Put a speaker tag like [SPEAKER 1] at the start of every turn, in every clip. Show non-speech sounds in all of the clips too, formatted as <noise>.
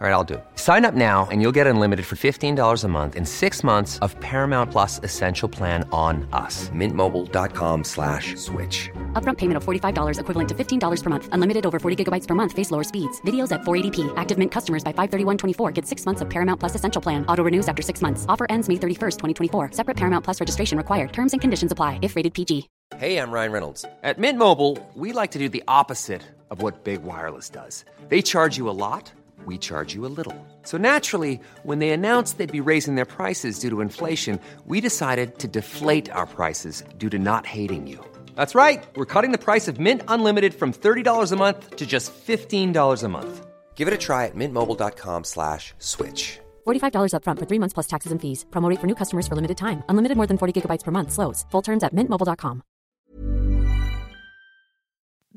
[SPEAKER 1] All right, I'll do it. Sign up now and you'll get unlimited for $15 a month in six months of Paramount Plus Essential Plan on us. Mintmobile.com slash switch.
[SPEAKER 2] Upfront payment of $45 equivalent to $15 per month. Unlimited over 40 gigabytes per month. Face lower speeds. Videos at 480p. Active Mint customers by 531.24 get six months of Paramount Plus Essential Plan. Auto renews after six months. Offer ends May 31st, 2024. Separate Paramount Plus registration required. Terms and conditions apply if rated PG.
[SPEAKER 1] Hey, I'm Ryan Reynolds. At Mint Mobile, we like to do the opposite of what Big Wireless does. They charge you a lot, we charge you a little. So naturally, when they announced they'd be raising their prices due to inflation, we decided to deflate our prices due to not hating you. That's right. We're cutting the price of Mint Unlimited from $30 a month to just $15 a month. Give it a try at mintmobile.com slash switch.
[SPEAKER 2] $45 upfront for three months plus taxes and fees. Promo rate for new customers for limited time. Unlimited more than 40 gigabytes per month. Slows. Full terms at mintmobile.com.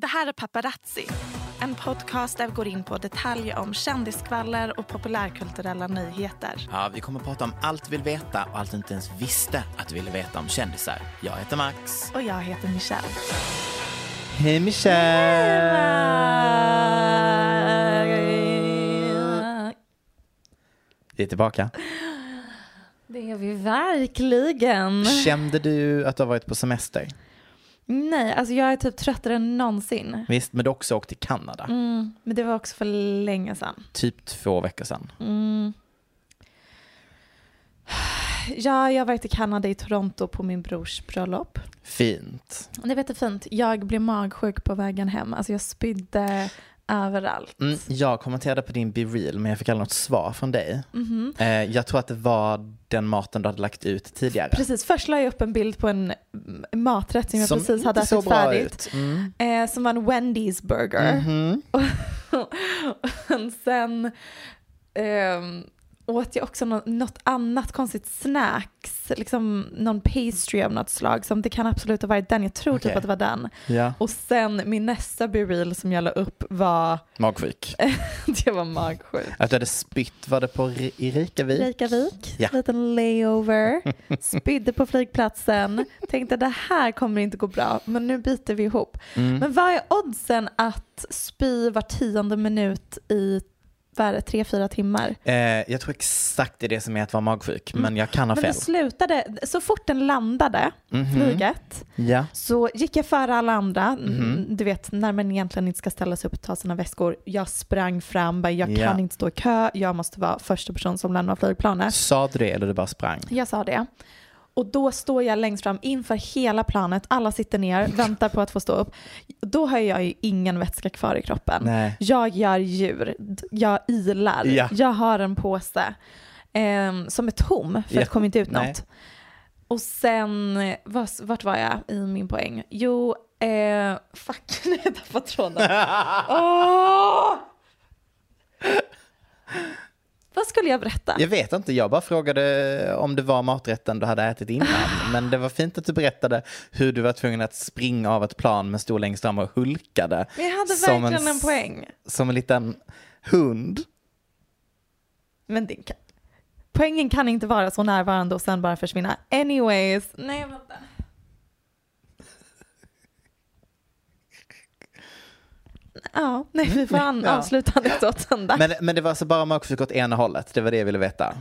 [SPEAKER 3] Det här är Paparazzi, en podcast där vi går in på detaljer om kändiskvaller och populärkulturella nyheter.
[SPEAKER 4] Ja, vi kommer att prata om allt vi vill veta och allt du inte ens visste att du ville veta om kändisar. Jag heter Max.
[SPEAKER 3] Och jag heter Michelle.
[SPEAKER 4] Hej Michelle! Vi
[SPEAKER 5] <laughs>
[SPEAKER 4] är tillbaka.
[SPEAKER 5] Det är vi verkligen.
[SPEAKER 4] Kände du att du har varit på semester?
[SPEAKER 5] Nej, alltså jag är typ tröttare än någonsin.
[SPEAKER 4] Visst, men du har också åkt till Kanada.
[SPEAKER 5] Mm, men det var också för länge sedan.
[SPEAKER 4] Typ två veckor sedan.
[SPEAKER 5] Mm. Ja, jag har varit i Kanada i Toronto på min brors bröllop.
[SPEAKER 4] Fint.
[SPEAKER 5] Det var fint. Jag blev magsjuk på vägen hem. Alltså jag spydde överallt.
[SPEAKER 4] Mm, jag kommenterade på din Be Real, men jag fick aldrig något svar från dig.
[SPEAKER 5] Mm-hmm.
[SPEAKER 4] Eh, jag tror att det var den maten du hade lagt ut tidigare.
[SPEAKER 5] Precis, först la jag upp en bild på en mm, maträtt som jag precis hade
[SPEAKER 4] inte såg
[SPEAKER 5] ätit
[SPEAKER 4] bra
[SPEAKER 5] färdigt.
[SPEAKER 4] ut. Mm.
[SPEAKER 5] Eh, som var en Wendy's burger.
[SPEAKER 4] Mhm.
[SPEAKER 5] Men sen ehm, åt jag också nå- något annat konstigt snacks, liksom någon pastry av något slag som det kan absolut ha varit den, jag tror
[SPEAKER 4] Okej.
[SPEAKER 5] typ att det var den.
[SPEAKER 4] Ja,
[SPEAKER 5] Och sen min nästa be-reel som jag la upp var, <laughs>
[SPEAKER 4] magsjuk.
[SPEAKER 5] Eh. det var magsjuk.
[SPEAKER 4] Att du hade spytt, var det på Ri- i Reykjavik?
[SPEAKER 5] Reykjavik,
[SPEAKER 4] Ja.
[SPEAKER 5] liten
[SPEAKER 4] <laughs>
[SPEAKER 5] layover, spydde på flygplatsen, tänkte det här kommer inte gå bra, men nu biter vi ihop.
[SPEAKER 4] Mm.
[SPEAKER 5] Men vad är oddsen att spy var tionde minut i vad är det, tre, fyra timmar?
[SPEAKER 4] Eh, jag tror exakt det är det som är att vara magsjuk, men jag kan ha
[SPEAKER 5] Mm. Men det
[SPEAKER 4] fel.
[SPEAKER 5] slutade, så fort den landade,
[SPEAKER 4] Mhm.
[SPEAKER 5] flyget,
[SPEAKER 4] Ja.
[SPEAKER 5] så gick jag före alla andra, Mm,
[SPEAKER 4] Mhm.
[SPEAKER 5] du vet när man egentligen inte ska ställa sig upp och ta sina väskor. Jag sprang fram, bara, jag
[SPEAKER 4] Ja.
[SPEAKER 5] kan inte stå i kö, jag måste vara första person som lämnar flygplanet.
[SPEAKER 4] Sa du det eller du bara sprang?
[SPEAKER 5] Jag sa det. Och då står jag längst fram inför hela planet, alla sitter
[SPEAKER 4] <laughs>
[SPEAKER 5] ner, väntar på att få stå upp. Då har jag ju ingen vätska kvar i kroppen.
[SPEAKER 4] Nej.
[SPEAKER 5] Jag gör djur, D- jag ilar,
[SPEAKER 4] Ja.
[SPEAKER 5] jag har en påse ehm, som är tom för
[SPEAKER 4] Ja.
[SPEAKER 5] att det kom inte ut
[SPEAKER 4] Nej.
[SPEAKER 5] något. Och sen, eh, vars- vart var jag i min poäng? Jo, eh, fuck, <laughs> nu har jag tappat
[SPEAKER 4] <laughs>
[SPEAKER 5] tråden. Åh! Vad skulle jag berätta?
[SPEAKER 4] Jag vet inte, jag bara frågade om det var maträtten du hade
[SPEAKER 5] <laughs>
[SPEAKER 4] ätit innan. Men det var fint att du berättade hur du var tvungen att springa av ett plan men stod längst fram och hulkade.
[SPEAKER 5] Men jag hade
[SPEAKER 4] Som
[SPEAKER 5] verkligen en,
[SPEAKER 4] s-
[SPEAKER 5] poäng.
[SPEAKER 4] Som en liten hund.
[SPEAKER 5] Men det kan... poängen kan inte vara så närvarande och sen bara försvinna. Anyways. Nej, vänta. Ja, nej vi får an-
[SPEAKER 4] Ja.
[SPEAKER 5] avsluta anekdoten där.
[SPEAKER 4] Men, men det var alltså bara magsjuk åt ena hållet, det var det jag ville veta.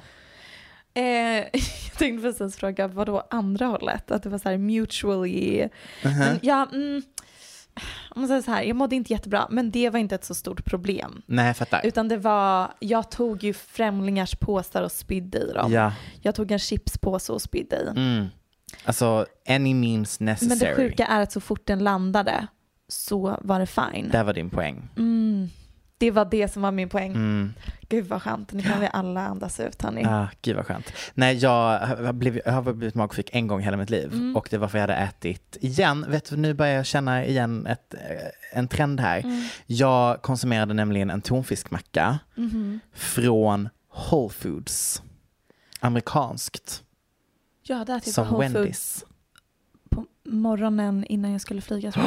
[SPEAKER 5] Eh, <laughs> jag tänkte precis fråga, vad då andra hållet? Att det var så här mutually...
[SPEAKER 4] Uh-huh.
[SPEAKER 5] Men ja, mm, om man säger så här, jag mådde inte jättebra, men det var inte ett så stort problem.
[SPEAKER 4] Nej, jag fattar.
[SPEAKER 5] Utan det var, jag tog ju främlingars påsar och spydde i dem.
[SPEAKER 4] Ja.
[SPEAKER 5] Jag tog en chipspåse och spydde i.
[SPEAKER 4] Mm. Alltså, any means
[SPEAKER 5] Men
[SPEAKER 4] necessary.
[SPEAKER 5] det sjuka är att så fort den landade så var det fine.
[SPEAKER 4] Där var din poäng.
[SPEAKER 5] Mm. Det var det som var min poäng.
[SPEAKER 4] Mm.
[SPEAKER 5] Gud vad skönt, nu kan vi alla andas ut hörni.
[SPEAKER 4] Ah, gud vad skönt. Nej, jag har blivit, jag har blivit magsjuk en gång i hela mitt liv
[SPEAKER 5] Mm.
[SPEAKER 4] och det var för jag hade ätit igen. Vet du, nu börjar jag känna igen ett, eh, en trend här.
[SPEAKER 5] Mm.
[SPEAKER 4] Jag konsumerade nämligen en tonfiskmacka
[SPEAKER 5] Mm-hmm.
[SPEAKER 4] från Whole Foods. Amerikanskt.
[SPEAKER 5] Jag hade ätit på
[SPEAKER 4] som
[SPEAKER 5] Typ Whole Foods
[SPEAKER 4] Wendys.
[SPEAKER 5] på morgonen innan jag skulle flyga.
[SPEAKER 4] <gasps>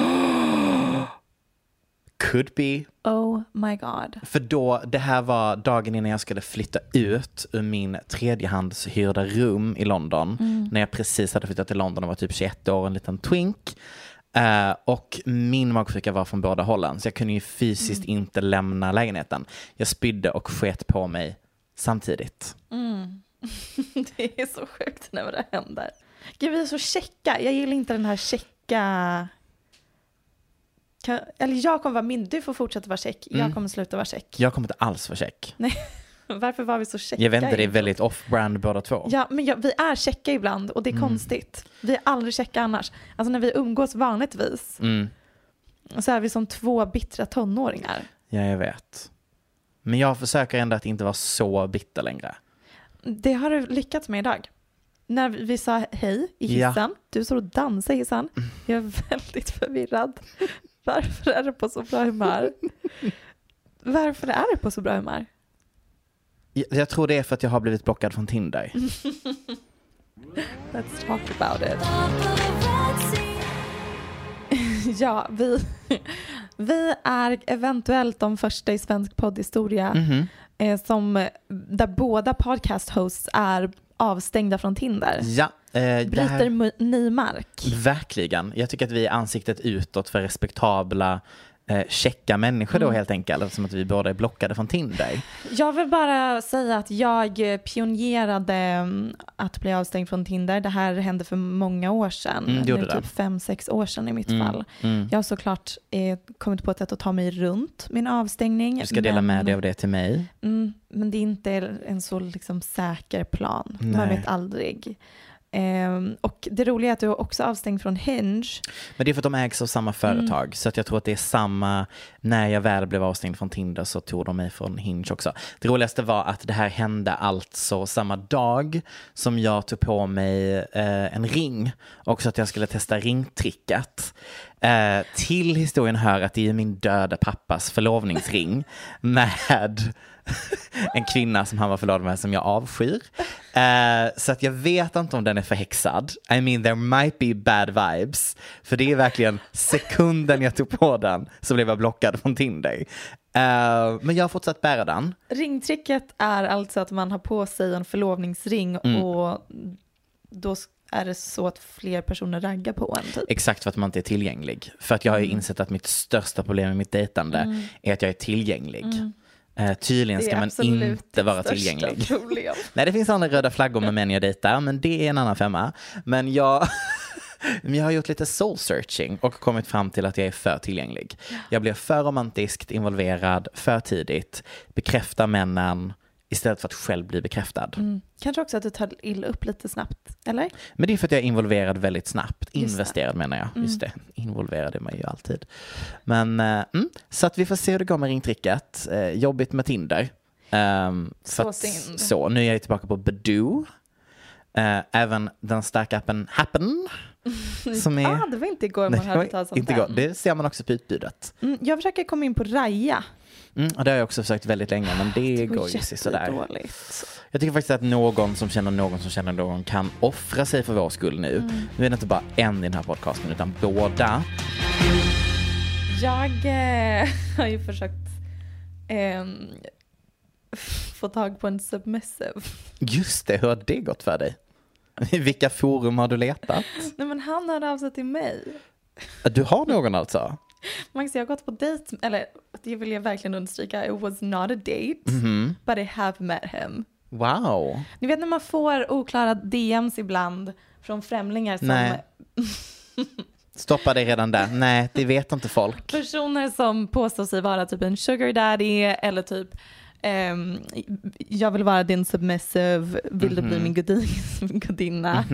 [SPEAKER 4] Could be.
[SPEAKER 5] Oh my god.
[SPEAKER 4] För då, det här var dagen innan jag skulle flytta ut ur min tredjehandshyrda rum i London. När jag precis hade flyttat till London och var typ 21 år, en liten twink. Eh, och min magsjuka var från båda hållen, så jag kunde ju fysiskt inte lämna lägenheten. Jag spydde och sket på mig samtidigt.
[SPEAKER 5] <laughs> Det är så sjukt när det händer. Gud vi är så checka. Jag gillar inte den här checka... Kan... Eller jag kommer vara min, du får fortsätta vara check.
[SPEAKER 4] Mm.
[SPEAKER 5] Jag kommer sluta vara check.
[SPEAKER 4] Jag kommer inte alls vara check.
[SPEAKER 5] Nej, varför var vi så checka?
[SPEAKER 4] Jag vet inte, det är
[SPEAKER 5] egentligen?
[SPEAKER 4] väldigt off-brand båda två.
[SPEAKER 5] Ja, men ja, vi är checka ibland och det är konstigt. Vi är aldrig checka annars. Alltså när vi umgås vanligtvis
[SPEAKER 4] Mm,
[SPEAKER 5] så är vi som två bittra tonåringar.
[SPEAKER 4] ja, jag vet. Men jag försöker ändå att inte vara så bitter längre.
[SPEAKER 5] Det har du lyckats med idag. När vi vi sa hej i
[SPEAKER 4] Ja.
[SPEAKER 5] hissen, du står och dansar i hissen. Jag är väldigt förvirrad. Varför är du på så bra humör? Varför är du på så bra humör?
[SPEAKER 4] Jag, jag tror det är för att jag har blivit blockad från Tinder.
[SPEAKER 5] Let's talk about it. <laughs> Ja, vi, vi är eventuellt de första i svensk poddhistoria
[SPEAKER 4] Mhm.
[SPEAKER 5] eh, som, där båda podcast hosts är avstängda från Tinder.
[SPEAKER 4] Ja, eh, det
[SPEAKER 5] Bryter
[SPEAKER 4] här,
[SPEAKER 5] mu- ny mark.
[SPEAKER 4] verkligen. Jag tycker att vi är ansiktet utåt för respektabla, eh, checka människor då
[SPEAKER 5] Mm.
[SPEAKER 4] helt enkelt. Eftersom att vi båda är blockade från Tinder.
[SPEAKER 5] Jag vill bara säga att jag pionjerade mm, att bli avstängd från Tinder. Det här hände för många år sedan.
[SPEAKER 4] Mm, det gjorde
[SPEAKER 5] nu
[SPEAKER 4] det. Mm,
[SPEAKER 5] typ fem, sex år sedan i mitt fall. Jag har såklart eh, kommit på ett sätt att ta mig runt min avstängning.
[SPEAKER 4] Du ska dela
[SPEAKER 5] men,
[SPEAKER 4] med dig av det till mig.
[SPEAKER 5] Mm, men det är inte en så liksom, säker plan. Man
[SPEAKER 4] Nej.
[SPEAKER 5] vet aldrig. Ehm, och det roliga är att du är också avstängd från Hinge.
[SPEAKER 4] Men det är för att de ägs av samma företag. Så att jag tror att det är samma, när jag väl blev avstängd från Tinder så tog de mig från Hinge också. Det roligaste var att det här hände alltså samma dag som jag tog på mig eh, en ring. Och så att jag skulle testa ringtricket. Eh, till historien hör att det är min döda pappas förlovningsring med en kvinna som han var förlovad med som jag avskyr. Eh, så att jag vet inte om den är förhäxad. I mean there might be bad vibes. För det är verkligen sekunden jag tog på den så blev jag blockad från Tinder. Eh, men jag har fortsatt bära den.
[SPEAKER 5] Ringtricket är alltså att man har på sig en förlovningsring
[SPEAKER 4] Mm.
[SPEAKER 5] och då s- är det så att fler personer raggar på en typ.
[SPEAKER 4] Exakt för att man inte är tillgänglig. För att jag har ju insett att mitt största problem med mitt dejtande är att jag är tillgänglig. Eh, tydligen ska man inte
[SPEAKER 5] <laughs>
[SPEAKER 4] vara tillgänglig.
[SPEAKER 5] Problem.
[SPEAKER 4] Nej, det finns andra röda flaggor med män jag dejtar, men det är en annan femma. Men jag, <laughs> men jag har gjort lite soul searching och kommit fram till att jag är för tillgänglig. Jag blir för romantiskt involverad för tidigt, bekräftar männen istället för att själv bli bekräftad.
[SPEAKER 5] Mm. Kanske också att du tar illa upp lite snabbt, eller?
[SPEAKER 4] Men det är för att jag är involverad väldigt snabbt.
[SPEAKER 5] Just det. Mm.
[SPEAKER 4] Investerad menar jag. Just det, involverad är man ju alltid. Men, eh, mm, så att vi får se hur det går med ringtricket. Eh, jobbigt med Tinder. Ehm, för
[SPEAKER 5] Så synd.
[SPEAKER 4] Så, nu är jag tillbaka på Badoo. Eh, även den starka appen
[SPEAKER 5] <laughs>
[SPEAKER 4] Happen. Som är...
[SPEAKER 5] Ah, det var inte igår man
[SPEAKER 4] Nej,
[SPEAKER 5] hörde talas om
[SPEAKER 4] inte
[SPEAKER 5] den.
[SPEAKER 4] igår. Det ser man också på utbudet.
[SPEAKER 5] Mm, jag försöker komma in på Raja.
[SPEAKER 4] Mm, och det har jag också försökt väldigt länge, men det, går ju sådär.
[SPEAKER 5] jättedåligt.
[SPEAKER 4] Jag tycker faktiskt att någon som känner någon som känner någon kan offra sig för vår skull nu.
[SPEAKER 5] Mm.
[SPEAKER 4] Nu är det inte bara en i den här podcasten, utan båda.
[SPEAKER 5] Jag eh, <laughs> har ju försökt ehm, <laughs> få tag på en submissive.
[SPEAKER 4] Just det, hur har det gått för dig? I vilka forum har du letat?
[SPEAKER 5] Nej men han hörde av sig till mig.
[SPEAKER 4] Du har någon alltså?
[SPEAKER 5] Max jag har gått på dejt, eller det vill jag verkligen understryka, it was not a date, but I have met him.
[SPEAKER 4] Wow.
[SPEAKER 5] Ni vet när man får oklara DMs ibland från främlingar som
[SPEAKER 4] Nej. Stoppa dig redan där. Nej, det vet inte folk.
[SPEAKER 5] personer som påstår sig vara typ en sugar daddy eller typ ehm, jag vill <laughs>
[SPEAKER 4] Mhm.
[SPEAKER 5] vara din submissive, vill du bli min gudin, gudinna? <laughs>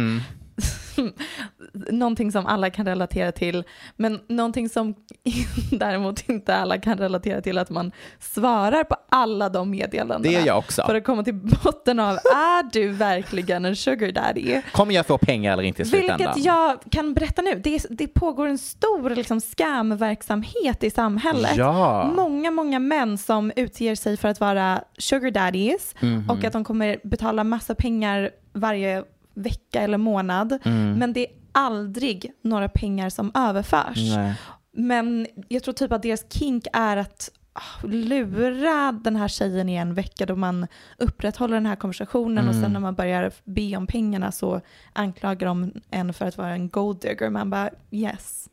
[SPEAKER 5] någonting som alla kan relatera till, men någonting som <laughs> däremot inte alla kan relatera till att man svarar på alla de meddelandena.
[SPEAKER 4] Det är jag också.
[SPEAKER 5] För att komma till botten
[SPEAKER 4] <laughs>
[SPEAKER 5] av, är du verkligen en sugar daddy?
[SPEAKER 4] Kommer jag få pengar eller inte i slutändan?
[SPEAKER 5] Vilket jag kan berätta nu, det, är- det pågår en stor liksom, scamverksamhet i samhället.
[SPEAKER 4] Ja.
[SPEAKER 5] Många, många män som utger sig för att vara sugar daddies
[SPEAKER 4] Mhm.
[SPEAKER 5] och att de kommer betala massa pengar varje vecka eller månad.
[SPEAKER 4] Mm.
[SPEAKER 5] Men det är aldrig några pengar som överförs.
[SPEAKER 4] Nej.
[SPEAKER 5] Men jag tror typ att deras kink är att ah, lura den här tjejen i en vecka då man upprätthåller den här konversationen och
[SPEAKER 4] Mm.
[SPEAKER 5] sen när man börjar be om pengarna så anklagar de en för att vara en gold digger. Man bara yes,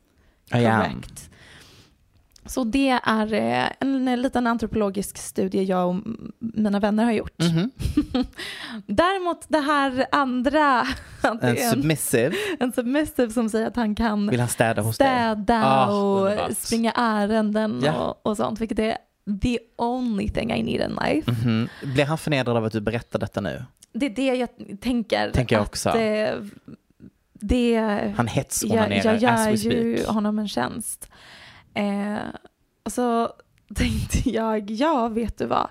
[SPEAKER 4] I am.
[SPEAKER 5] correct. Så det är eh, en eh, liten antropologisk studie jag och m- mina vänner har gjort.
[SPEAKER 4] Mhm.
[SPEAKER 5] <laughs> Däremot det här andra, <laughs> att
[SPEAKER 4] En
[SPEAKER 5] det är en,
[SPEAKER 4] submissive.
[SPEAKER 5] en submissive som säger att han kan
[SPEAKER 4] Vill han städa hos dig?
[SPEAKER 5] städa
[SPEAKER 4] Ah,
[SPEAKER 5] och
[SPEAKER 4] underbart.
[SPEAKER 5] springa ärenden
[SPEAKER 4] Ja.
[SPEAKER 5] och, och sånt, vilket är the only thing I need in life.
[SPEAKER 4] Mhm. Blir han förnedrad av att du berättar detta nu?
[SPEAKER 5] Det är det jag tänker.
[SPEAKER 4] Tänker jag
[SPEAKER 5] att,
[SPEAKER 4] också.
[SPEAKER 5] eh, det,
[SPEAKER 4] Han
[SPEAKER 5] jag,
[SPEAKER 4] hetsonanerar
[SPEAKER 5] jag gör
[SPEAKER 4] as we
[SPEAKER 5] ju
[SPEAKER 4] speak.
[SPEAKER 5] honom en tjänst. Eh, och så tänkte jag, ja vet du vad?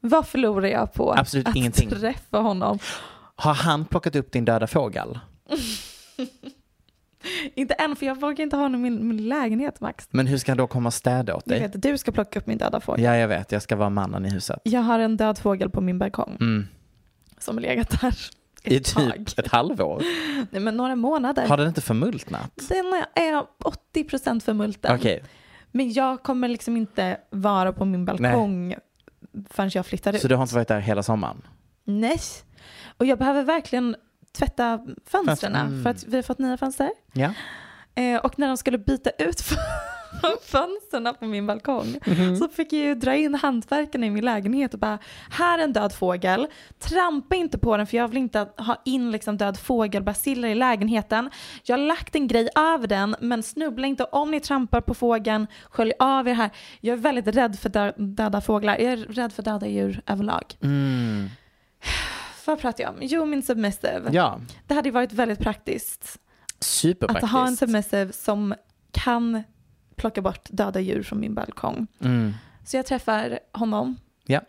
[SPEAKER 5] Vad förlorar jag på
[SPEAKER 4] Absolut
[SPEAKER 5] att
[SPEAKER 4] ingenting.
[SPEAKER 5] träffa honom? <laughs>
[SPEAKER 4] Har han plockat upp din döda fågel?
[SPEAKER 5] Inte än, för jag vågar inte ha honom i min, min lägenhet Max.
[SPEAKER 4] Men hur ska han då komma och städa åt
[SPEAKER 5] Jag
[SPEAKER 4] dig?
[SPEAKER 5] vet att du ska plocka upp min döda fågel.
[SPEAKER 4] Ja, jag vet. Jag ska vara mannen i huset.
[SPEAKER 5] Jag har en död fågel på min balkong
[SPEAKER 4] Mm.
[SPEAKER 5] som har legat där ett
[SPEAKER 4] I
[SPEAKER 5] tag.
[SPEAKER 4] typ ett halvår.
[SPEAKER 5] Nej, men några månader.
[SPEAKER 4] Har den inte förmultnat?
[SPEAKER 5] Den är 80% förmulten.
[SPEAKER 4] Okej.
[SPEAKER 5] Men jag kommer liksom inte vara på min balkong förrän jag flyttar ut.
[SPEAKER 4] Så du har inte varit där hela sommaren?
[SPEAKER 5] Nej. Och jag behöver verkligen tvätta fönstren
[SPEAKER 4] Mm.
[SPEAKER 5] för att vi har fått nya fönster.
[SPEAKER 4] Ja.
[SPEAKER 5] Eh, och när de skulle byta ut <laughs> fönstren på min balkong
[SPEAKER 4] Mhm.
[SPEAKER 5] så fick jag ju dra in hantverkarna i min lägenhet och bara här är en död fågel, trampa inte på den för jag vill inte att- ha in liksom död fågelbaciller i lägenheten. Jag har lagt en grej över den men snubbla inte om ni trampar på fågeln, skölj av er här. Jag är väldigt rädd för dö- döda fåglar, jag är rädd för döda djur överlag.
[SPEAKER 4] Mm.
[SPEAKER 5] Vad pratar jag om? Jo min submissive.
[SPEAKER 4] Ja.
[SPEAKER 5] Det hade ju varit väldigt praktiskt
[SPEAKER 4] Superpraktiskt.
[SPEAKER 5] att ha en submissive som kan plocka bort döda djur från min balkong.
[SPEAKER 4] mm.
[SPEAKER 5] Så jag träffar honom.
[SPEAKER 4] Ja.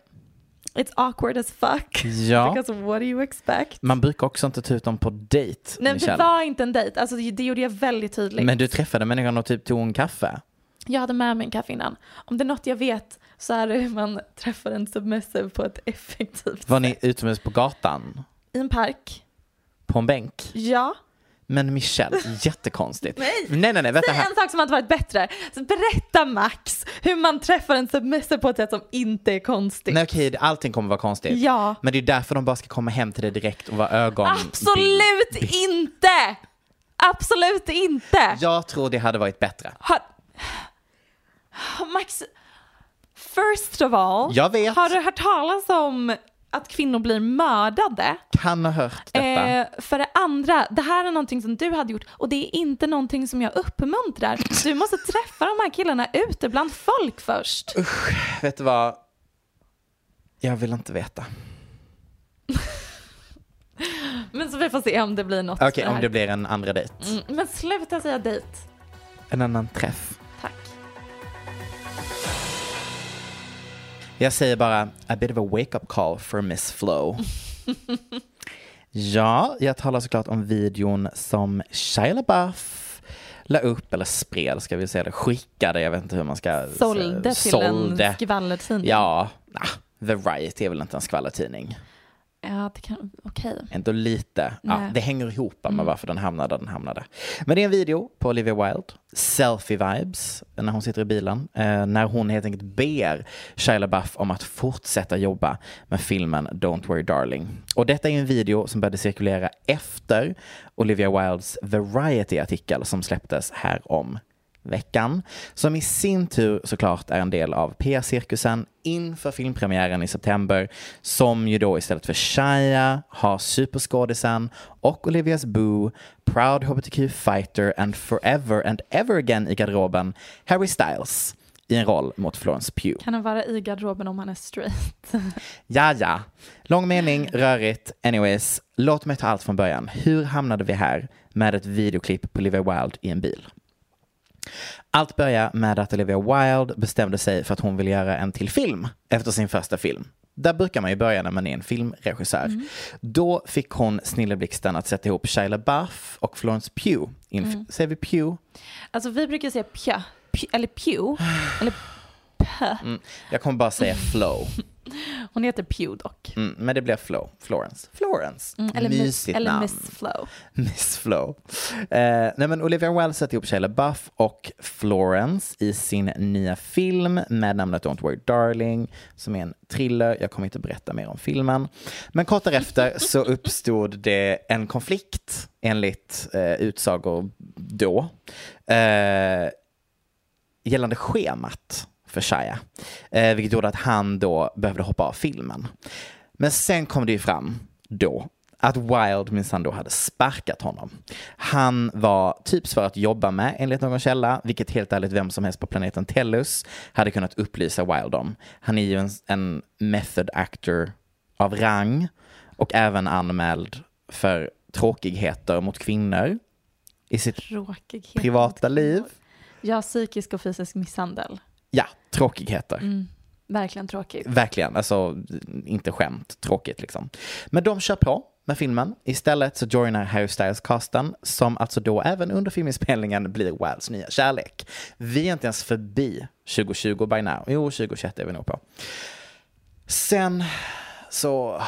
[SPEAKER 5] It's awkward as fuck.
[SPEAKER 4] Ja.
[SPEAKER 5] Because what do you expect?
[SPEAKER 4] Man brukar också inte ta ut dem på dejt,
[SPEAKER 5] Nej, men det
[SPEAKER 4] Michelle.
[SPEAKER 5] var inte en dejt. Alltså, det gjorde jag väldigt tydligt.
[SPEAKER 4] Men du träffade människan och typ tog en kaffe.
[SPEAKER 5] Jag hade med mig en kaffe innan. Om det är något jag vet så är det hur man träffar en submissive på ett effektivt
[SPEAKER 4] Var ni utomhus på gatan?
[SPEAKER 5] I en park.
[SPEAKER 4] På en bänk?
[SPEAKER 5] Ja.
[SPEAKER 4] Men Michelle, jättekonstigt.
[SPEAKER 5] Nej.
[SPEAKER 4] nej, nej, nej vänta
[SPEAKER 5] Säg
[SPEAKER 4] här.
[SPEAKER 5] en sak som hade varit bättre. Så berätta Max hur man träffar en submissive på ett sätt som inte är konstigt.
[SPEAKER 4] Nej okej, allting kommer vara konstigt.
[SPEAKER 5] Ja.
[SPEAKER 4] Men det är därför de bara ska komma hem till dig direkt och vara ögon...
[SPEAKER 5] Absolut inte! Absolut inte!
[SPEAKER 4] Jag tror det hade varit bättre.
[SPEAKER 5] Har... Max, first of all,
[SPEAKER 4] Jag vet.
[SPEAKER 5] har du hört talas om att kvinnor blir mördade?
[SPEAKER 4] Kan ha hört detta.
[SPEAKER 5] Eh, för det andra, det här är någonting som du hade gjort och det är inte någonting som jag uppmuntrar. Du måste träffa de här killarna ute bland folk först.
[SPEAKER 4] Vet du vad? Jag vill inte veta.
[SPEAKER 5] Men så vi får se om det blir något.
[SPEAKER 4] Okej,
[SPEAKER 5] med
[SPEAKER 4] om
[SPEAKER 5] här.
[SPEAKER 4] det blir en andra dejt.
[SPEAKER 5] Mm, Men sluta säga dejt.
[SPEAKER 4] En annan träff.
[SPEAKER 5] Tack.
[SPEAKER 4] Jag säger bara a bit of a wake-up call for Miss Flow.
[SPEAKER 5] <laughs>
[SPEAKER 4] ja, jag talar såklart om videon som Shia LaBeouf la upp, eller spred ska vi säga det, skickade, jag vet inte hur man ska säga.
[SPEAKER 5] Sålde till en
[SPEAKER 4] Sålde.
[SPEAKER 5] skvallertidning.
[SPEAKER 4] Ja, nah, Variety är väl inte en skvallertidning.
[SPEAKER 5] Ja, det kan... Okej.
[SPEAKER 4] Ändå lite. Ja,
[SPEAKER 5] Nej.
[SPEAKER 4] det hänger ihop med varför den hamnade där den hamnade. Men det är en video på Olivia Wilde, selfie-vibes, när hon sitter i bilen. Eh, när hon helt enkelt ber Shia LaBeouf om att fortsätta jobba med filmen Don't Worry Darling. Och detta är en video som började cirkulera efter Olivia Wildes Variety-artikel som släpptes här om veckan. Som i sin tur såklart är en del av PR-cirkusen inför filmpremiären i september. Som ju då istället för Shia har superskådisen och Olivias boo, proud hbtq fighter and forever and ever again i garderoben Harry Styles i en roll mot Florence Pugh.
[SPEAKER 5] Kan han vara i garderoben om han är straight? <laughs>
[SPEAKER 4] Ja, ja. Lång mening, rörigt. Anyways, låt mig ta allt från början. Hur hamnade vi här? med ett videoklipp på Olivia Wilde i en bil. Allt börjar med att Olivia Wilde bestämde sig för att hon vill göra en till film efter sin första film. Där brukar man ju börja när man är en filmregissör.
[SPEAKER 5] Mm.
[SPEAKER 4] Då fick hon snilleblixten att sätta ihop Shia LaBeouf och Florence Pugh. Inf-
[SPEAKER 5] Mm.
[SPEAKER 4] Säger vi Pugh?
[SPEAKER 5] Alltså vi brukar säga pja, pj, eller
[SPEAKER 4] <sighs>
[SPEAKER 5] pew. Eller pö.
[SPEAKER 4] Jag kommer
[SPEAKER 5] <laughs>
[SPEAKER 4] bara säga flow.
[SPEAKER 5] Hon heter Pew dock. Mm,
[SPEAKER 4] Mm, men det blev flow. Florence. Florence.
[SPEAKER 5] Eller, miss,
[SPEAKER 4] Mysigt
[SPEAKER 5] eller
[SPEAKER 4] namn.
[SPEAKER 5] miss Flow.
[SPEAKER 4] <laughs> Miss Flow. Eh, nej men Olivia Wilde sätter ihop Shia LaBeouf och Florence i sin nya film med namnet Don't Worry Darling som är en thriller. Jag kommer inte berätta mer om filmen. Men kort därefter så uppstod det en konflikt enligt eh, utsagor då. Eh, gällande schemat för Shia. Eh, vilket gjorde att han då behövde hoppa av filmen. Men sen kom det ju fram då att Wild minsann då hade sparkat honom. Han var typ svår att jobba med enligt någon källa, vilket helt ärligt vem som helst på planeten Tellus hade kunnat upplysa Wild om. Han är ju en, en method actor av rang och även anmäld för tråkigheter mot kvinnor i sitt
[SPEAKER 5] Tråkighet.
[SPEAKER 4] privata liv.
[SPEAKER 5] Ja, psykisk och fysisk misshandel.
[SPEAKER 4] Ja, tråkigheter.
[SPEAKER 5] Verkligen tråkigt.
[SPEAKER 4] Verkligen, alltså inte skämt, tråkigt liksom. Men de kör på med filmen. Istället så joinar Harry Styles-casten som alltså då även under filminspelningen blir Wilds nya kärlek. Vi är inte ens förbi 2020 by now. Jo, 2021 är vi nog på. Sen så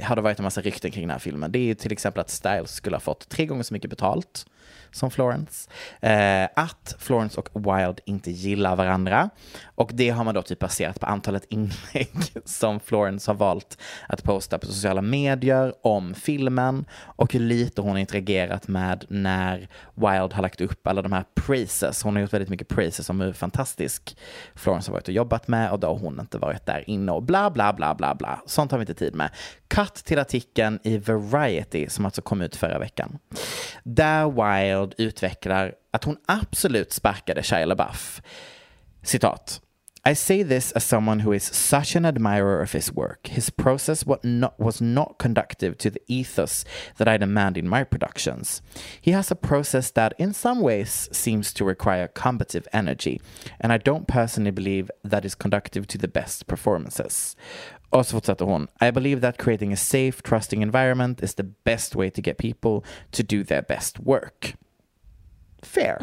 [SPEAKER 4] har det varit en massa rykten kring den här filmen. Det är ju till exempel att Styles skulle ha fått tre gånger så mycket betalt som Florence. Eh, att Florence och Wilde inte gillar varandra. Och det har man då typ baserat på antalet inlägg <laughs> som Florence har valt att posta på sociala medier om filmen och hur lite hon har interagerat med när Wilde har lagt upp alla de här praises. Hon har gjort väldigt mycket praises om hur fantastisk Florence har varit och jobbat med och då har hon inte varit där inne och bla bla bla bla bla. Sånt har vi inte tid med. Cut till artikeln i Variety som alltså kom ut förra veckan. Där Wilde utvecklar att hon absolut sparkade Shia LaBeouf. Citat. I say this as someone who is such an admirer of his work. His process was not, was not conductive to the ethos that I demand in my productions. He has a process that, in some ways, seems to require combative energy, and I don't personally believe that is conductive to the best performances. Och så fortsätter hon. I believe that creating a safe, trusting environment is the best way to get people to do their best work. Fair.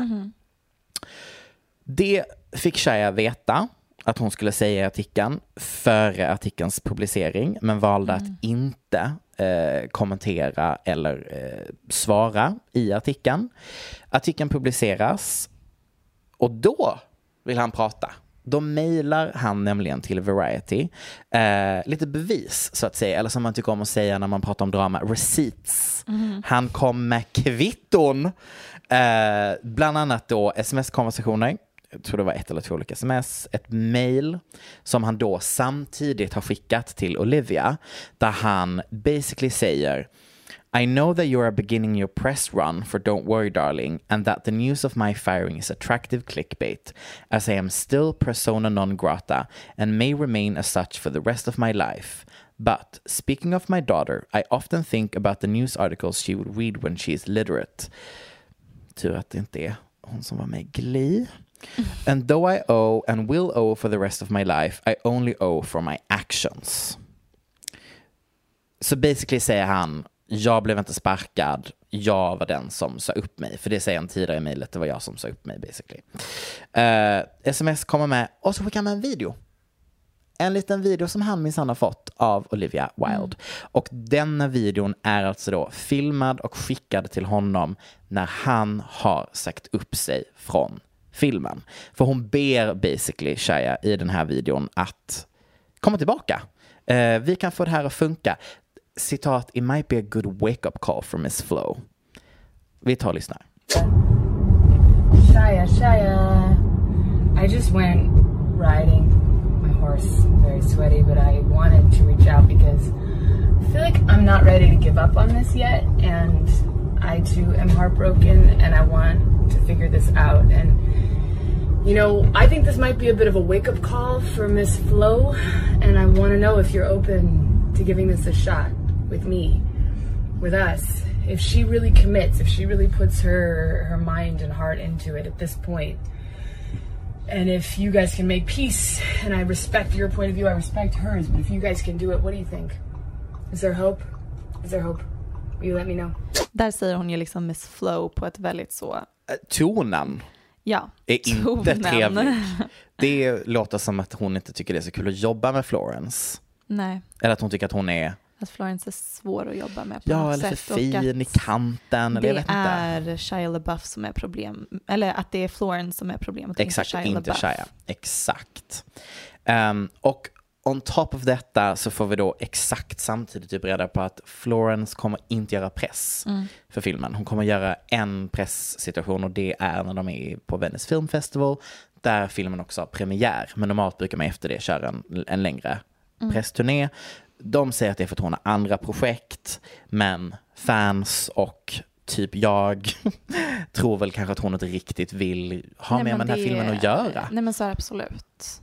[SPEAKER 4] Det fick Shia veta att hon skulle säga i artikeln före artikelns publicering men valde att inte eh, kommentera eller eh, svara i artikeln. Artikeln publiceras och då vill han prata. Då mejlar han nämligen till Variety eh, lite bevis så att säga, eller som man tycker om att säga när man pratar om drama, receipts. Han kom med kvitton, eh, bland annat då sms-konversationer, jag tror det var ett eller två olika sms, ett mejl som han då samtidigt har skickat till Olivia där han basically säger I know that you are beginning your press run for Don't Worry Darling and that the news of my firing is attractive clickbait, as I am still persona non grata and may remain as such for the rest of my life. But speaking of my daughter, I often think about the news articles she would read when she is literate. Tur att det inte är hon som var med i Glee. And though I owe and will owe for the rest of my life, I only owe for my actions. Så basically säger han, jag blev inte sparkad, jag var den som sa upp mig. För det säger han tidigare i mejlet, det var jag som sa upp mig basically. Eh, sms kommer med och så skickar han med en video. En liten video som han minsann har fått av Olivia Wilde. Och denna videon är alltså då filmad och skickad till honom när han har sagt upp sig från filmen. För hon ber basically Shia i den här videon att komma tillbaka. Eh, vi kan få det här att funka. Citat, it might be a good wake-up call for Miss Flow. Vi tar och lyssnar.
[SPEAKER 6] Shia, Shia. I just went riding my horse, very sweaty, but I wanted to reach out because I feel like I'm not ready to give up on this yet. And I too am heartbroken and I want to figure this out. And, you know, I think this might be a bit of a wake up call for Miss Flo. And I want to know if you're open to giving this a shot with me, with us. if she really commits, if she really puts her her mind and heart into it at this point, and if you guys can make peace, and I respect your point of view, I respect hers, but if you guys can do it, what do you think? Is there hope? Is there hope? Will you let me know?
[SPEAKER 5] Där säger hon ju liksom Miss Flow på ett väldigt så,
[SPEAKER 4] Eh, Tonen
[SPEAKER 5] ja,
[SPEAKER 4] är inte
[SPEAKER 5] tonen.
[SPEAKER 4] trevlig. Det låter som att hon inte tycker det är så kul att jobba med Florence.
[SPEAKER 5] <laughs> Nej,
[SPEAKER 4] Eller att hon tycker att hon är,
[SPEAKER 5] att Florence är svår att jobba med på
[SPEAKER 4] ja
[SPEAKER 5] något
[SPEAKER 4] eller för
[SPEAKER 5] sätt. och
[SPEAKER 4] fin i
[SPEAKER 5] att
[SPEAKER 4] kanten. Eller jag
[SPEAKER 5] Det
[SPEAKER 4] vet inte.
[SPEAKER 5] är Shia LaBeouf som är problem, eller att det är Florence som är problemet,
[SPEAKER 4] Exakt,
[SPEAKER 5] inte Shia
[SPEAKER 4] inte
[SPEAKER 5] LaBeouf.
[SPEAKER 4] Shia. Exakt. Ehm, och on top of detta så får vi då exakt samtidigt typ reda på att Florence kommer inte göra press för filmen. Hon kommer göra en presssituation och det är när de är på Venice Film Festival där filmen också har premiär. Men normalt brukar man efter det köra en, en längre
[SPEAKER 5] Mm.
[SPEAKER 4] pressturné. De säger att det är för att hon har andra projekt, men fans och typ jag <laughs> tror väl kanske att hon inte riktigt vill ha
[SPEAKER 5] Nej,
[SPEAKER 4] mer med
[SPEAKER 5] men
[SPEAKER 4] den här
[SPEAKER 5] det-
[SPEAKER 4] filmen att göra.
[SPEAKER 5] Nej men så är det absolut.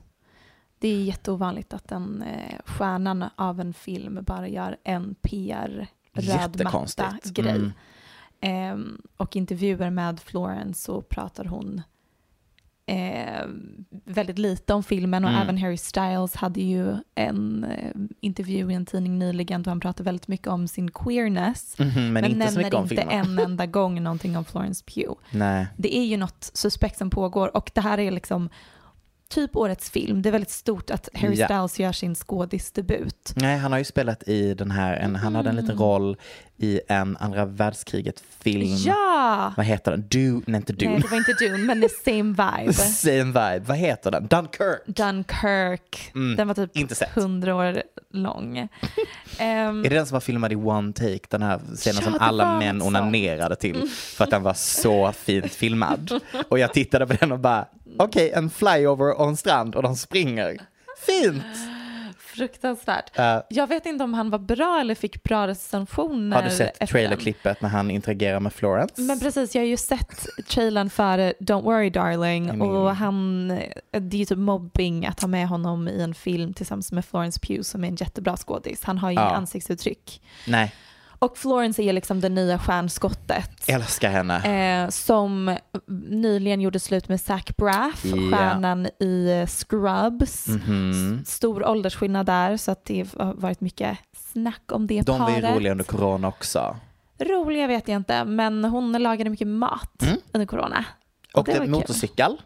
[SPEAKER 5] Det är jätteovanligt att den eh, stjärnan av en film bara gör en PR röd matta
[SPEAKER 4] Jättekonstigt.
[SPEAKER 5] grej.
[SPEAKER 4] Mm.
[SPEAKER 5] Ehm, och intervjuer med Florence så pratar hon eh, väldigt lite om filmen och
[SPEAKER 4] Mm.
[SPEAKER 5] även Harry Styles hade ju en eh, intervju i en tidning nyligen då han pratade väldigt mycket om sin queerness.
[SPEAKER 4] Mhm, men, inte så
[SPEAKER 5] nämner
[SPEAKER 4] mycket om
[SPEAKER 5] inte en
[SPEAKER 4] filmen.
[SPEAKER 5] enda gång någonting om Florence Pugh
[SPEAKER 4] Nej.
[SPEAKER 5] det är ju något suspekt som pågår och det här är liksom typ årets film. Det är väldigt stort att Harry
[SPEAKER 4] Ja.
[SPEAKER 5] Styles gör sin skådisdebut.
[SPEAKER 4] Nej, han har ju spelat i den här, en, han hade en
[SPEAKER 5] Mm.
[SPEAKER 4] liten roll i en andra världskriget-film.
[SPEAKER 5] Ja!
[SPEAKER 4] Vad heter den? Du, nej inte
[SPEAKER 5] Nej,
[SPEAKER 4] du.
[SPEAKER 5] det var inte Dune, men det är same
[SPEAKER 4] <laughs>
[SPEAKER 5] vibe.
[SPEAKER 4] Same vibe. Vad heter den? Dunkirk.
[SPEAKER 5] Dunkirk, den var
[SPEAKER 4] Mm. inte sett.
[SPEAKER 5] typ hundra år
[SPEAKER 4] <laughs>
[SPEAKER 5] lång. Ehm,
[SPEAKER 4] Är det den som var filmad i one take? Den här scenen
[SPEAKER 5] Ja,
[SPEAKER 4] som
[SPEAKER 5] det
[SPEAKER 4] alla
[SPEAKER 5] var Mm.
[SPEAKER 4] män
[SPEAKER 5] en sån.
[SPEAKER 4] onanerade till för att den var så fint filmad. Och jag tittade på den och bara, okej en flyover och en strand och de springer. Fint!
[SPEAKER 5] fruktansvärt.
[SPEAKER 4] Eh,
[SPEAKER 5] Jag vet inte om han var bra eller fick bra recensioner.
[SPEAKER 4] har du sett
[SPEAKER 5] efter den.
[SPEAKER 4] trailerklippet när han interagerar med Florence?
[SPEAKER 5] Men precis, jag har ju sett trailern för Don't Worry Darling och han, det är ju typ mobbing att ha med honom i en film tillsammans med Florence Pugh som är en jättebra skådis. Han har ju
[SPEAKER 4] Ja.
[SPEAKER 5] ansiktsuttryck.
[SPEAKER 4] Nej,
[SPEAKER 5] Och Florence är liksom det nya stjärnskottet.
[SPEAKER 4] älskar henne.
[SPEAKER 5] Eh, som nyligen gjorde slut med Zach Braff,
[SPEAKER 4] Ja. Mhm.
[SPEAKER 5] stjärnan i Scrubs. S- Stor åldersskillnad där så att det har varit mycket snack om det
[SPEAKER 4] De var
[SPEAKER 5] paret.
[SPEAKER 4] ju roliga under corona också.
[SPEAKER 5] Roliga vet jag inte, men hon lagade mycket mat under corona.
[SPEAKER 4] Mm. Och
[SPEAKER 5] Det
[SPEAKER 4] det
[SPEAKER 5] var kul.
[SPEAKER 4] motorcykel.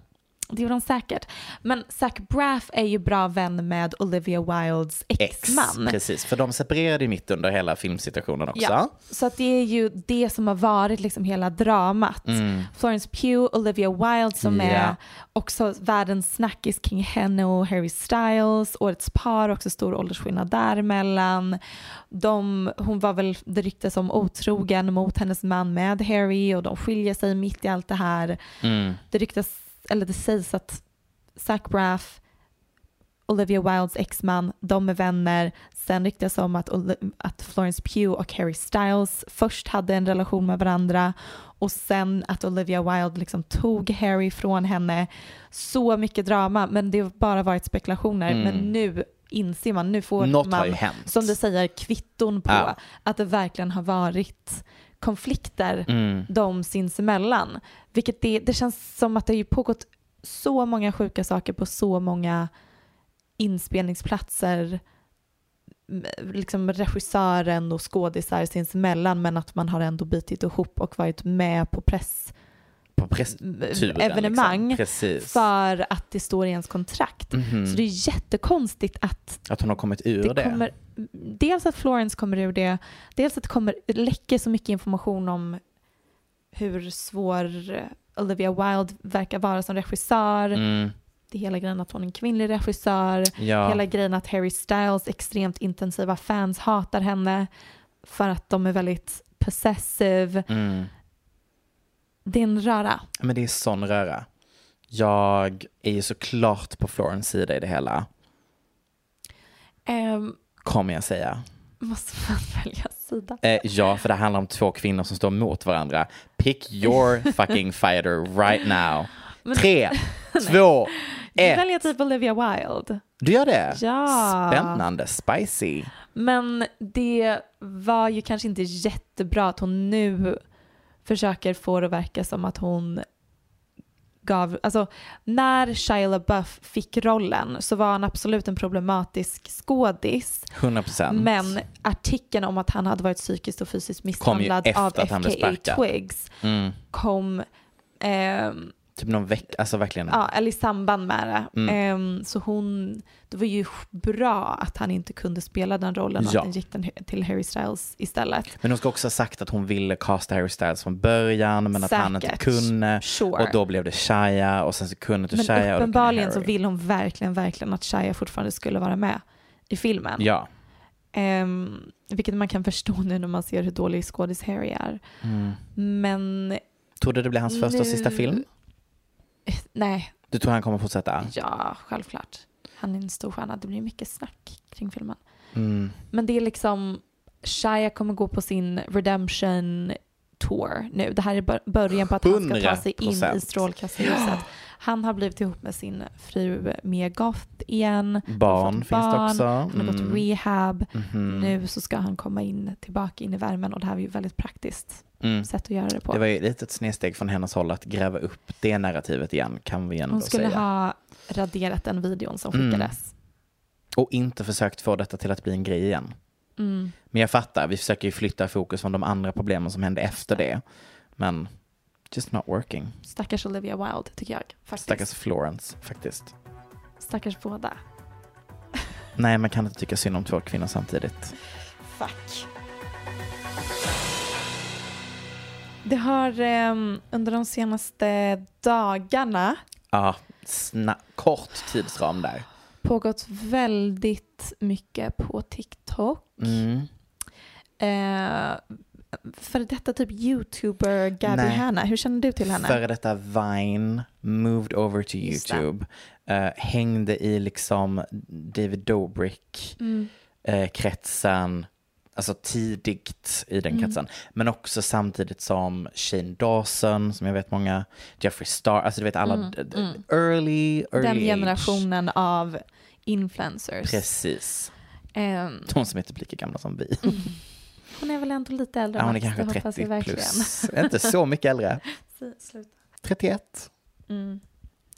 [SPEAKER 5] Det gjorde hon säkert. Men Zach Braff är ju bra vän med Olivia Wildes
[SPEAKER 4] Ex.
[SPEAKER 5] exman.
[SPEAKER 4] Precis, för de separerade ju mitt under hela filmsituationen också.
[SPEAKER 5] Ja, så att det är ju det som har varit liksom hela dramat. Florence Pugh, Olivia Wilde som
[SPEAKER 4] Ja.
[SPEAKER 5] är också världens snackis kring henne och Harry Styles. Årets par, också stor åldersskillnad däremellan. De, hon var väl, det ryktas om, otrogen mot hennes man med Harry och de skiljer sig mitt i allt det här. Det ryktas, eller det sägs att Zac Braff Olivia Wildes exman, de är vänner. Sen ryktas det om att, Oli- att Florence Pugh och Harry Styles först hade en relation med varandra och sen att Olivia Wilde liksom tog Harry från henne. Så mycket drama, men det har bara varit spekulationer. Men nu inser man, nu får
[SPEAKER 4] Mm. Något har ju
[SPEAKER 5] man,
[SPEAKER 4] hänt.
[SPEAKER 5] som du säger, kvitton på
[SPEAKER 4] Ja.
[SPEAKER 5] att det verkligen har varit konflikter
[SPEAKER 4] Mm.
[SPEAKER 5] de sinsemellan. Vilket det, det känns som att det har ju pågått så många sjuka saker på så många inspelningsplatser m- liksom regissören och skådisar sinsemellan men att man har ändå bitit ihop och varit med på press
[SPEAKER 4] På pressturen.
[SPEAKER 5] Evenemang
[SPEAKER 4] Liksom. Precis. Mhm.
[SPEAKER 5] för att det står i ens kontrakt.
[SPEAKER 4] Mm.
[SPEAKER 5] Så det är jättekonstigt att
[SPEAKER 4] Att hon har kommit ur det.
[SPEAKER 5] det kommer, dels att Florence kommer ur det, dels att det kommer, det läcker så mycket information om hur svår Olivia Wilde verkar vara som regissör.
[SPEAKER 4] Mm.
[SPEAKER 5] Det är hela grejen att hon är en kvinnlig regissör.
[SPEAKER 4] Ja.
[SPEAKER 5] Hela grejen att Harry Styles extremt intensiva fans hatar henne för att de är väldigt possessive.
[SPEAKER 4] Mm.
[SPEAKER 5] Det är en röra.
[SPEAKER 4] Men det är sån röra. Jag är ju såklart på Florence sida i det hela,
[SPEAKER 5] Ehm,
[SPEAKER 4] kommer jag säga.
[SPEAKER 5] måste man <laughs> välja sida?
[SPEAKER 4] Eh, ja, för det handlar om två kvinnor som står mot varandra.
[SPEAKER 5] <laughs>
[SPEAKER 4] Pick your fucking fighter right now. Tre, två,
[SPEAKER 5] Du
[SPEAKER 4] ett.
[SPEAKER 5] väljer typ Olivia typ Wilde.
[SPEAKER 4] Du gör det?
[SPEAKER 5] Ja.
[SPEAKER 4] Spännande, spicy.
[SPEAKER 5] Men det var ju kanske inte jättebra att hon nu försöker få det att verka som att hon gav, alltså när Shia LaBeouf fick rollen så var han absolut en problematisk skådis
[SPEAKER 4] 100 procent.
[SPEAKER 5] men artikeln om att han hade varit psykiskt och fysiskt
[SPEAKER 4] Kom ju
[SPEAKER 5] misshandlad
[SPEAKER 4] efter
[SPEAKER 5] av
[SPEAKER 4] att han blev
[SPEAKER 5] FKA
[SPEAKER 4] sparkad.
[SPEAKER 5] Twigs
[SPEAKER 4] Mm.
[SPEAKER 5] kom ehm,
[SPEAKER 4] Typ någon vecka, alltså verkligen.
[SPEAKER 5] Ja, eller i samband med det.
[SPEAKER 4] Mm.
[SPEAKER 5] Ehm, så hon, det var ju bra att han inte kunde spela den rollen och
[SPEAKER 4] Ja.
[SPEAKER 5] att den gick den till Harry Styles istället.
[SPEAKER 4] Men hon ska också ha sagt att hon ville casta Harry Styles från början men att han inte
[SPEAKER 5] Säkert.
[SPEAKER 4] kunde.
[SPEAKER 5] Sure.
[SPEAKER 4] Och då blev det Shia och sen så kunde inte
[SPEAKER 5] Men
[SPEAKER 4] Shia. och då kunde
[SPEAKER 5] uppenbarligen så
[SPEAKER 4] Harry.
[SPEAKER 5] vill hon verkligen, verkligen att Shia fortfarande skulle vara med i filmen.
[SPEAKER 4] Ja.
[SPEAKER 5] Ehm, vilket man kan förstå nu när man ser hur dålig skådis Harry är. Men
[SPEAKER 4] Tror du det blir hans första och
[SPEAKER 5] Nu-
[SPEAKER 4] sista film?
[SPEAKER 5] nej,
[SPEAKER 4] Du tror han kommer fortsätta?
[SPEAKER 5] ja, självklart. Han är en stor stjärna. Det blir mycket snack kring filmen.
[SPEAKER 4] Mm.
[SPEAKER 5] Men det är liksom, Shia kommer gå på sin redemption tour nu. Det här är bör- början på att han ska ta sig in
[SPEAKER 4] 100%.
[SPEAKER 5] i strålkastarljuset. Han har blivit ihop med sin fru Mia Goth igen. Han har
[SPEAKER 4] Barn
[SPEAKER 5] fått
[SPEAKER 4] finns det också.
[SPEAKER 5] Han har gått
[SPEAKER 4] Mm.
[SPEAKER 5] rehab.
[SPEAKER 4] Mhm.
[SPEAKER 5] Nu så ska han komma in tillbaka in i värmen och det här är ju ett väldigt praktiskt
[SPEAKER 4] Mm.
[SPEAKER 5] sätt att göra det på.
[SPEAKER 4] Det var ju lite ett snedsteg från hennes håll att gräva upp det narrativet igen kan vi ändå
[SPEAKER 5] Hon skulle
[SPEAKER 4] säga.
[SPEAKER 5] ha raderat den videon som
[SPEAKER 4] Mm.
[SPEAKER 5] skickades.
[SPEAKER 4] Och inte försökt få detta till att bli en grej igen.
[SPEAKER 5] Mm.
[SPEAKER 4] Men jag fattar, vi försöker ju flytta fokus från de andra problemen som hände efter det. Men just not working.
[SPEAKER 5] Stackars Olivia Wilde tycker jag. Faktiskt.
[SPEAKER 4] Stackars Florence faktiskt.
[SPEAKER 5] Stackars båda.
[SPEAKER 4] Nej, man kan inte tycka synd om två kvinnor samtidigt.
[SPEAKER 5] Fuck. Det har ehm, under de senaste dagarna
[SPEAKER 4] Ja, sna- kort tidsram där.
[SPEAKER 5] pågått väldigt mycket på TikTok.
[SPEAKER 4] Mm.
[SPEAKER 5] Eh, för detta typ youtuber Gabby
[SPEAKER 4] Nej.
[SPEAKER 5] Hanna, hur känner du till henne?
[SPEAKER 4] Före detta Vine, moved over to
[SPEAKER 5] Just det.
[SPEAKER 4] YouTube, eh, hängde i liksom David
[SPEAKER 5] Mm.
[SPEAKER 4] Dobrik-kretsen, alltså tidigt i
[SPEAKER 5] Mm.
[SPEAKER 4] den kretsen. Men också samtidigt som Shane Dawson, som jag vet många, Jeffrey Star, alltså du vet alla d- d- early, early
[SPEAKER 5] Mm, Den
[SPEAKER 4] age.
[SPEAKER 5] generationen av influencers.
[SPEAKER 4] Precis,
[SPEAKER 5] Ehm,
[SPEAKER 4] de som inte blir lika gamla som vi.
[SPEAKER 5] hon är väl ändå lite äldre
[SPEAKER 4] Ja,
[SPEAKER 5] än
[SPEAKER 4] hon är
[SPEAKER 5] oss, det
[SPEAKER 4] kanske
[SPEAKER 5] Mm, hoppas vi
[SPEAKER 4] 30
[SPEAKER 5] verkligen.
[SPEAKER 4] plus, inte så mycket äldre.
[SPEAKER 5] Sluta.
[SPEAKER 4] 31.
[SPEAKER 5] Mm.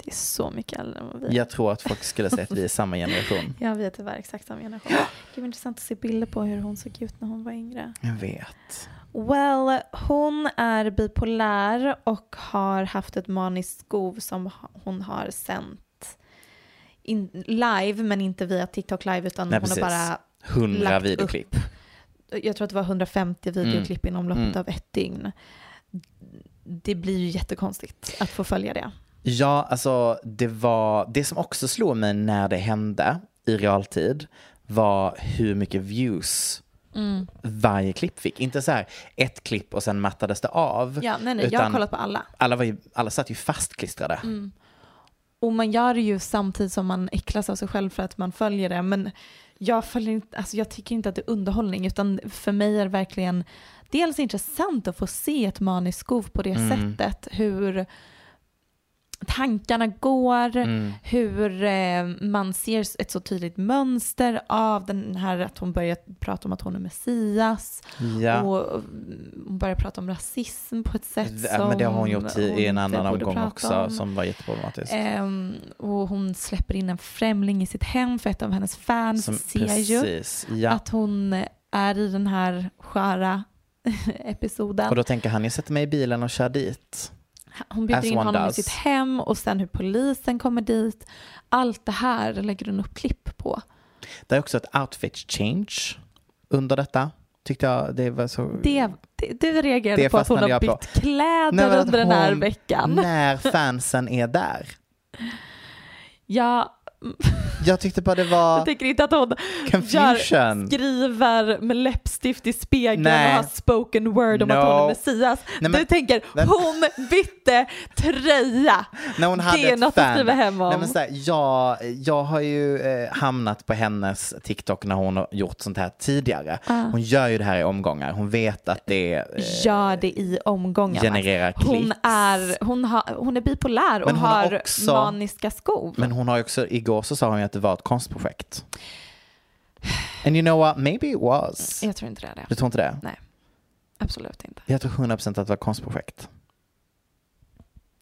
[SPEAKER 5] Det är så mycket äldre än vad vi är.
[SPEAKER 4] Jag tror att folk skulle säga att vi är
[SPEAKER 5] <laughs>
[SPEAKER 4] samma generation.
[SPEAKER 5] Ja, vi är tyvärr exakt samma generation. Det var intressant att se bilder på hur hon såg ut när hon var yngre.
[SPEAKER 4] Jag vet.
[SPEAKER 5] Well, hon är bipolär och har haft ett maniskt skov som ha- hon har sänt in, live, men inte via TikTok live utan
[SPEAKER 4] Nej,
[SPEAKER 5] hon
[SPEAKER 4] precis.
[SPEAKER 5] har bara,
[SPEAKER 4] Hundra
[SPEAKER 5] lagt upp
[SPEAKER 4] videoklipp.
[SPEAKER 5] jag tror att det var 150 videoklipp inom loppet
[SPEAKER 4] Mm.
[SPEAKER 5] av ett dygn. Det blir ju jättekonstigt att få följa det.
[SPEAKER 4] Ja, alltså det var, det som också slog mig när det hände i realtid var hur mycket views
[SPEAKER 5] Mm.
[SPEAKER 4] varje klipp fick. Inte så här ett klipp och sen mattades det av.
[SPEAKER 5] Ja, nej, nej, jag har
[SPEAKER 4] utan
[SPEAKER 5] kollat på alla.
[SPEAKER 4] alla, var ju, alla satt ju fastklistrade.
[SPEAKER 5] Mm. Och man gör det ju samtidigt som man äcklas av sig själv för att man följer det. Men jag, följer inte, alltså jag tycker inte att det är underhållning utan för mig är det verkligen dels intressant att få se ett maniskt skov på det
[SPEAKER 4] Mm.
[SPEAKER 5] sättet. Hur tankarna går,
[SPEAKER 4] Mm.
[SPEAKER 5] hur eh, man ser ett så tydligt mönster av den här att hon börjar prata om att hon är Messias.
[SPEAKER 4] Ja.
[SPEAKER 5] Och mm, hon börjar prata om rasism på ett sätt
[SPEAKER 4] V-
[SPEAKER 5] som
[SPEAKER 4] Men det har hon gjort i, i en
[SPEAKER 5] inte
[SPEAKER 4] annan
[SPEAKER 5] borde
[SPEAKER 4] omgång
[SPEAKER 5] prata
[SPEAKER 4] också
[SPEAKER 5] om.
[SPEAKER 4] som var jätteproblematisk.
[SPEAKER 5] Ehm, och hon släpper in en främling i sitt hem för ett av hennes fans
[SPEAKER 4] Som-
[SPEAKER 5] ser ju
[SPEAKER 4] precis, ja.
[SPEAKER 5] att hon är i den här sköra <laughs>
[SPEAKER 4] Och
[SPEAKER 5] episoden.
[SPEAKER 4] då tänker han, jag sätter mig i bilen och kör dit.
[SPEAKER 5] Hon bjuder
[SPEAKER 4] as
[SPEAKER 5] in
[SPEAKER 4] one
[SPEAKER 5] honom
[SPEAKER 4] does.
[SPEAKER 5] i sitt hem och sen hur polisen kommer dit. Allt det här lägger hon upp klipp på.
[SPEAKER 4] Det är också ett outfit change under detta. Tyckte jag det var så...
[SPEAKER 5] Det, det, du reagerade
[SPEAKER 4] Mm. Det
[SPEAKER 5] på att hon
[SPEAKER 4] fastnade
[SPEAKER 5] har
[SPEAKER 4] jag
[SPEAKER 5] bytt
[SPEAKER 4] på. Nej,
[SPEAKER 5] kläder
[SPEAKER 4] men att
[SPEAKER 5] under den här
[SPEAKER 4] hon-
[SPEAKER 5] veckan.
[SPEAKER 4] När fansen är där.
[SPEAKER 5] Ja,
[SPEAKER 4] Jag tyckte bara det var...
[SPEAKER 5] jag tycker inte att hon
[SPEAKER 4] Confusion.
[SPEAKER 5] gör, skriver med läppstift i spegeln
[SPEAKER 4] Nej.
[SPEAKER 5] och har spoken word om
[SPEAKER 4] No.
[SPEAKER 5] att hon är Messias.
[SPEAKER 4] men-
[SPEAKER 5] du tänker,
[SPEAKER 4] men-
[SPEAKER 5] hon bytte tröja.
[SPEAKER 4] När hon hade
[SPEAKER 5] det är
[SPEAKER 4] ett
[SPEAKER 5] något
[SPEAKER 4] fan.
[SPEAKER 5] att skriva hem om.
[SPEAKER 4] Nej, men så här, jag, jag har ju eh, hamnat på hennes TikTok när hon har gjort sånt här tidigare.
[SPEAKER 5] Ah.
[SPEAKER 4] Hon gör ju det här i omgångar. Hon vet att det är... eh,
[SPEAKER 5] Gör det i omgångar.
[SPEAKER 4] genererar
[SPEAKER 5] hon,
[SPEAKER 4] klicks.
[SPEAKER 5] är, hon, har, hon är bipolär och
[SPEAKER 4] Men hon har
[SPEAKER 5] har,
[SPEAKER 4] också-
[SPEAKER 5] maniska skov.
[SPEAKER 4] Men hon har ju också, igår så sa hon ju att det var ett konstprojekt. And you know what? Maybe it was.
[SPEAKER 5] Jag tror inte det är det.
[SPEAKER 4] Du tror inte det?
[SPEAKER 5] Nej, absolut inte.
[SPEAKER 4] Jag tror 100% att det var ett konstprojekt.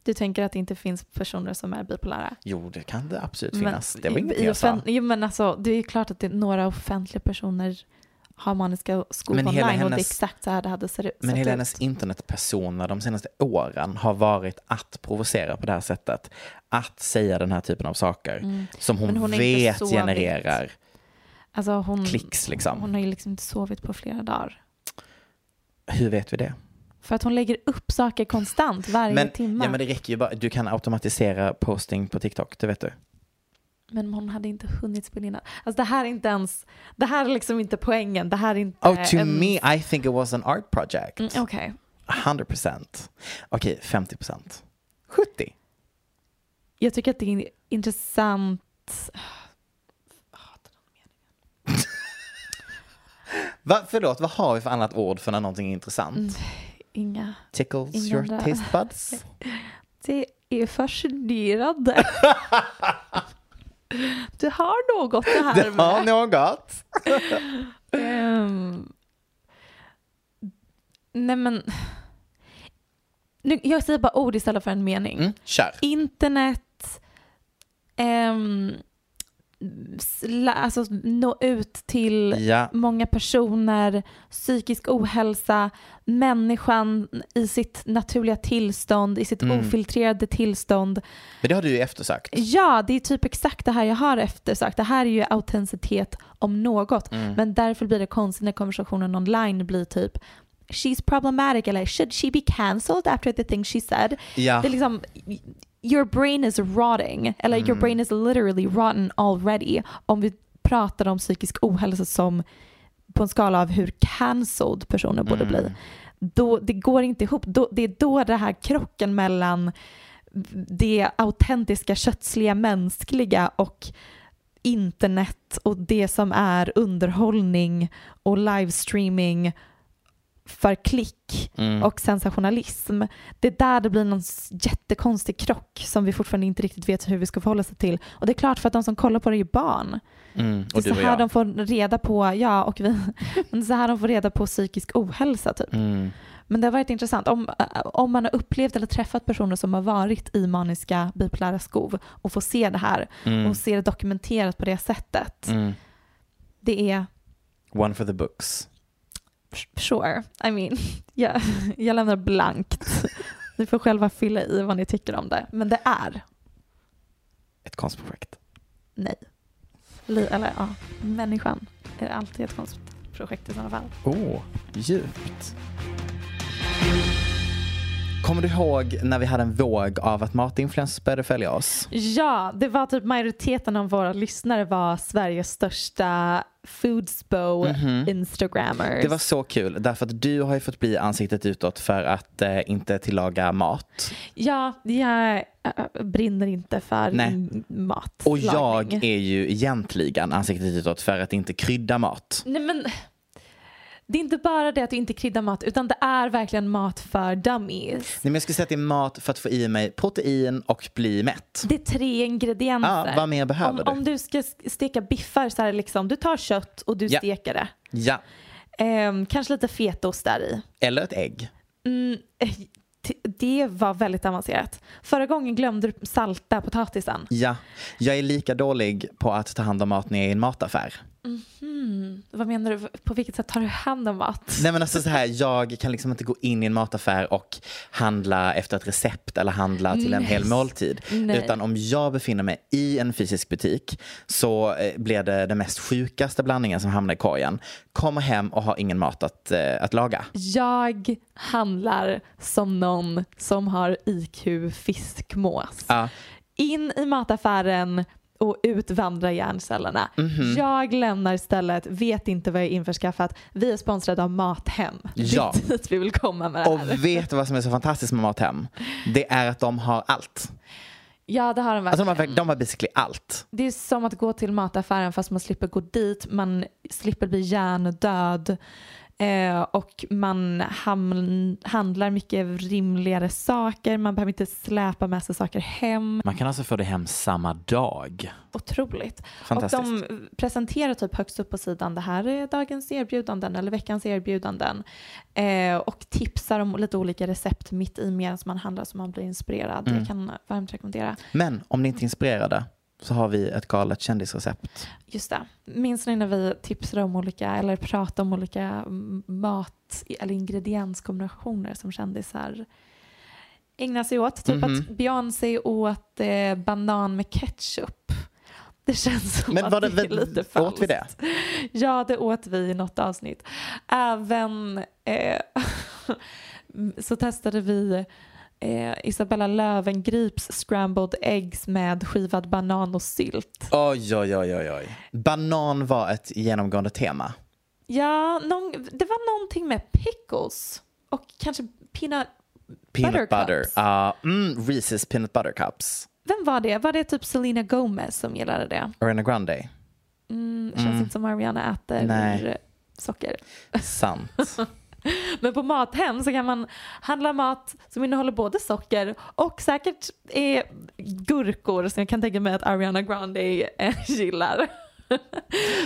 [SPEAKER 5] Du tänker att det inte finns personer som är bipolära?
[SPEAKER 4] Jo, det kan det absolut
[SPEAKER 5] Men
[SPEAKER 4] finnas. det var
[SPEAKER 5] i-
[SPEAKER 4] inget
[SPEAKER 5] i
[SPEAKER 4] jag sa.
[SPEAKER 5] offen- Jo men alltså det är ju klart att det, några offentliga personer har maniska skop
[SPEAKER 4] Men
[SPEAKER 5] online
[SPEAKER 4] hela
[SPEAKER 5] och det är
[SPEAKER 4] hennes-
[SPEAKER 5] exakt så här det hade sett ut.
[SPEAKER 4] Men
[SPEAKER 5] sett
[SPEAKER 4] hela
[SPEAKER 5] ut.
[SPEAKER 4] hennes internetpersona de senaste åren har varit att provocera på det här sättet. Att säga den här typen av saker som hon,
[SPEAKER 5] Mm. Men hon är inte
[SPEAKER 4] vet
[SPEAKER 5] så
[SPEAKER 4] genererar
[SPEAKER 5] alltså, hon,
[SPEAKER 4] klicks. Liksom.
[SPEAKER 5] hon har ju liksom inte sovit på flera dagar.
[SPEAKER 4] Hur vet vi det?
[SPEAKER 5] För att hon lägger upp saker konstant varje
[SPEAKER 4] Men,
[SPEAKER 5] timme.
[SPEAKER 4] ja, men det räcker ju bara, du kan automatisera posting på TikTok, det vet
[SPEAKER 5] Eh,
[SPEAKER 4] du.
[SPEAKER 5] Men hon hade inte hunnit spela in allt. Alltså det här är inte ens, det här är liksom inte poängen. Det här är inte...
[SPEAKER 4] Oh, to
[SPEAKER 5] en-
[SPEAKER 4] me I think it was an art project.
[SPEAKER 5] Mm, Okej.
[SPEAKER 4] 100%. Okej, 50%. 70.
[SPEAKER 5] Jag tycker att det är en intressant.
[SPEAKER 4] Va, förlåt, vad har vi för annat ord för när någonting är intressant?
[SPEAKER 5] Inga.
[SPEAKER 4] Tickles
[SPEAKER 5] Mm. Ingen
[SPEAKER 4] your
[SPEAKER 5] andra.
[SPEAKER 4] taste
[SPEAKER 5] <laughs>
[SPEAKER 4] buds?
[SPEAKER 5] Det är
[SPEAKER 4] <laughs>
[SPEAKER 5] fascinerande. du har något det här
[SPEAKER 4] Det
[SPEAKER 5] med.
[SPEAKER 4] har något.
[SPEAKER 5] Ehm, nej men. Nu, jag säger bara ord istället för en mening.
[SPEAKER 4] Mm, kör.
[SPEAKER 5] Internet. ehm, sla, alltså nå ut till
[SPEAKER 4] Ja.
[SPEAKER 5] många personer, psykisk ohälsa, människan i sitt naturliga tillstånd, i sitt
[SPEAKER 4] Mm.
[SPEAKER 5] ofiltrerade tillstånd.
[SPEAKER 4] Men det har du ju eftersökt.
[SPEAKER 5] Ja, det är typ exakt det här jag har eftersökt. Det här är ju autenticitet om något. Men därför blir det konstigt när konversationen online blir typ She's problematic eller should she be cancelled after the thing she said?
[SPEAKER 4] Ja.
[SPEAKER 5] Det är liksom your brain is rotting eller your brain is literally rotten already om vi pratar om psykisk ohälsa som på en skala av hur cancelled personer borde bli. Då, det går inte ihop. Då, det är då det här krocken mellan det autentiska, kötsliga, mänskliga och internet och det som är underhållning och livestreaming för klick
[SPEAKER 4] Mm.
[SPEAKER 5] och sensationalism. Det är där det blir någon s- jättekonstig krock som vi fortfarande inte riktigt vet hur vi ska förhålla oss till. Och det är klart för att de som kollar på det är ju barn.
[SPEAKER 4] Mm,
[SPEAKER 5] Det är
[SPEAKER 4] och
[SPEAKER 5] så
[SPEAKER 4] du och
[SPEAKER 5] här de
[SPEAKER 4] jag.
[SPEAKER 5] får reda på, ja och vi, <laughs> men det är så här de får reda på psykisk ohälsa typ.
[SPEAKER 4] Mm.
[SPEAKER 5] Men det har varit intressant. Om, äh, om man har upplevt eller träffat personer som har varit i maniska bipolära skov och får se det här och se det dokumenterat på det sättet.
[SPEAKER 4] Mm.
[SPEAKER 5] Det är
[SPEAKER 4] One for the books.
[SPEAKER 5] Sure, I mean, <laughs> jag, jag lämnar <laughs> blankt. Ni får själva fylla i vad ni tycker om det. Men det är
[SPEAKER 4] Ett konstprojekt.
[SPEAKER 5] nej. Li, eller ja, människan är alltid ett konstigt projekt i sådana fall.
[SPEAKER 4] Oh, djupt. Kommer du ihåg när vi hade en våg av att matinfluencers började följa oss?
[SPEAKER 5] Ja, det var typ majoriteten av våra lyssnare var Sveriges största foodspo instagrammers.
[SPEAKER 4] Mhm. Det var så kul, därför att du har ju fått bli ansiktet utåt för att eh, inte tillaga mat.
[SPEAKER 5] Ja, jag äh, brinner inte för
[SPEAKER 4] Nej.
[SPEAKER 5] m- mat.
[SPEAKER 4] Och jag är ju egentligen ansiktet utåt för att inte krydda mat.
[SPEAKER 5] Nej men det är inte bara det att du inte kryddar mat utan det är verkligen mat för dummies.
[SPEAKER 4] Nej, men jag skulle säga att det är mat för att få i mig protein och bli mätt.
[SPEAKER 5] Det är tre ingredienser.
[SPEAKER 4] Ja, vad mer behöver
[SPEAKER 5] om,
[SPEAKER 4] du?
[SPEAKER 5] Om du ska s- steka biffar så här liksom, du tar kött och du
[SPEAKER 4] Ja.
[SPEAKER 5] steker det.
[SPEAKER 4] Ja,
[SPEAKER 5] Ehm, kanske lite fetaost där i.
[SPEAKER 4] eller ett ägg.
[SPEAKER 5] Mm, eh, t- det var väldigt avancerat. Förra gången glömde du salta potatisen.
[SPEAKER 4] Ja, jag är lika dålig på att ta hand om mat när jag är i en mataffär. Mhm.
[SPEAKER 5] Vad menar du? På vilket sätt tar du hand om mat?
[SPEAKER 4] Nej men alltså så här, jag kan liksom inte gå in i en mataffär och handla efter ett recept eller handla till en hel måltid.
[SPEAKER 5] Nej.
[SPEAKER 4] Utan om jag befinner mig i en fysisk butik så eh, blir det den mest sjukaste blandningen som hamnar i korgen. Kommer hem och har ingen mat att, eh, att laga.
[SPEAKER 5] Jag handlar som någon som har IQ fiskmås.
[SPEAKER 4] Ja.
[SPEAKER 5] In i mataffären och utvandra hjärncellerna.
[SPEAKER 4] Mhm.
[SPEAKER 5] Jag lämnar stället, vet inte vad jag införskaffat. Vi är sponsrade av Mathem.
[SPEAKER 4] Ja.
[SPEAKER 5] Det är dit vi vill komma med det här.
[SPEAKER 4] Och vet du vad som är så fantastiskt med Mathem? Det är att de har allt.
[SPEAKER 5] Ja, det har de
[SPEAKER 4] Alltså
[SPEAKER 5] verkligen.
[SPEAKER 4] de har, de har basically allt.
[SPEAKER 5] Det är som att gå till mataffären fast man slipper gå dit, man slipper bli hjärndöd. Eh, och man hamn, handlar mycket rimligare saker, man behöver inte släpa med sig saker hem.
[SPEAKER 4] Man kan alltså få det hem samma dag.
[SPEAKER 5] Otroligt. Och
[SPEAKER 4] Fantastiskt.
[SPEAKER 5] de presenterar typ högst upp på sidan, det här är dagens erbjudanden eller veckans erbjudanden. Eh, och tipsar om lite olika recept mitt i medan man handlar så man blir inspirerad.
[SPEAKER 4] Mm.
[SPEAKER 5] Jag kan varmt rekommendera.
[SPEAKER 4] Men om ni inte är inspirerade så har vi ett galet kändisrecept.
[SPEAKER 5] Just det. Minns ni när vi tipsade om olika, eller pratade om olika mm, mat eller ingredienskombinationer som kändisar ägnar sig åt? Typ
[SPEAKER 4] Mhm.
[SPEAKER 5] att Beyoncé åt eh, banan med ketchup. Det känns som
[SPEAKER 4] Men
[SPEAKER 5] att
[SPEAKER 4] var
[SPEAKER 5] det,
[SPEAKER 4] det,
[SPEAKER 5] är lite
[SPEAKER 4] vi,
[SPEAKER 5] falskt.
[SPEAKER 4] åt vi det?
[SPEAKER 5] Ja, det åt vi i något avsnitt. Även eh, <laughs> så testade vi eh, Isabella Lövengrips scrambled eggs med skivad banan och sylt.
[SPEAKER 4] Oj, oj, oj, oj, oj. Banan var ett genomgående tema.
[SPEAKER 5] Ja, någon, det var någonting med pickles och kanske peanut.
[SPEAKER 4] Peanut
[SPEAKER 5] Butter
[SPEAKER 4] butter.
[SPEAKER 5] cups.
[SPEAKER 4] Ja, mm, Reese's peanut butter cups.
[SPEAKER 5] Vem var det? Var det typ Selena Gomez som gillade det?
[SPEAKER 4] Ariana Grande.
[SPEAKER 5] Mm, det känns inte som Ariana äter
[SPEAKER 4] Nej.
[SPEAKER 5] socker.
[SPEAKER 4] Sant.
[SPEAKER 5] Men på Mathem så kan man handla mat som innehåller både socker och säkert eh, gurkor som jag kan tänka mig att Ariana Grande eh, <laughs> gillar.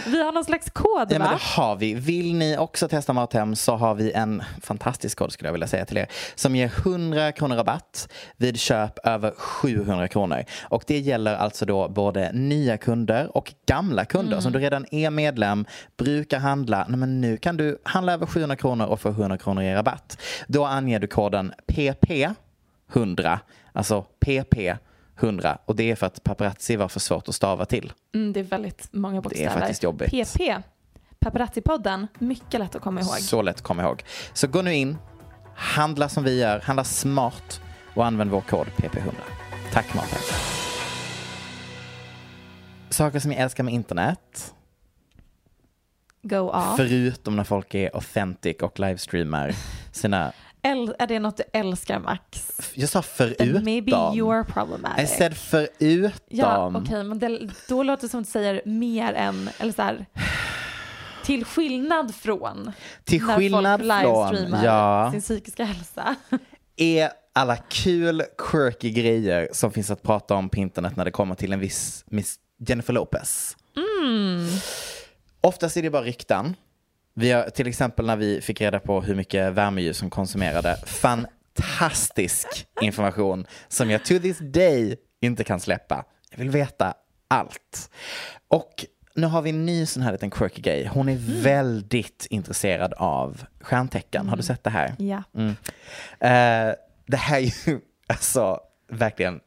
[SPEAKER 5] Vi har någon slags kod
[SPEAKER 4] Ja, men
[SPEAKER 5] va?
[SPEAKER 4] det har vi. Vill ni också testa Mathem så har vi en fantastisk kod skulle jag vilja säga till er som ger 100 kronor rabatt vid köp över 700 kronor. Och det gäller alltså då både nya kunder och gamla kunder. Så om du redan är medlem, brukar handla, nej, men nu kan du handla över 700 kronor och få 100 kronor i rabatt. Då anger du koden PP100, alltså PP100 och det är för att paparazzi var för svårt att stava till.
[SPEAKER 5] Mm, det är väldigt många bokstäver.
[SPEAKER 4] faktiskt jobbigt.
[SPEAKER 5] PP, Paparazzi-podden, mycket lätt att komma ihåg.
[SPEAKER 4] Så lätt att komma ihåg. Så gå nu in, handla som vi gör, handla smart och använd vår kod PP100. Tack Martin. Saker som jag älskar med internet,
[SPEAKER 5] Go off.
[SPEAKER 4] förutom när folk är authentic och livestreamar sina...
[SPEAKER 5] Äl- är det något du älskar Max?
[SPEAKER 4] Jag sa
[SPEAKER 5] Then
[SPEAKER 4] förutom.
[SPEAKER 5] maybe you're problematic.
[SPEAKER 4] I said förutom.
[SPEAKER 5] ja, okej, men det, då låter det som att du säger mer än, eller så här, till skillnad från
[SPEAKER 4] Till skillnad
[SPEAKER 5] när folk
[SPEAKER 4] från,
[SPEAKER 5] livestreamar
[SPEAKER 4] ja.
[SPEAKER 5] sin psykiska hälsa.
[SPEAKER 4] är alla kul, quirky grejer som finns att prata om på internet när det kommer till en viss Miss Jennifer Lopez. Oftast är det bara rykten. Vi har, till exempel när vi fick reda på hur mycket värmeljus som konsumerade. Fantastisk information som jag to this day inte kan släppa. Jag vill veta allt. Och nu har vi en ny sån här liten quirky grej. Hon är väldigt intresserad av stjärntecken. Har du sett det här?
[SPEAKER 5] ja.
[SPEAKER 4] Eh, det här är ju <laughs> alltså verkligen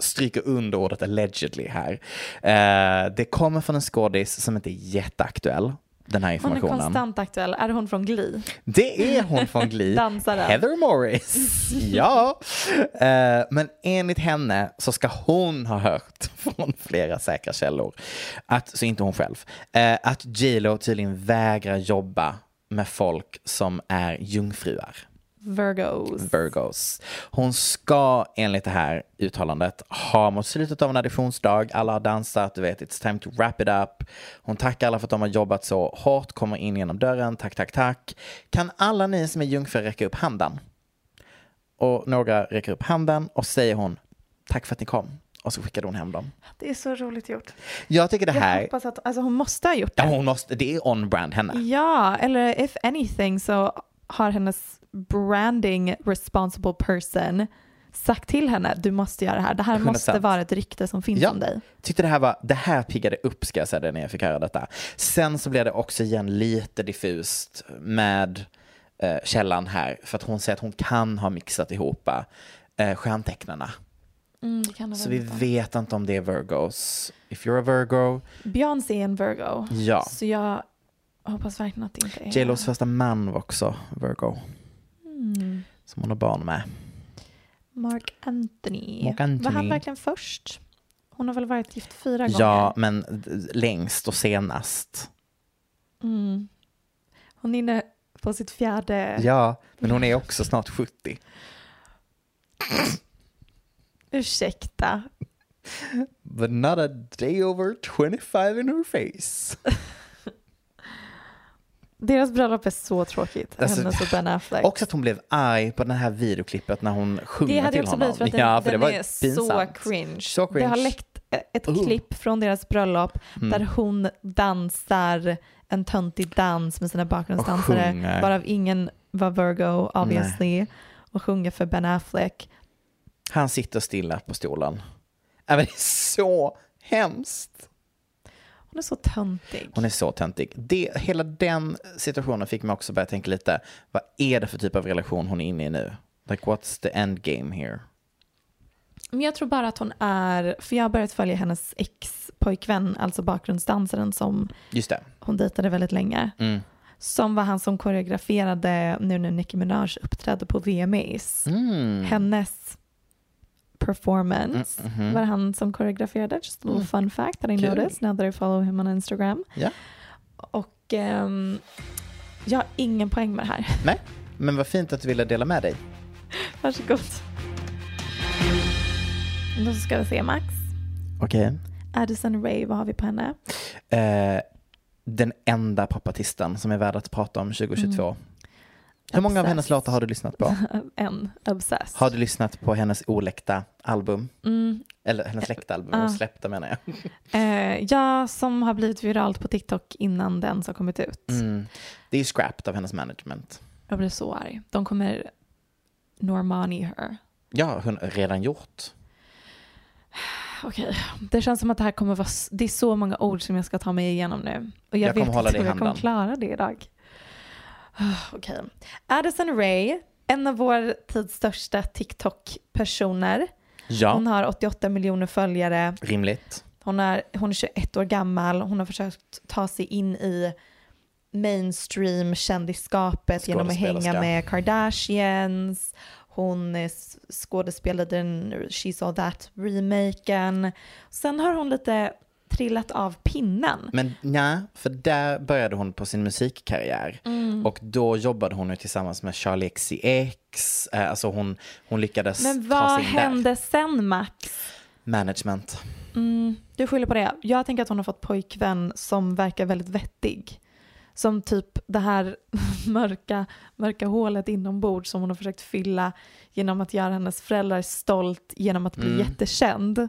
[SPEAKER 4] stryker under ordet allegedly här. Eh, det kommer från en skådis som inte är jätteaktuell, den här
[SPEAKER 5] Hon är
[SPEAKER 4] informationen.
[SPEAKER 5] konstant aktuell. Är hon från Glee?
[SPEAKER 4] Det är hon
[SPEAKER 5] <laughs>
[SPEAKER 4] från Glee.
[SPEAKER 5] Dansaren.
[SPEAKER 4] Heather
[SPEAKER 5] <laughs>
[SPEAKER 4] Morris. ja. Eh, men enligt henne så ska hon ha hört <laughs> från flera säkra källor, att, så inte hon själv, eh, att J Lo tydligen vägrar jobba med folk som är jungfruar.
[SPEAKER 5] Virgos.
[SPEAKER 4] Virgos. Hon ska enligt det här uttalandet ha mot slutet av en additionsdag, alla har dansat, du vet, it's time to wrap it up. Hon tackar alla för att de har jobbat så hårt, kommer in genom dörren, tack, tack, tack. Kan alla ni som är jungfrur räcka upp handen? Och några räcker upp handen och säger hon, tack för att ni kom. Och så skickade hon hem dem.
[SPEAKER 3] Det är så roligt gjort.
[SPEAKER 4] Jag tycker det
[SPEAKER 3] Jag
[SPEAKER 4] här,
[SPEAKER 3] hoppas att...
[SPEAKER 5] Alltså hon måste ha gjort
[SPEAKER 4] ja,
[SPEAKER 5] det.
[SPEAKER 4] hon måste, det är on-brand henne.
[SPEAKER 5] Ja, eller if anything så har hennes branding responsible person sagt till henne du måste göra det här. Det här
[SPEAKER 4] 100%.
[SPEAKER 5] måste vara ett rykte som finns om dig.
[SPEAKER 4] Tyckte det här var, det här piggade upp ska jag säga det när jag fick höra detta. Sen så blev det också igen lite diffust med eh, källan här. För att hon säger att hon kan ha mixat ihop eh, stjärntecknarna.
[SPEAKER 5] Mm,
[SPEAKER 4] Så vi vet inte om det är Virgos. If you're a Virgo.
[SPEAKER 5] Beyoncé är en Virgo.
[SPEAKER 4] Ja.
[SPEAKER 5] Så jag hoppas verkligen att det inte är...
[SPEAKER 4] J.Los första man var också Virgo. Som hon har barn med.
[SPEAKER 5] Hmm, Mark Anthony.
[SPEAKER 4] Mark Anthony.
[SPEAKER 5] Var han verkligen först? Hon har väl varit gift fyra
[SPEAKER 4] Ja,
[SPEAKER 5] gånger?
[SPEAKER 4] men d- längst och senast.
[SPEAKER 5] Hon är inne på sitt fjärde...
[SPEAKER 4] Ja, men hon är också snart 70.
[SPEAKER 5] Ursäkta.
[SPEAKER 4] But not a day over 25 in her face.
[SPEAKER 5] Deras bröllop är så tråkigt.
[SPEAKER 4] Alltså,
[SPEAKER 5] Hennes och Ben Affleck.
[SPEAKER 4] Också att hon blev arg på det här videoklippet när hon sjunger
[SPEAKER 5] det hade
[SPEAKER 4] till
[SPEAKER 5] jag också
[SPEAKER 4] honom.
[SPEAKER 5] blivit för att den,
[SPEAKER 4] ja, för
[SPEAKER 5] den
[SPEAKER 4] det var
[SPEAKER 5] är
[SPEAKER 4] pinsamt.
[SPEAKER 5] så cringe.
[SPEAKER 4] Så cringe.
[SPEAKER 5] Det har läckt ett
[SPEAKER 4] Uh.
[SPEAKER 5] klipp från deras bröllop
[SPEAKER 4] Mm.
[SPEAKER 5] där hon dansar en töntig dans med sina
[SPEAKER 4] Och
[SPEAKER 5] bakgrundsdansare
[SPEAKER 4] sjunger.
[SPEAKER 5] varav ingen var Virgo obviously och sjunger för Ben Affleck.
[SPEAKER 4] Han sitter stilla på stolen. Ja, men det är så hemskt.
[SPEAKER 5] Hon är så töntig.
[SPEAKER 4] Hon är så töntig. Det, hela den situationen fick mig också börja tänka lite, vad är det för typ av relation hon är inne i nu? Like what's the end game here?
[SPEAKER 5] Men jag tror bara att hon är, för jag har börjat följa hennes ex-pojkvän, alltså bakgrundsdansaren som
[SPEAKER 4] Just det.
[SPEAKER 5] hon dejtade väldigt länge.
[SPEAKER 4] Mm.
[SPEAKER 5] Som var han som koreograferade nu när Nicki Minaj uppträdde på VMAs.
[SPEAKER 4] Mm.
[SPEAKER 5] hennes performance var det han som koreograferade. Just a little fun fact that I
[SPEAKER 4] Mm-hmm. Mm. Kul.
[SPEAKER 5] noticed now that I follow him on Instagram.
[SPEAKER 4] Ja.
[SPEAKER 5] Och ehm, jag har ingen poäng med det här. <laughs>
[SPEAKER 4] Nej, men vad fint att du ville dela med dig.
[SPEAKER 5] Varsågod. Då ska vi se Max.
[SPEAKER 4] Okej.
[SPEAKER 5] Addison Ray, vad har vi på henne?
[SPEAKER 4] Eh, den enda popartisten som är värd att prata om 2022. Hur
[SPEAKER 5] Mm.
[SPEAKER 4] många av
[SPEAKER 5] Obsessed.
[SPEAKER 4] hennes låtar har du lyssnat på?
[SPEAKER 5] En, Obsessed.
[SPEAKER 4] Har du lyssnat på hennes oläckta album?
[SPEAKER 5] Mm.
[SPEAKER 4] Eller hennes läckta album,
[SPEAKER 5] Ah.
[SPEAKER 4] hon släppta menar jag.
[SPEAKER 5] Eh, jag som har blivit viralt på TikTok innan den har kommit ut.
[SPEAKER 4] Mm. Det är ju scrapped av hennes management.
[SPEAKER 5] Jag blir så arg. De kommer Normani her.
[SPEAKER 4] Ja, hon har redan gjort.
[SPEAKER 5] Okej, det känns som att det här kommer vara, s- det är så många ord som jag ska ta mig igenom nu. Och jag,
[SPEAKER 4] Jag kommer
[SPEAKER 5] vet
[SPEAKER 4] hålla
[SPEAKER 5] inte
[SPEAKER 4] dig
[SPEAKER 5] om
[SPEAKER 4] i
[SPEAKER 5] jag kommer
[SPEAKER 4] handen.
[SPEAKER 5] klara det idag. Ah, <sighs> Okej. Addison Ray, en av vår tids största TikTok-personer.
[SPEAKER 4] Ja,
[SPEAKER 5] Hon har 88 miljoner följare.
[SPEAKER 4] Mm. rimligt.
[SPEAKER 5] Hon är, hon är 21 år gammal. Hon har försökt ta sig in i mainstream kändisskapet genom att hänga
[SPEAKER 4] Skådespelerska.
[SPEAKER 5] med Kardashians. Hon är s- skådespelade i den She's All That-remaken. Sen har hon lite trillat av pinnen.
[SPEAKER 4] Men nja, för där började hon på sin musikkarriär.
[SPEAKER 5] Mm.
[SPEAKER 4] Och då jobbade hon ju tillsammans med Charlie XCX. Eh, Alltså hon, hon lyckades
[SPEAKER 5] Men
[SPEAKER 4] ta
[SPEAKER 5] vad
[SPEAKER 4] sig in där.
[SPEAKER 5] hände sen Max?
[SPEAKER 4] Management.
[SPEAKER 5] Mm, Du skyller på det. Jag tänker att hon har fått pojkvän som verkar väldigt vettig. Som typ det här <laughs> mörka, mörka hålet inombords som hon har försökt fylla genom att göra hennes föräldrar stolt genom att bli jättekänd.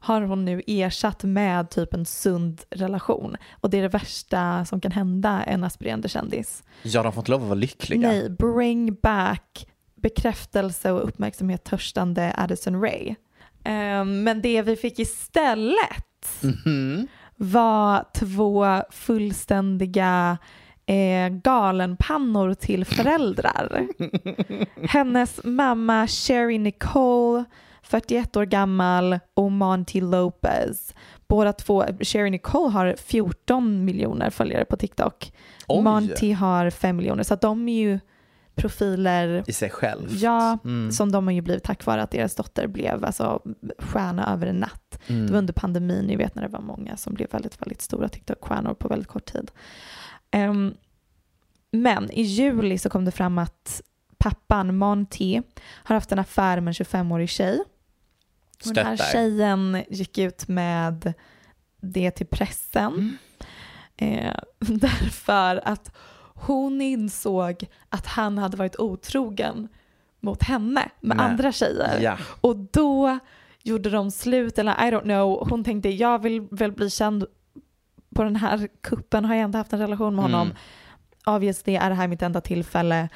[SPEAKER 5] Har hon nu ersatt med typ en sund relation. Och det är det värsta som kan hända en aspirerande kändis.
[SPEAKER 4] Ja, de får inte lov att vara lyckliga.
[SPEAKER 5] Nej, bring back bekräftelse och uppmärksamhet törstande Addison Ray. Ehm, men det vi fick istället var två fullständiga eh, galenpannor till föräldrar. Hennes mamma Sherry Nicole, 41 år gammal, och Monty Lopez. Båda två, Sherry Nicole har 14 miljoner följare på TikTok.
[SPEAKER 4] Oj.
[SPEAKER 5] Monty har 5 miljoner, så att de är ju profiler
[SPEAKER 4] I sig själv. Mm.
[SPEAKER 5] Ja, som de har ju blivit tack vare att deras dotter blev alltså, stjärna över en natt. Det
[SPEAKER 4] Mm.
[SPEAKER 5] var under pandemin, ni vet när det var många som blev väldigt, väldigt stora TikTok-stjärnor på väldigt kort tid. Ehm, men i juli så kom det fram att pappan Monty har haft en affär med en 25-årig tjej. Och den här
[SPEAKER 4] Stöttar.
[SPEAKER 5] tjejen gick ut med det till pressen.
[SPEAKER 4] Mm.
[SPEAKER 5] Eh, <laughs> därför att hon insåg att han hade varit otrogen mot henne med
[SPEAKER 4] Nej.
[SPEAKER 5] andra tjejer.
[SPEAKER 4] Ja.
[SPEAKER 5] Och då gjorde de slut, eller I don't know, hon tänkte jag vill väl bli känd på den här kuppen, har jag inte haft en relation med honom? Obviously är det här mitt enda tillfälle.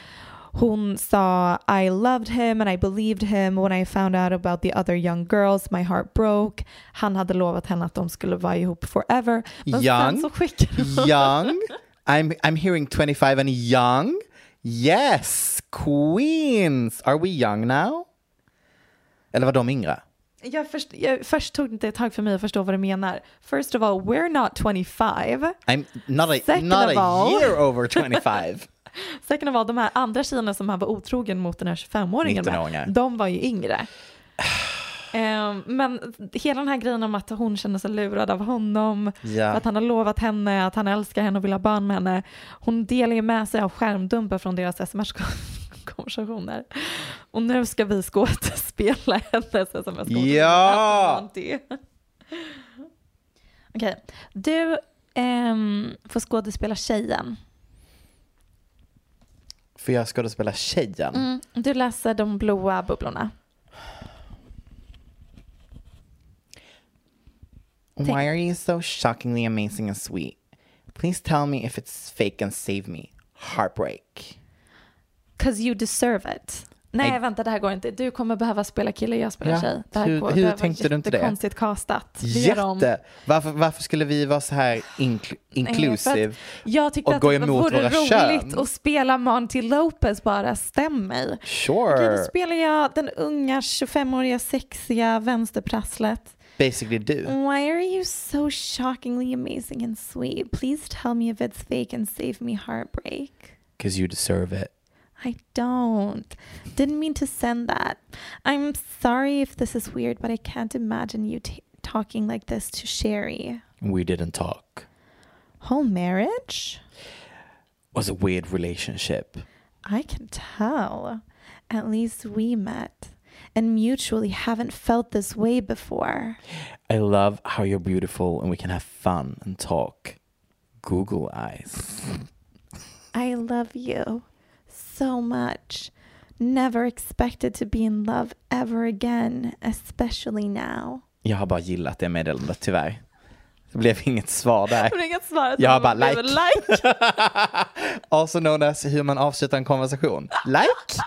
[SPEAKER 5] Hon sa I loved him and I believed him when I found out about the other young girls my heart broke. Han hade lovat henne att de skulle vara ihop forever. Men sen
[SPEAKER 4] Young.
[SPEAKER 5] så skickade hon
[SPEAKER 4] Young. I'm, I'm hearing 25 and young. Yes, queens. Are we young now? Eller var de yngre?
[SPEAKER 5] Jag först, jag, först tog det ett tag för mig att förstå vad du menar. First of all, we're not 25.
[SPEAKER 4] I'm not a,
[SPEAKER 5] Second
[SPEAKER 4] not
[SPEAKER 5] of
[SPEAKER 4] a
[SPEAKER 5] all-
[SPEAKER 4] year
[SPEAKER 5] <laughs>
[SPEAKER 4] over 25.
[SPEAKER 5] Second of all, de här andra tjejerna som han var otrogen mot den här 25-åringen
[SPEAKER 4] 19-åringar.
[SPEAKER 5] med, de var ju yngre. Ehm, men hela den här grejen om att hon känner sig lurad av honom,
[SPEAKER 4] Ja.
[SPEAKER 5] för att han har lovat henne att han älskar henne och vill ha barn med henne. Hon delar ju med sig av skärmdumpar från deras sms-konversationer. Och <laughs> nu ska vi skådespela hennes Alltså, sms-konversationer.
[SPEAKER 4] Ja!
[SPEAKER 5] Monty. Okej, du ehm, får skådespela tjejen.
[SPEAKER 4] För jag skådespelar tjejen.
[SPEAKER 5] Mm, du läser de blåa bubblorna.
[SPEAKER 4] Why are you so shockingly amazing and sweet? Please tell me if it's fake and save me. Heartbreak.
[SPEAKER 5] Cause you deserve it. Nej,
[SPEAKER 4] Nej.
[SPEAKER 5] vänta det här går inte. Du kommer behöva spela kille, jag spelar
[SPEAKER 4] Ja,
[SPEAKER 5] tjej. Det här
[SPEAKER 4] hur-
[SPEAKER 5] går,
[SPEAKER 4] hur
[SPEAKER 5] det här var
[SPEAKER 4] tänkte du inte det?
[SPEAKER 5] jättekonstigt castat. Det gör de.
[SPEAKER 4] Jätte! Varför, varför skulle vi vara så här inkl-
[SPEAKER 5] Nej, Eh, för
[SPEAKER 4] inclusive?
[SPEAKER 5] att Jag tyckte
[SPEAKER 4] och
[SPEAKER 5] att
[SPEAKER 4] gå
[SPEAKER 5] det
[SPEAKER 4] emot
[SPEAKER 5] vore
[SPEAKER 4] våra
[SPEAKER 5] roligt
[SPEAKER 4] kön.
[SPEAKER 5] att spela Monty Lopez bara, stäm mig. Okej,
[SPEAKER 4] Sure.
[SPEAKER 5] då spelar jag den unga 25-åriga sexiga vänsterprasslet.
[SPEAKER 4] Basically du.
[SPEAKER 5] Why are you so shockingly amazing and sweet? Please tell me if it's fake and save me heartbreak.
[SPEAKER 4] Cause you deserve it.
[SPEAKER 5] I don't. Didn't mean to send that. I'm sorry if this is weird, but I can't imagine you t- talking like this to Sherry.
[SPEAKER 4] We didn't talk.
[SPEAKER 5] Whole marriage?
[SPEAKER 4] Was a weird relationship.
[SPEAKER 5] I can tell. At least we met and mutually haven't felt this way before.
[SPEAKER 4] I love how you're beautiful and we can have fun and talk. Google eyes.
[SPEAKER 5] I love you so much. Never expected to be in love ever again, especially now.
[SPEAKER 4] Jag har bara gillat det meddelandet tyvärr. Det blev inget svar där.
[SPEAKER 5] svaret.
[SPEAKER 4] Jag har bara like. Also known as hur man avslutar en konversation. Like?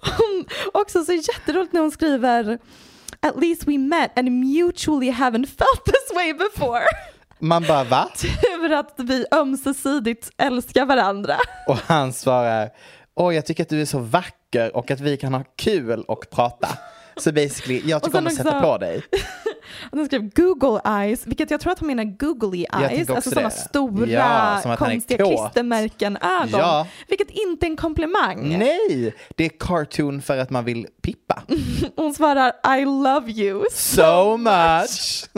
[SPEAKER 5] Hon, också så jätteroligt när hon skriver At least we met and mutually haven't felt this way before. <laughs>
[SPEAKER 4] Man bara va?
[SPEAKER 5] Tur att vi ömsesidigt älskar varandra.
[SPEAKER 4] Och han svarar, åh jag tycker att du är så vacker och att vi kan ha kul och prata. Så basically, jag tycker
[SPEAKER 5] sen
[SPEAKER 4] om att sätta
[SPEAKER 5] också-
[SPEAKER 4] på dig.
[SPEAKER 5] Och Den skrev Google eyes, vilket jag tror att hon menar googly
[SPEAKER 4] Jag
[SPEAKER 5] eyes,
[SPEAKER 4] tycker
[SPEAKER 5] alltså
[SPEAKER 4] också
[SPEAKER 5] sådana
[SPEAKER 4] det.
[SPEAKER 5] stora
[SPEAKER 4] Ja, som att han är
[SPEAKER 5] konstiga
[SPEAKER 4] kåt.
[SPEAKER 5] klistermärken-ögon.
[SPEAKER 4] Ja.
[SPEAKER 5] Vilket inte är en komplimang.
[SPEAKER 4] Nej, det är cartoon för att man vill pippa.
[SPEAKER 5] Hon svarar I love you.
[SPEAKER 4] So much! <laughs>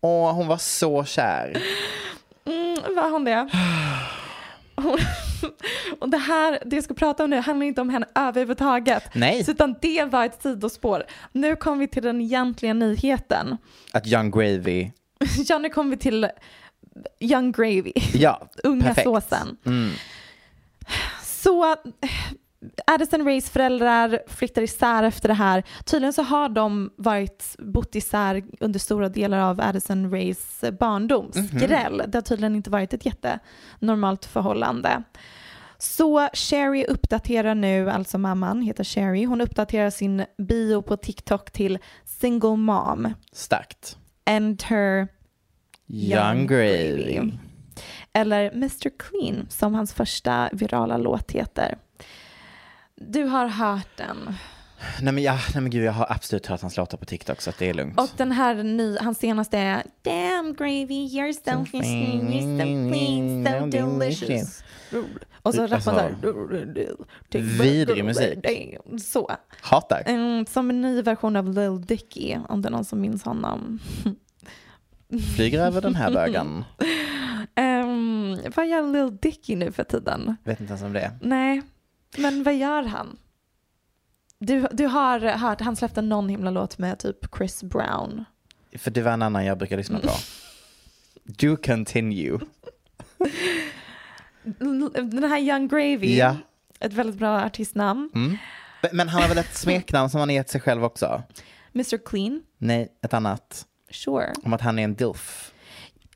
[SPEAKER 4] Åh, hon var så kär.
[SPEAKER 5] Mm, var hon det? Hon- Och det här, det jag ska prata om nu handlar inte om henne överhuvudtaget.
[SPEAKER 4] Nej.
[SPEAKER 5] Så Utan det var ett sidospår. Nu kommer vi till den egentliga nyheten. <laughs>
[SPEAKER 4] Att Young Gravy,
[SPEAKER 5] Ja, nu kommer vi till Young Gravy.
[SPEAKER 4] ja,
[SPEAKER 5] unga
[SPEAKER 4] perfekt.
[SPEAKER 5] såsen.
[SPEAKER 4] Mm.
[SPEAKER 5] Så eh, Addison Rays föräldrar flyttar isär efter det här. Tydligen så har de varit, bott isär under stora delar av Addison Rays barndom. Skräll. Det har tydligen inte varit ett jättenormalt förhållande. Så Sherry uppdaterar nu, alltså mamman heter Sherry, hon uppdaterar sin bio på TikTok till single mom.
[SPEAKER 4] Starkt.
[SPEAKER 5] Enter
[SPEAKER 4] Young Gravy.
[SPEAKER 5] eller Mr Clean som hans första virala låt heter. Du har hört den.
[SPEAKER 4] Nej men, jag, nej men gud, jag har absolut hört hans låtar på TikTok så att det är lugnt.
[SPEAKER 5] Och den här ny, hans senaste är Damn gravy, you're so fishy, you're so clean, so delicious. Och så rappar han så här.
[SPEAKER 4] Alltså, Vidrig musik.
[SPEAKER 5] Så.
[SPEAKER 4] Hatar.
[SPEAKER 5] Mm, som en ny version av Lil Dicky, om det är någon som minns honom.
[SPEAKER 4] Flyger över den här bögen.
[SPEAKER 5] Um, vad gör Lil Dicky nu för tiden?
[SPEAKER 4] Vet inte ens om det är.
[SPEAKER 5] Nej, men vad gör han? Du, du har hört, han släppte någon himla låt med typ Chris Brown.
[SPEAKER 4] För det var en annan jag brukar lyssna på. Do continue.
[SPEAKER 5] L- Den här Young Gravy,
[SPEAKER 4] Ja.
[SPEAKER 5] ett väldigt bra artistnamn.
[SPEAKER 4] Men han har väl ett smeknamn som han har gett sig själv också?
[SPEAKER 5] Mr Clean,
[SPEAKER 4] Nej, ett annat.
[SPEAKER 5] sure.
[SPEAKER 4] Om att han är en dilf.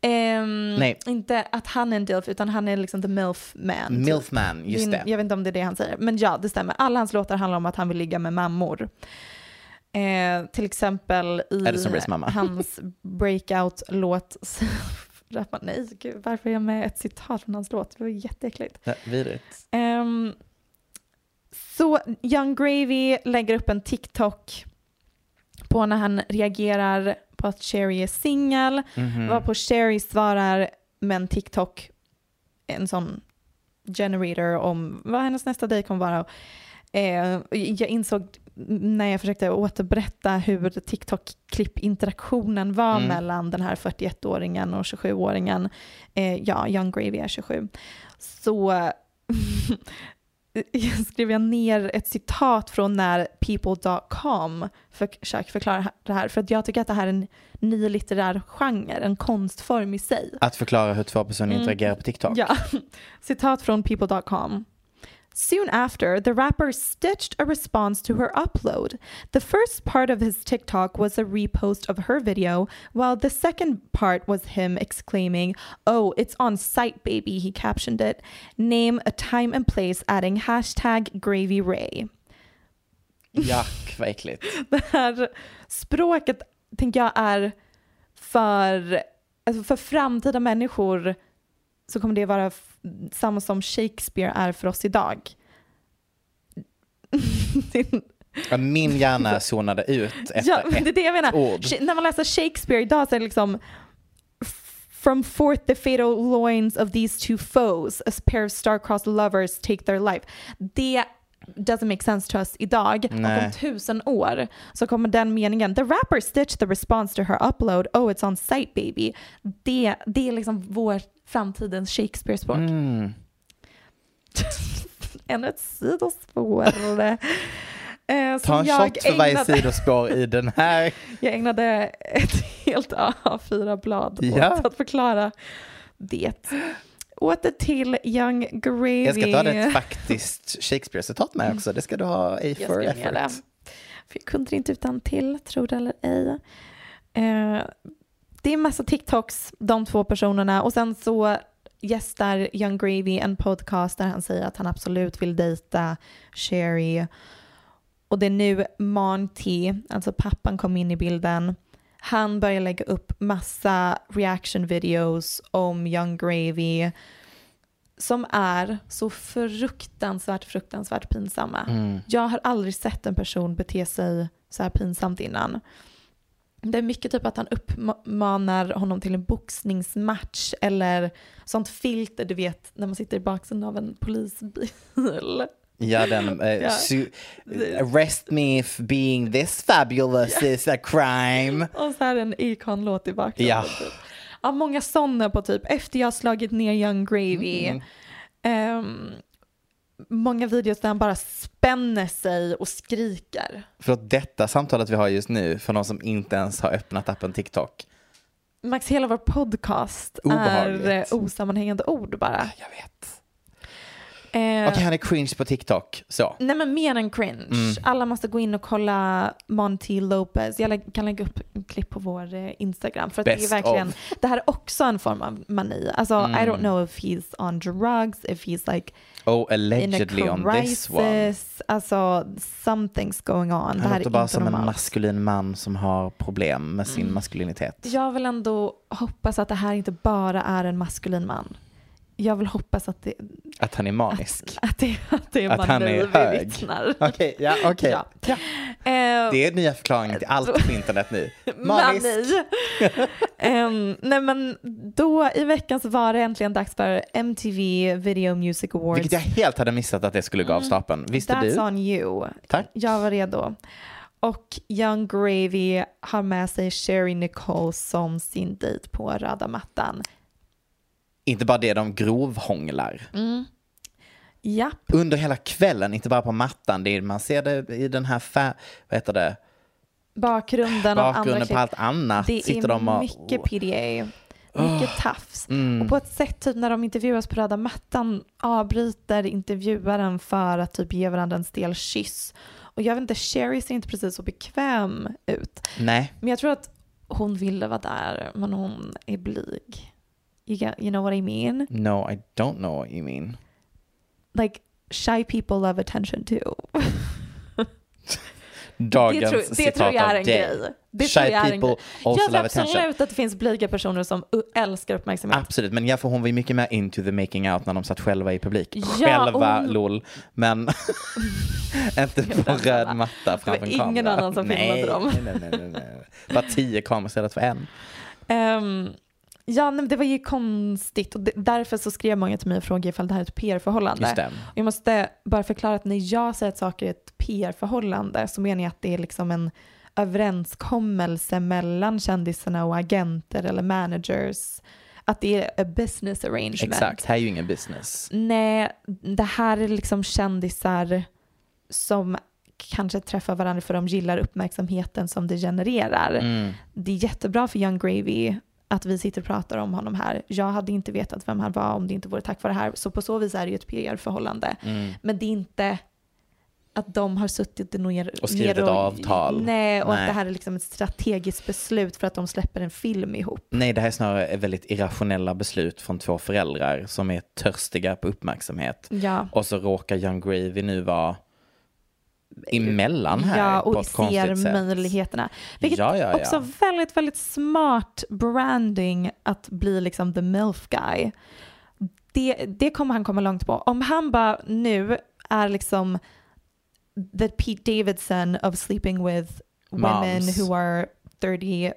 [SPEAKER 5] Ehm,
[SPEAKER 4] Nej.
[SPEAKER 5] Inte att han är en dilf, utan han är liksom the milf man. typ.
[SPEAKER 4] Milfman, just
[SPEAKER 5] Din-
[SPEAKER 4] det.
[SPEAKER 5] Jag vet inte om det är det han säger, men ja, det stämmer. Alla hans låtar handlar om att han vill ligga med mammor. Eh, till exempel
[SPEAKER 4] Addison
[SPEAKER 5] i
[SPEAKER 4] Raes
[SPEAKER 5] <laughs>
[SPEAKER 4] mamma.
[SPEAKER 5] hans breakout-låt. <laughs> så rappar- Nej, gud, varför är jag med ett citat från hans låt? Det var jätteäckligt.
[SPEAKER 4] Ja, Vidrigt.
[SPEAKER 5] Ehm, så Young Gravy lägger upp en TikTok på när han reagerar på att Sherry är singel.
[SPEAKER 4] Mhm.
[SPEAKER 5] Varpå Sherry svarar med en TikTok, en sån generator om vad hennes nästa dejt kommer vara. Eh, jag insåg när jag försökte återberätta hur TikTok-klippinteraktionen var mellan den här 41-åringen och 27-åringen. Eh, ja, Young Gravy är 27. Så <laughs> skrev jag ner ett citat från när people.com försöker förklara det här. För att jag tycker att det här är en ny litterär genre, en konstform i sig.
[SPEAKER 4] Att förklara hur två personer interagerar på TikTok.
[SPEAKER 5] Mm. Ja. <laughs> Citat från people.com. Soon after, the rapper stitched a response to her upload. The first part of his TikTok was a repost of her video, while the second part was him exclaiming, Oh, it's on site, baby, he captioned it. Name, a time and place, adding hashtag Gravy Ray.
[SPEAKER 4] Jack, vad äckligt.
[SPEAKER 5] <laughs> det här språket tänker jag är för, alltså för framtida människor så kommer det vara f- samma som Shakespeare är för oss idag. <laughs> Din-
[SPEAKER 4] Ja, Min hjärna zonade ut
[SPEAKER 5] <laughs>
[SPEAKER 4] efter
[SPEAKER 5] ja, men det är det jag menar.
[SPEAKER 4] ord.
[SPEAKER 5] Sh- När man läser Shakespeare idag så är det liksom From forth the fatal loins of these two foes as pair of star-crossed lovers take their life. Det doesn't make sense to us idag. Och om
[SPEAKER 4] Nej.
[SPEAKER 5] tusen år så kommer den meningen The rapper stitched the response to her upload Oh it's on site baby. Det, det är liksom vår framtidens Shakespeare-språk.
[SPEAKER 4] Mm.
[SPEAKER 5] Ännu ett sidospår.
[SPEAKER 4] <laughs>
[SPEAKER 5] Eh,
[SPEAKER 4] Ta
[SPEAKER 5] som
[SPEAKER 4] en
[SPEAKER 5] jag
[SPEAKER 4] shot för varje
[SPEAKER 5] ägnade-
[SPEAKER 4] sidospår i den
[SPEAKER 5] <laughs>
[SPEAKER 4] här.
[SPEAKER 5] jag ägnade ett <laughs> helt A4-blad
[SPEAKER 4] Ja.
[SPEAKER 5] åt att förklara det. Åter till Young Gravy.
[SPEAKER 4] Jag ska ta det ett faktiskt Shakespeare-citat med också. Det ska du ha A
[SPEAKER 5] Jag
[SPEAKER 4] for
[SPEAKER 5] skrev ner det.
[SPEAKER 4] effort.
[SPEAKER 5] För jag kunde det inte utan till, tror det eller ej. Eh, det är massa TikToks, de två personerna. Och sen så gästar Young Gravy en podcast där han säger att han absolut vill dejta Sherry. Och det är nu Monty, alltså pappan, kom in i bilden. Han börjar lägga upp massa reaction videos om Young Gravy som är så fruktansvärt, fruktansvärt pinsamma. Jag har aldrig sett en person bete sig så här pinsamt innan. Det är mycket typ att han uppmanar honom till en boxningsmatch eller sånt filter du vet när man sitter i baksidan av en polisbil. <laughs>
[SPEAKER 4] Ja, den. eh,
[SPEAKER 5] Ja.
[SPEAKER 4] su- arrest me if being this fabulous is a crime.
[SPEAKER 5] Och så här en Akon-låt i bakgrunden.
[SPEAKER 4] Ja.
[SPEAKER 5] Typ. ja, många sådana på typ efter jag har slagit ner Young Gravy. Ehm, många videos där han bara spänner sig och skriker.
[SPEAKER 4] För att detta samtalet vi har just nu, för någon som inte ens har öppnat appen TikTok.
[SPEAKER 5] Max, hela vår podcast
[SPEAKER 4] Obehagligt.
[SPEAKER 5] är eh, osammanhängande ord bara.
[SPEAKER 4] Jag vet.
[SPEAKER 5] Eh,
[SPEAKER 4] Okej, han är Mm. cringe på TikTok. Så.
[SPEAKER 5] Nej men mer än cringe. Alla måste gå in och kolla Monty Lopez. Jag lä- kan lägga upp en klipp på vår eh, Instagram. För att det, är
[SPEAKER 4] Best
[SPEAKER 5] verkligen,
[SPEAKER 4] of. Mm.
[SPEAKER 5] det här är också en form av mani. Alltså I don't know if he's on drugs, if he's like
[SPEAKER 4] Oh,
[SPEAKER 5] in a
[SPEAKER 4] allegedly on this one.
[SPEAKER 5] crisis. Alltså something's going on. det
[SPEAKER 4] Han
[SPEAKER 5] här är
[SPEAKER 4] låter bara
[SPEAKER 5] inte
[SPEAKER 4] som en
[SPEAKER 5] normalt.
[SPEAKER 4] maskulin man som har problem med
[SPEAKER 5] Mm.
[SPEAKER 4] sin maskulinitet.
[SPEAKER 5] Jag vill ändå hoppas att det här inte bara är en maskulin man. Jag vill hoppas att det,
[SPEAKER 4] Att han är manisk.
[SPEAKER 5] att det, att det är
[SPEAKER 4] Att, han
[SPEAKER 5] mani
[SPEAKER 4] är
[SPEAKER 5] vi
[SPEAKER 4] hög.
[SPEAKER 5] vittnar.
[SPEAKER 4] <laughs> Okej, ja, okej.
[SPEAKER 5] Ja.
[SPEAKER 4] Ja.
[SPEAKER 5] Eh,
[SPEAKER 4] Det är nya förklaringen till allt på internet
[SPEAKER 5] <laughs>
[SPEAKER 4] nu. Manisk.
[SPEAKER 5] Mani. Ehm, nej men då i veckan så var det äntligen dags för MTV Video Music Awards.
[SPEAKER 4] Vilket jag helt hade missat att det skulle gå av
[SPEAKER 5] Mm.
[SPEAKER 4] stapeln. Visste
[SPEAKER 5] That's
[SPEAKER 4] du?
[SPEAKER 5] on you.
[SPEAKER 4] Tack.
[SPEAKER 5] Jag var redo. Och Young Gravy har med sig Sherry Nicole som sin dejt på röda mattan.
[SPEAKER 4] Inte bara det, de grovhånglar.
[SPEAKER 5] Mm. Japp.
[SPEAKER 4] Under hela kvällen, inte bara på mattan. Det är, man ser det i den här fä, vad heter det?
[SPEAKER 5] bakgrunden, av andra
[SPEAKER 4] bakgrunden på
[SPEAKER 5] klipp.
[SPEAKER 4] allt annat.
[SPEAKER 5] Det
[SPEAKER 4] Sitter
[SPEAKER 5] är
[SPEAKER 4] de och... Mm.
[SPEAKER 5] mycket PDA, mycket tafs. Och på ett sätt typ när de intervjuas på röda mattan avbryter intervjuaren för att typ ge varandra en stel kyss. Och jag vet inte, Sherry ser inte precis så bekväm ut.
[SPEAKER 4] Nej,
[SPEAKER 5] Men jag tror att hon ville vara där, men hon är blyg. You, get, you know what I mean?
[SPEAKER 4] no I don't know what you mean.
[SPEAKER 5] Like, shy people love attention too. <laughs>
[SPEAKER 4] Dagens
[SPEAKER 5] det tror, det
[SPEAKER 4] citat
[SPEAKER 5] tror jag är
[SPEAKER 4] av
[SPEAKER 5] en
[SPEAKER 4] dig.
[SPEAKER 5] grej. Det
[SPEAKER 4] Shy
[SPEAKER 5] tror jag är en
[SPEAKER 4] people
[SPEAKER 5] grej. Jag
[SPEAKER 4] also
[SPEAKER 5] tror
[SPEAKER 4] love attention.
[SPEAKER 5] absolut att det finns blyga personer som u- älskar uppmärksamhet.
[SPEAKER 4] Absolut, men ja, för hon var ju mycket mer into the making out när de satt själva i publik.
[SPEAKER 5] Ja,
[SPEAKER 4] själva,
[SPEAKER 5] hon-
[SPEAKER 4] lol. Men <laughs> inte på röd matta framför en
[SPEAKER 5] ingen
[SPEAKER 4] kamera.
[SPEAKER 5] annan som
[SPEAKER 4] nej,
[SPEAKER 5] filmade dem.
[SPEAKER 4] Nej, nej, nej, nej. Bara tio kameror istället för en.
[SPEAKER 5] Ehm, ja, nej, men det var ju konstigt och det, därför så skrev många till mig och frågade ifall det här är ett
[SPEAKER 4] Just
[SPEAKER 5] PR-förhållande.
[SPEAKER 4] det.
[SPEAKER 5] Och Jag måste bara förklara att när jag säger att saker är ett PR-förhållande så menar jag att det är liksom en överenskommelse mellan kändisarna och agenter eller managers att det är a business arrangement.
[SPEAKER 4] Exakt, här är ju ingen business.
[SPEAKER 5] Nej, det här är liksom kändisar som kanske träffar varandra för de gillar uppmärksamheten som det genererar.
[SPEAKER 4] Mm.
[SPEAKER 5] Det är jättebra för Young Gravy att vi sitter och pratar om honom här. Jag hade inte vetat vem han var om det inte vore tack vare det här. Så på så vis är det ju ett PR-förhållande.
[SPEAKER 4] Mm.
[SPEAKER 5] Men det är inte att de har suttit ner
[SPEAKER 4] Och skrivit
[SPEAKER 5] ner
[SPEAKER 4] ett avtal.
[SPEAKER 5] Nej, och
[SPEAKER 4] Nej.
[SPEAKER 5] att det här är liksom ett strategiskt beslut för att de släpper en film ihop.
[SPEAKER 4] Nej, det här är snarare väldigt irrationella beslut från två föräldrar som är törstiga på uppmärksamhet.
[SPEAKER 5] Ja.
[SPEAKER 4] Och så råkar Young Gravy nu vara emellan här
[SPEAKER 5] Ja,
[SPEAKER 4] på
[SPEAKER 5] och
[SPEAKER 4] ett konstigt
[SPEAKER 5] ser
[SPEAKER 4] sätt.
[SPEAKER 5] möjligheterna. Vilket
[SPEAKER 4] Ja, ja, ja.
[SPEAKER 5] också väldigt, väldigt smart branding att bli liksom the milf guy. Det, det kommer han komma långt på. Om han bara nu är liksom the Pete Davidson of sleeping with women
[SPEAKER 4] Moms.
[SPEAKER 5] who are 30,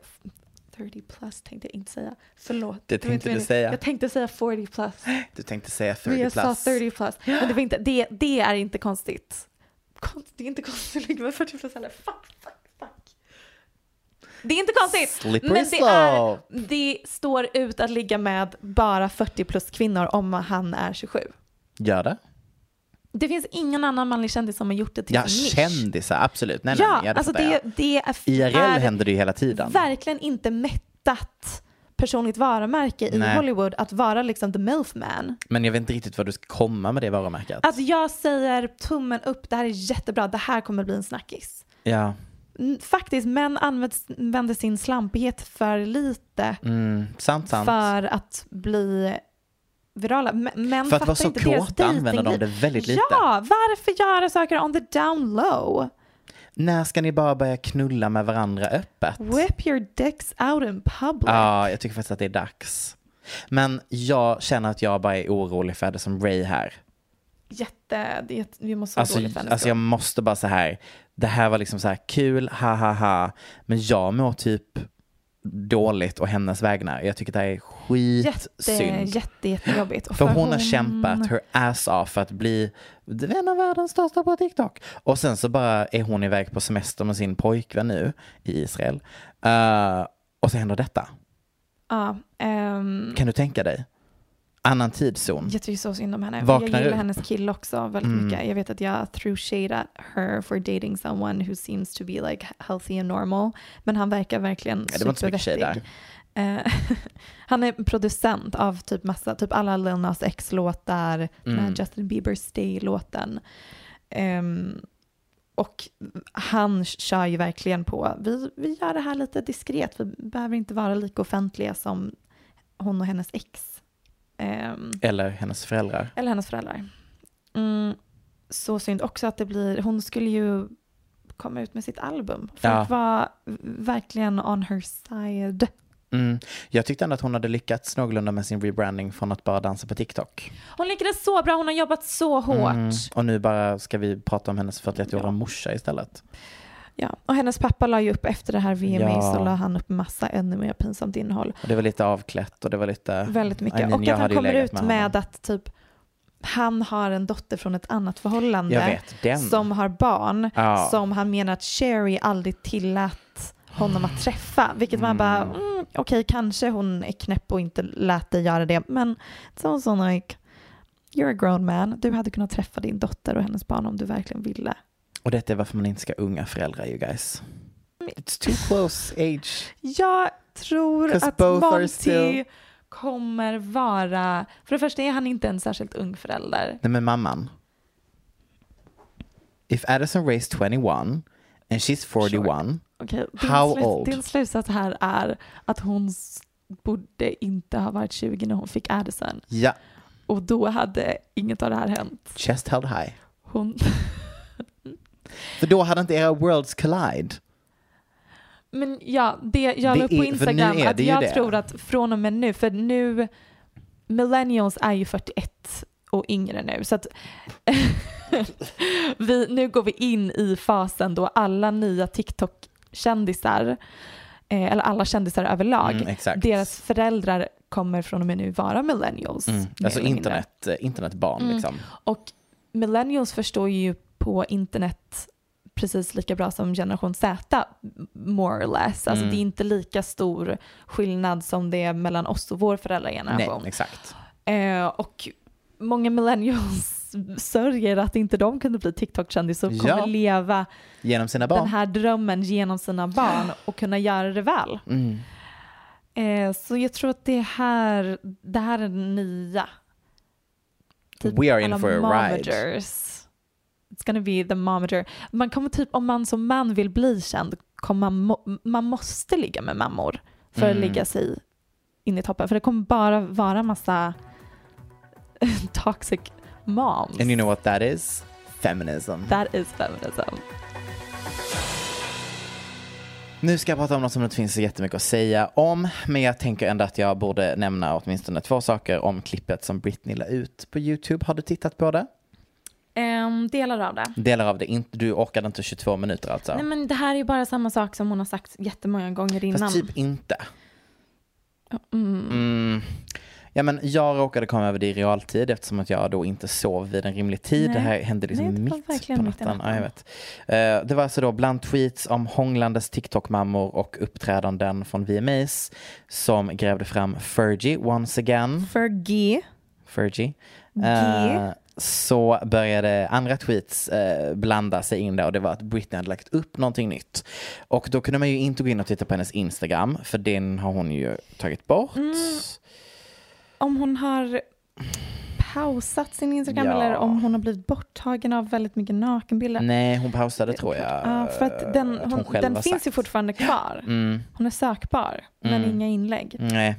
[SPEAKER 5] 30 plus tänkte jag inte säga. Förlåt.
[SPEAKER 4] Det
[SPEAKER 5] var inte
[SPEAKER 4] tänkte du
[SPEAKER 5] meningen.
[SPEAKER 4] säga.
[SPEAKER 5] Jag tänkte säga 40 plus.
[SPEAKER 4] Du tänkte säga 30
[SPEAKER 5] Men jag sa
[SPEAKER 4] plus.
[SPEAKER 5] 30 plus. Men det, var inte, det, det är inte konstigt. Konst, det är inte konstigt att ligga med 40 plus heller. Fuck, fuck, fuck. Det är inte konstigt.
[SPEAKER 4] Slippery
[SPEAKER 5] men det, är,
[SPEAKER 4] slope.
[SPEAKER 5] det står ut att ligga med bara 40 plus kvinnor om han är 27.
[SPEAKER 4] Gör det?
[SPEAKER 5] Det finns ingen annan manlig kändis som har gjort det till
[SPEAKER 4] Ja,
[SPEAKER 5] sin nisch.
[SPEAKER 4] kändisar, absolut. Nej, nej,
[SPEAKER 5] Ja,
[SPEAKER 4] nej, ja, det
[SPEAKER 5] alltså
[SPEAKER 4] fattar jag.
[SPEAKER 5] det, det är,
[SPEAKER 4] IRL
[SPEAKER 5] är
[SPEAKER 4] händer det ju hela tiden.
[SPEAKER 5] verkligen inte mättat personligt varumärke i
[SPEAKER 4] Nej.
[SPEAKER 5] Hollywood att vara liksom the milf man.
[SPEAKER 4] Men jag vet inte riktigt vad du ska komma med det varumärket.
[SPEAKER 5] Alltså jag säger tummen upp, det här är jättebra, det här kommer bli en snackis.
[SPEAKER 4] Ja,
[SPEAKER 5] Mm, Faktiskt, män används- använder sin slampighet för lite
[SPEAKER 4] Mm, sant, sant.
[SPEAKER 5] för att bli virala. M- Män
[SPEAKER 4] För att
[SPEAKER 5] fattar
[SPEAKER 4] vara så
[SPEAKER 5] inte deras
[SPEAKER 4] kåta använder de det
[SPEAKER 5] datingliv.
[SPEAKER 4] väldigt lite.
[SPEAKER 5] Ja, varför göra saker on the down low?
[SPEAKER 4] När ska ni bara börja knulla med varandra öppet?
[SPEAKER 5] Whip your dicks out in public.
[SPEAKER 4] Ja, jag tycker faktiskt att det är dags. Men jag känner att jag bara är orolig för det som Ray här.
[SPEAKER 5] Jätte, det, är jätte- vi måste vara
[SPEAKER 4] Alltså,
[SPEAKER 5] dåligt för hennes
[SPEAKER 4] alltså jag måste bara så här, det här var liksom så här kul, ha ha ha, men jag mår typ dåligt och hennes vägnar. Jag tycker det här är
[SPEAKER 5] skull. jätte,
[SPEAKER 4] skitsynd.
[SPEAKER 5] jätte, jättejobbigt. Och
[SPEAKER 4] För hon har kämpat her ass off för att bli en av världens största på TikTok. Och sen så bara är hon iväg på semester med sin pojkvän nu i Israel. Eh, och så händer detta.
[SPEAKER 5] Ja, ehm,
[SPEAKER 4] Kan du tänka dig? Annan tidszon.
[SPEAKER 5] Jag tycker så synd om henne.
[SPEAKER 4] Vaknar Mm.
[SPEAKER 5] jag gillar
[SPEAKER 4] upp.
[SPEAKER 5] hennes kille också väldigt mycket. Jag vet att jag threw shade at her for dating someone who seems to be like healthy and normal. Men han verkar verkligen
[SPEAKER 4] Ja, det var inte så mycket shade
[SPEAKER 5] supervettig. Eh, <laughs> han är producent av typ massa, typ alla Lil Nas X-låtar, den
[SPEAKER 4] Mm.
[SPEAKER 5] här Justin Bieber Stay-låten. Ehm, och han kör ju verkligen på, vi, vi gör det här lite diskret, vi behöver inte vara lika offentliga som hon och hennes ex. Ehm,
[SPEAKER 4] Eller hennes föräldrar.
[SPEAKER 5] eller hennes föräldrar. Mm, så synd också att det blir, hon skulle ju komma ut med sitt album. Folk
[SPEAKER 4] Ja.
[SPEAKER 5] var verkligen on her side.
[SPEAKER 4] Mm. Jag tyckte ändå att hon hade lyckats någorlunda med sin rebranding från att bara dansa på TikTok. Mm.
[SPEAKER 5] Hon lyckades så bra, hon har jobbat så hårt.
[SPEAKER 4] Och nu bara ska vi prata om hennes 41-åriga morsa istället.
[SPEAKER 5] Ja. Och hennes pappa la ju upp efter det här VMA
[SPEAKER 4] Ja.
[SPEAKER 5] så la han upp massa ännu mer pinsamt innehåll.
[SPEAKER 4] Och det var lite avklätt och det var lite...
[SPEAKER 5] Väldigt mycket.
[SPEAKER 4] I mean,
[SPEAKER 5] och
[SPEAKER 4] jag
[SPEAKER 5] att han
[SPEAKER 4] hade ju
[SPEAKER 5] kommer
[SPEAKER 4] legat
[SPEAKER 5] ut
[SPEAKER 4] med
[SPEAKER 5] med,
[SPEAKER 4] honom.
[SPEAKER 5] att typ han har en dotter från ett annat förhållande
[SPEAKER 4] Jag vet, den.
[SPEAKER 5] som har barn
[SPEAKER 4] Ja.
[SPEAKER 5] som han menar att Sherry aldrig tillät honom att träffa. Vilket man bara, mm, okej kanske hon är knäpp och inte lät dig göra det. Men så sån like, you're a grown man. Du hade kunnat träffa din dotter och hennes barn om du verkligen ville.
[SPEAKER 4] Och detta är varför man inte ska unga föräldrar you guys. It's too close age.
[SPEAKER 5] Jag tror
[SPEAKER 4] 'Cause
[SPEAKER 5] att
[SPEAKER 4] both are
[SPEAKER 5] Monty
[SPEAKER 4] still-
[SPEAKER 5] kommer vara, för det första är han inte en särskilt ung förälder.
[SPEAKER 4] Nej men mamman. If Addison Ray's 21 and she's 41
[SPEAKER 5] Okej,
[SPEAKER 4] How
[SPEAKER 5] din,
[SPEAKER 4] old?
[SPEAKER 5] slut, din slutsats här är att hon s- borde inte ha varit 20 när hon fick Addison.
[SPEAKER 4] ja,
[SPEAKER 5] Och då hade inget av det här hänt.
[SPEAKER 4] chest held high.
[SPEAKER 5] Hon,
[SPEAKER 4] För då hade inte era worlds collide.
[SPEAKER 5] men ja, det jag
[SPEAKER 4] Det
[SPEAKER 5] la upp
[SPEAKER 4] är-
[SPEAKER 5] på
[SPEAKER 4] för
[SPEAKER 5] Instagram
[SPEAKER 4] nu är
[SPEAKER 5] att
[SPEAKER 4] det ju
[SPEAKER 5] jag
[SPEAKER 4] det.
[SPEAKER 5] tror att från och med nu, för nu, millennials är ju 41 och yngre nu. Så att <laughs> vi, nu går vi in i fasen då alla nya TikTok-kändisar, eh, eller alla kändisar överlag,
[SPEAKER 4] Mm, exakt.
[SPEAKER 5] deras föräldrar kommer från och med nu vara millennials.
[SPEAKER 4] Mm.
[SPEAKER 5] mer
[SPEAKER 4] Alltså
[SPEAKER 5] eller mindre. Mm.
[SPEAKER 4] internet, eh, internetbarn liksom.
[SPEAKER 5] Och millennials förstår ju på internet precis lika bra som generation Z, more or less. Alltså
[SPEAKER 4] Mm.
[SPEAKER 5] det är inte lika stor skillnad som det är mellan oss och vår
[SPEAKER 4] Nej,
[SPEAKER 5] föräldrageneration.
[SPEAKER 4] exakt.
[SPEAKER 5] Eh, och många millennials <laughs> sörjer att inte de kunde bli TikTok-kändis och kommer
[SPEAKER 4] Ja.
[SPEAKER 5] leva
[SPEAKER 4] Genom sina barn.
[SPEAKER 5] den här drömmen genom sina barn och kunna göra det väl.
[SPEAKER 4] Mm.
[SPEAKER 5] Eh, så jag tror att det här, det här är den nya.
[SPEAKER 4] We are in
[SPEAKER 5] alla
[SPEAKER 4] for a ride.
[SPEAKER 5] mometers. It's gonna be the momager. Man kommer typ, om man som man vill bli känd, kommer man, må- man måste ligga med mammor för att
[SPEAKER 4] Mm.
[SPEAKER 5] ligga sig in i toppen. För det kommer bara vara massa <laughs> toxic moms.
[SPEAKER 4] And you know what that is? Feminism.
[SPEAKER 5] That is feminism.
[SPEAKER 4] Nu ska jag prata om något som det inte finns så jättemycket att säga om. Men jag tänker ändå att jag borde nämna åtminstone två saker om klippet som Britney la ut på YouTube. Har du tittat på det?
[SPEAKER 5] Ehm, delar av det.
[SPEAKER 4] Delar av det. Inte, du orkade inte 22 minuter alltså?
[SPEAKER 5] Nej men det här är ju bara samma sak som hon har sagt jättemånga gånger innan.
[SPEAKER 4] Fast typ inte. Mm. Ja, men jag råkade komma över det i realtid eftersom att jag då inte sov vid en rimlig tid.
[SPEAKER 5] Nej.
[SPEAKER 4] Det här hände liksom
[SPEAKER 5] Nej, det var
[SPEAKER 4] mitt på
[SPEAKER 5] verkligen mitt i
[SPEAKER 4] natten. Ja, jag
[SPEAKER 5] natten.
[SPEAKER 4] vet. Eh, det var alltså då bland tweets om hånglandes TikTok-mammor och uppträdanden från VMAs som grävde fram Fergie once again.
[SPEAKER 5] Fergie.
[SPEAKER 4] Fergie.
[SPEAKER 5] G.
[SPEAKER 4] Eh, så började andra tweets eh, blanda sig in där och det var att Britney hade lagt upp någonting nytt. Och då kunde man ju inte gå in och titta på hennes Instagram för den har hon ju tagit bort.
[SPEAKER 5] Mm. Om hon har pausat sin Instagram
[SPEAKER 4] Ja.
[SPEAKER 5] eller om hon har blivit borttagen av väldigt mycket nakenbilder.
[SPEAKER 4] Nej, hon pausade tror jag. eh,
[SPEAKER 5] Ja, för att den,
[SPEAKER 4] att hon
[SPEAKER 5] hon,
[SPEAKER 4] själv
[SPEAKER 5] den
[SPEAKER 4] har
[SPEAKER 5] finns ju
[SPEAKER 4] sagt.
[SPEAKER 5] fortfarande kvar.
[SPEAKER 4] Mm,
[SPEAKER 5] Hon är sökbar, men inga inlägg.
[SPEAKER 4] nej.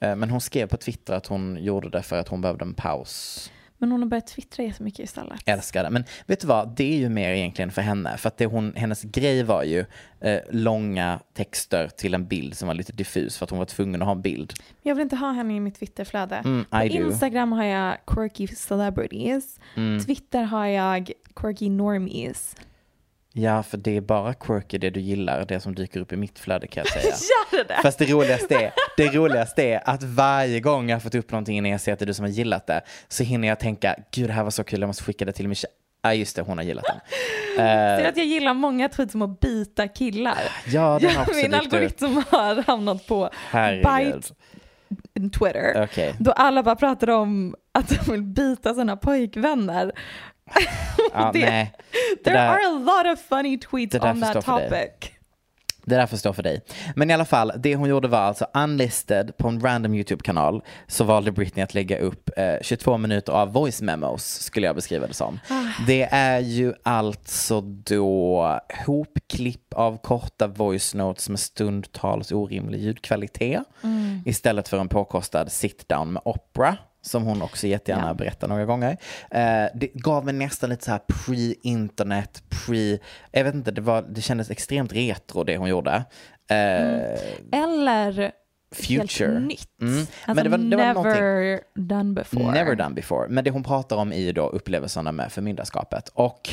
[SPEAKER 4] Eh, Men hon skrev på Twitter att hon gjorde det för att hon behövde en paus.
[SPEAKER 5] Men hon har börjat twittra jättemycket istället.
[SPEAKER 4] älskar det. Men vet du vad, det är ju mer egentligen för henne. För att det hon, hennes grej var ju eh, långa texter till en bild som var lite diffus för att hon var tvungen att ha en bild.
[SPEAKER 5] Jag vill inte ha henne i mitt Twitterflöde.
[SPEAKER 4] Mm,
[SPEAKER 5] På
[SPEAKER 4] I do.
[SPEAKER 5] Instagram har jag quirky celebrities.
[SPEAKER 4] Mm.
[SPEAKER 5] Twitter har jag quirky normies.
[SPEAKER 4] Ja, för det är bara quirky det du gillar, det som dyker upp i mitt flöde kan jag
[SPEAKER 5] <laughs>
[SPEAKER 4] säga.
[SPEAKER 5] Gör det där!
[SPEAKER 4] Fast det roligaste, är, det roligaste är att varje gång jag har fått upp någonting innan jag ser att det är du som har gillat det så hinner jag tänka, gud det här var så kul, jag måste skicka det till Michelle. Ja ah, just det, hon har gillat den.
[SPEAKER 5] Ser att jag gillar många tweets om att bita killar.
[SPEAKER 4] eh, Ja,
[SPEAKER 5] <laughs>
[SPEAKER 4] den har också
[SPEAKER 5] min
[SPEAKER 4] dykt upp.
[SPEAKER 5] algoritm har hamnat på
[SPEAKER 4] Herregud.
[SPEAKER 5] Bite Twitter.
[SPEAKER 4] Okej.
[SPEAKER 5] Då alla bara pratar om att de vill bita sina pojkvänner.
[SPEAKER 4] Ja,
[SPEAKER 5] <laughs> Det-
[SPEAKER 4] nej. Det
[SPEAKER 5] There
[SPEAKER 4] där-
[SPEAKER 5] are a lot of funny tweets
[SPEAKER 4] Det där
[SPEAKER 5] on
[SPEAKER 4] får
[SPEAKER 5] that
[SPEAKER 4] stå för dig.
[SPEAKER 5] topic.
[SPEAKER 4] Det där får stå för dig. Men i alla fall, det hon gjorde var alltså unlisted på en random YouTube-kanal så valde Britney att lägga upp eh, 22 minuter av voice memos skulle jag beskriva det som. Det är ju alltså då hopklipp av korta voice notes med stundtals orimlig ljudkvalitet istället för en påkostad sit down med opera som hon också jättegärna berättar några gånger. Eh, det gav mig nästan lite så här pre-internet, pre... Jag vet inte, det, var, det kändes extremt retro det hon gjorde. Eh,
[SPEAKER 5] Eller
[SPEAKER 4] Future.
[SPEAKER 5] helt nytt.
[SPEAKER 4] Mm.
[SPEAKER 5] Alltså
[SPEAKER 4] Men det var, det var någonting.
[SPEAKER 5] never done before.
[SPEAKER 4] Never done before. Men det hon pratar om är ju då upplevelserna med förmyndarskapet. Och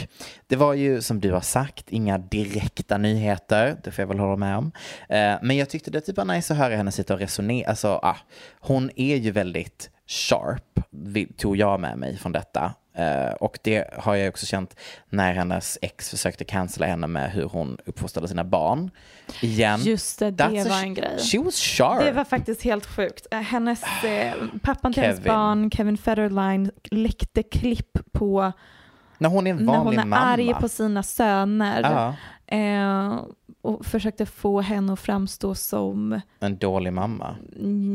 [SPEAKER 4] det var ju som du har sagt, inga direkta nyheter. Det får jag väl hålla med om. Eh, men jag tyckte det typ var nice att höra henne sitta och resonera. Alltså, ah, hon är ju väldigt sharp, vi- tog jag med mig från detta. Eh, och det har jag också känt när hennes ex försökte cancella henne med hur hon uppfostrade sina barn. Igen.
[SPEAKER 5] Just det, det
[SPEAKER 4] a-
[SPEAKER 5] var en grej.
[SPEAKER 4] She was sharp.
[SPEAKER 5] Det var faktiskt helt sjukt. Eh, Hennes,
[SPEAKER 4] <sighs>
[SPEAKER 5] eh, pappan till hennes
[SPEAKER 4] Kevin.
[SPEAKER 5] barn, Kevin Federline, läckte klipp på
[SPEAKER 4] När hon är en
[SPEAKER 5] när hon
[SPEAKER 4] vanlig
[SPEAKER 5] är
[SPEAKER 4] mamma.
[SPEAKER 5] arg på sina söner.
[SPEAKER 4] Ja,
[SPEAKER 5] Eh, och försökte få henne att framstå som
[SPEAKER 4] en dålig mamma.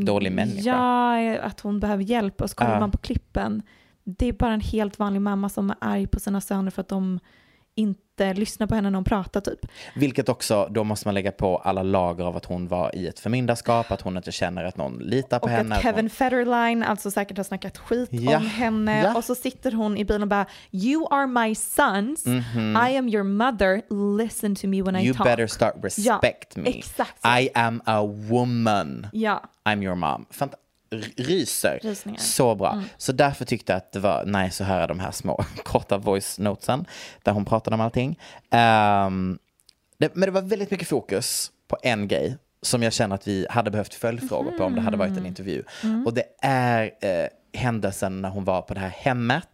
[SPEAKER 4] Dålig människa.
[SPEAKER 5] Mm, ja, att hon behöver hjälp och så kollar
[SPEAKER 4] Ja.
[SPEAKER 5] man på klippen. Det är bara en helt vanlig mamma som är arg på sina söner för att de inte lyssnar på henne när hon pratar typ.
[SPEAKER 4] Vilket också, då måste man lägga på alla lager av att hon var i ett förmyndarskap, att hon inte känner att någon litar på
[SPEAKER 5] Och
[SPEAKER 4] henne.
[SPEAKER 5] att
[SPEAKER 4] att hon-
[SPEAKER 5] Kevin Federline alltså säkert har snackat skit
[SPEAKER 4] Ja.
[SPEAKER 5] om henne
[SPEAKER 4] Ja.
[SPEAKER 5] och så sitter hon i bilen och bara “You are my sons, I am your mother, listen to me when I
[SPEAKER 4] Mhm. You
[SPEAKER 5] talk”.
[SPEAKER 4] better start respect
[SPEAKER 5] Ja,
[SPEAKER 4] me.
[SPEAKER 5] exakt så.
[SPEAKER 4] I am a woman.
[SPEAKER 5] Ja.
[SPEAKER 4] I'm your mom. Fant- r- ryser.
[SPEAKER 5] Rysningar. Mm.
[SPEAKER 4] Så bra. Så därför tyckte jag att det var nice att höra de här små <laughs> korta voice notesen där hon pratade om allting. Ehm, det, men det var väldigt mycket fokus på en grej som jag känner att vi hade behövt följdfrågor på om det hade
[SPEAKER 5] Mhm.
[SPEAKER 4] varit en intervju.
[SPEAKER 5] Mm.
[SPEAKER 4] Och det
[SPEAKER 5] Mm.
[SPEAKER 4] är eh, händelsen när hon var på det här hemmet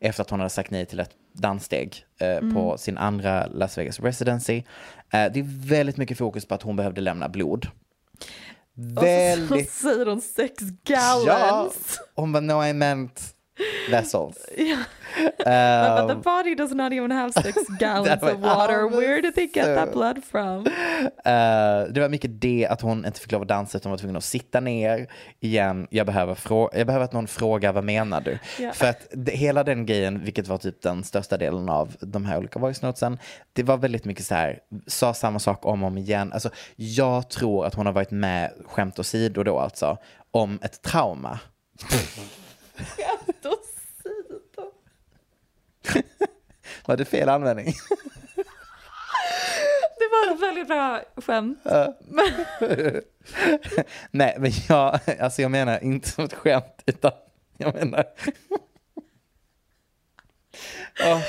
[SPEAKER 4] efter att hon hade sagt nej till ett danssteg eh, på sin andra Las Vegas residency. Eh, det är väldigt mycket fokus på att hon behövde lämna blod.
[SPEAKER 5] Och så,
[SPEAKER 4] Väldigt...
[SPEAKER 5] så säger hon sex
[SPEAKER 4] Ja!
[SPEAKER 5] gallons.
[SPEAKER 4] Hon bara, no I meant vessels.
[SPEAKER 5] But the body does not even have
[SPEAKER 4] <laughs>
[SPEAKER 5] six gallons
[SPEAKER 4] var-
[SPEAKER 5] of water.
[SPEAKER 4] Ja, men
[SPEAKER 5] Where did they get that
[SPEAKER 4] så-
[SPEAKER 5] blood from?
[SPEAKER 4] Eh, det var mycket det att hon inte fick lov att dansa utan var tvungen att sitta ner igen. Jag behöver, frå- jag behöver att någon frågar vad menar du?
[SPEAKER 5] Ja.
[SPEAKER 4] För att det, hela den grejen, vilket var typ den största delen av de här olika voice notesen, det var väldigt mycket så här, sa samma sak om och om igen. Alltså, jag tror att hon har varit med, skämt åsido då alltså, om ett trauma.
[SPEAKER 5] Då säger de-
[SPEAKER 4] Var det fel användning? <laughs>
[SPEAKER 5] Det var ett väldigt bra skämt.
[SPEAKER 4] Eh. Nej, men jag, alltså jag menar inte som ett skämt, utan jag menar... Ja,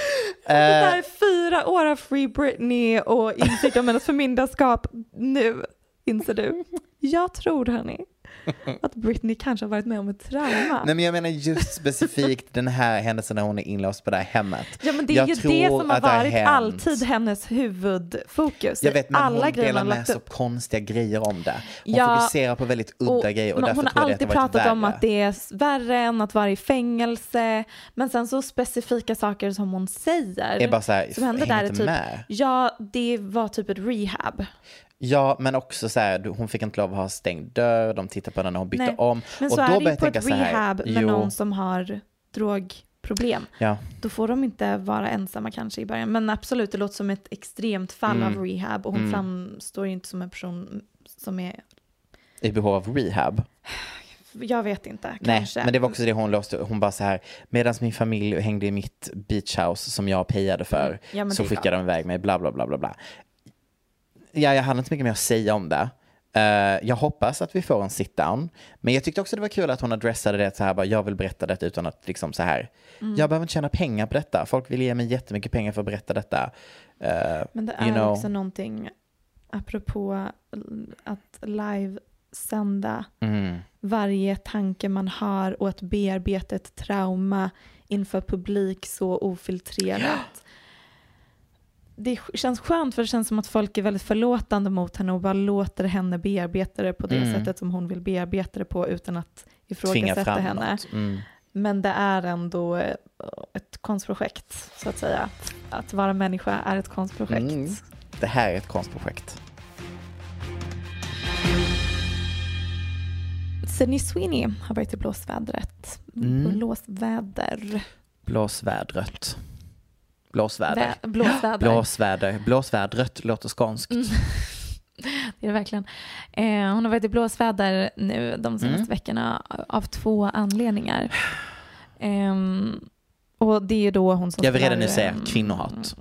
[SPEAKER 5] Det
[SPEAKER 4] eh,
[SPEAKER 5] där är fyra år av Free Britney och insikt om hennes förmyndarskap. Nu inser du. Jag tror hörni att Britney kanske har varit med om ett trauma.
[SPEAKER 4] nej, men jag menar just specifikt den här händelsen när hon är inlåst på det här hemmet.
[SPEAKER 5] ja men det är
[SPEAKER 4] jag
[SPEAKER 5] ju det
[SPEAKER 4] tror
[SPEAKER 5] som har
[SPEAKER 4] att det
[SPEAKER 5] varit
[SPEAKER 4] hänt.
[SPEAKER 5] alltid hennes huvudfokus.
[SPEAKER 4] Jag vet, men
[SPEAKER 5] Alla
[SPEAKER 4] hon
[SPEAKER 5] grejer
[SPEAKER 4] delar
[SPEAKER 5] hon har
[SPEAKER 4] med
[SPEAKER 5] lagt
[SPEAKER 4] så
[SPEAKER 5] upp.
[SPEAKER 4] konstiga grejer om det. Hon
[SPEAKER 5] Ja,
[SPEAKER 4] fokuserar på väldigt udda grejer och
[SPEAKER 5] men
[SPEAKER 4] därför
[SPEAKER 5] hon
[SPEAKER 4] tror
[SPEAKER 5] har
[SPEAKER 4] jag
[SPEAKER 5] alltid
[SPEAKER 4] det har varit
[SPEAKER 5] pratat om
[SPEAKER 4] värre.
[SPEAKER 5] att det är s- värre än att vara i fängelse. Men sen så specifika saker som hon säger.
[SPEAKER 4] är bara så här,
[SPEAKER 5] som hände
[SPEAKER 4] hänger
[SPEAKER 5] där är
[SPEAKER 4] inte
[SPEAKER 5] typ,
[SPEAKER 4] med.
[SPEAKER 5] ja det var typ ett rehab.
[SPEAKER 4] Ja, men också så här, du- hon fick inte lov att ha stängd dörr, de tittar på henne när hon bytte
[SPEAKER 5] Nej,
[SPEAKER 4] om.
[SPEAKER 5] Men
[SPEAKER 4] och
[SPEAKER 5] så är det
[SPEAKER 4] då börjar
[SPEAKER 5] ju
[SPEAKER 4] jag
[SPEAKER 5] på
[SPEAKER 4] tänka
[SPEAKER 5] ett
[SPEAKER 4] så här,
[SPEAKER 5] rehab med
[SPEAKER 4] jo,
[SPEAKER 5] någon som har drogproblem.
[SPEAKER 4] ja.
[SPEAKER 5] Då får de inte vara ensamma kanske i början. Men absolut, det låter som ett extremt fall
[SPEAKER 4] Mm.
[SPEAKER 5] av rehab och hon framstår ju inte som en person som är,
[SPEAKER 4] i behov av rehab.
[SPEAKER 5] jag vet inte,
[SPEAKER 4] Nej,
[SPEAKER 5] kanske.
[SPEAKER 4] men det var också det hon låste. Hon bara så här, medan min familj hängde i mitt beachhouse som jag pejade för,
[SPEAKER 5] Ja, men
[SPEAKER 4] så
[SPEAKER 5] det är
[SPEAKER 4] skickade de iväg mig, bla bla bla bla bla. Ja, jag hade inte mycket mer att säga om det. Eh, jag hoppas att vi får en sit down. Men jag tyckte också det var kul att hon adressade det så här, bara, jag vill berätta detta utan att liksom så här,
[SPEAKER 5] Mm.
[SPEAKER 4] jag behöver inte tjäna pengar på detta. Folk vill ge mig jättemycket pengar för att berätta detta. Eh,
[SPEAKER 5] Men det
[SPEAKER 4] you
[SPEAKER 5] är
[SPEAKER 4] know.
[SPEAKER 5] också någonting, apropå att livesända
[SPEAKER 4] mm,
[SPEAKER 5] varje tanke man har och att bearbeta ett trauma inför publik så ofiltrerat. Det sk- känns skönt för det känns som att folk är väldigt förlåtande mot henne och bara låter henne bearbeta det på det sättet som hon vill bearbeta det på utan att
[SPEAKER 4] Mm. Tvinga
[SPEAKER 5] ifrågasätta
[SPEAKER 4] fram
[SPEAKER 5] henne.
[SPEAKER 4] något. Mm.
[SPEAKER 5] Men det är ändå eh, ett konstprojekt så att säga. Att vara människa är ett konstprojekt.
[SPEAKER 4] Mm. Det här är ett konstprojekt.
[SPEAKER 5] Sydney Sweeney har varit i blåsvädret.
[SPEAKER 4] Mm.
[SPEAKER 5] Blåsväder.
[SPEAKER 4] Blåsvädret. Blåsväder.
[SPEAKER 5] Vä- blåsväder.
[SPEAKER 4] Blåsväder. Blåsvädret låter skånskt.
[SPEAKER 5] Mm. <laughs> Det är det verkligen. Eh, hon har varit i blåsväder nu de senaste
[SPEAKER 4] Mm.
[SPEAKER 5] veckorna av två anledningar. Ehm, och det är ju då hon som
[SPEAKER 4] Jag vill redan nu
[SPEAKER 5] spelar,
[SPEAKER 4] säga
[SPEAKER 5] ehm,
[SPEAKER 4] kvinnohat.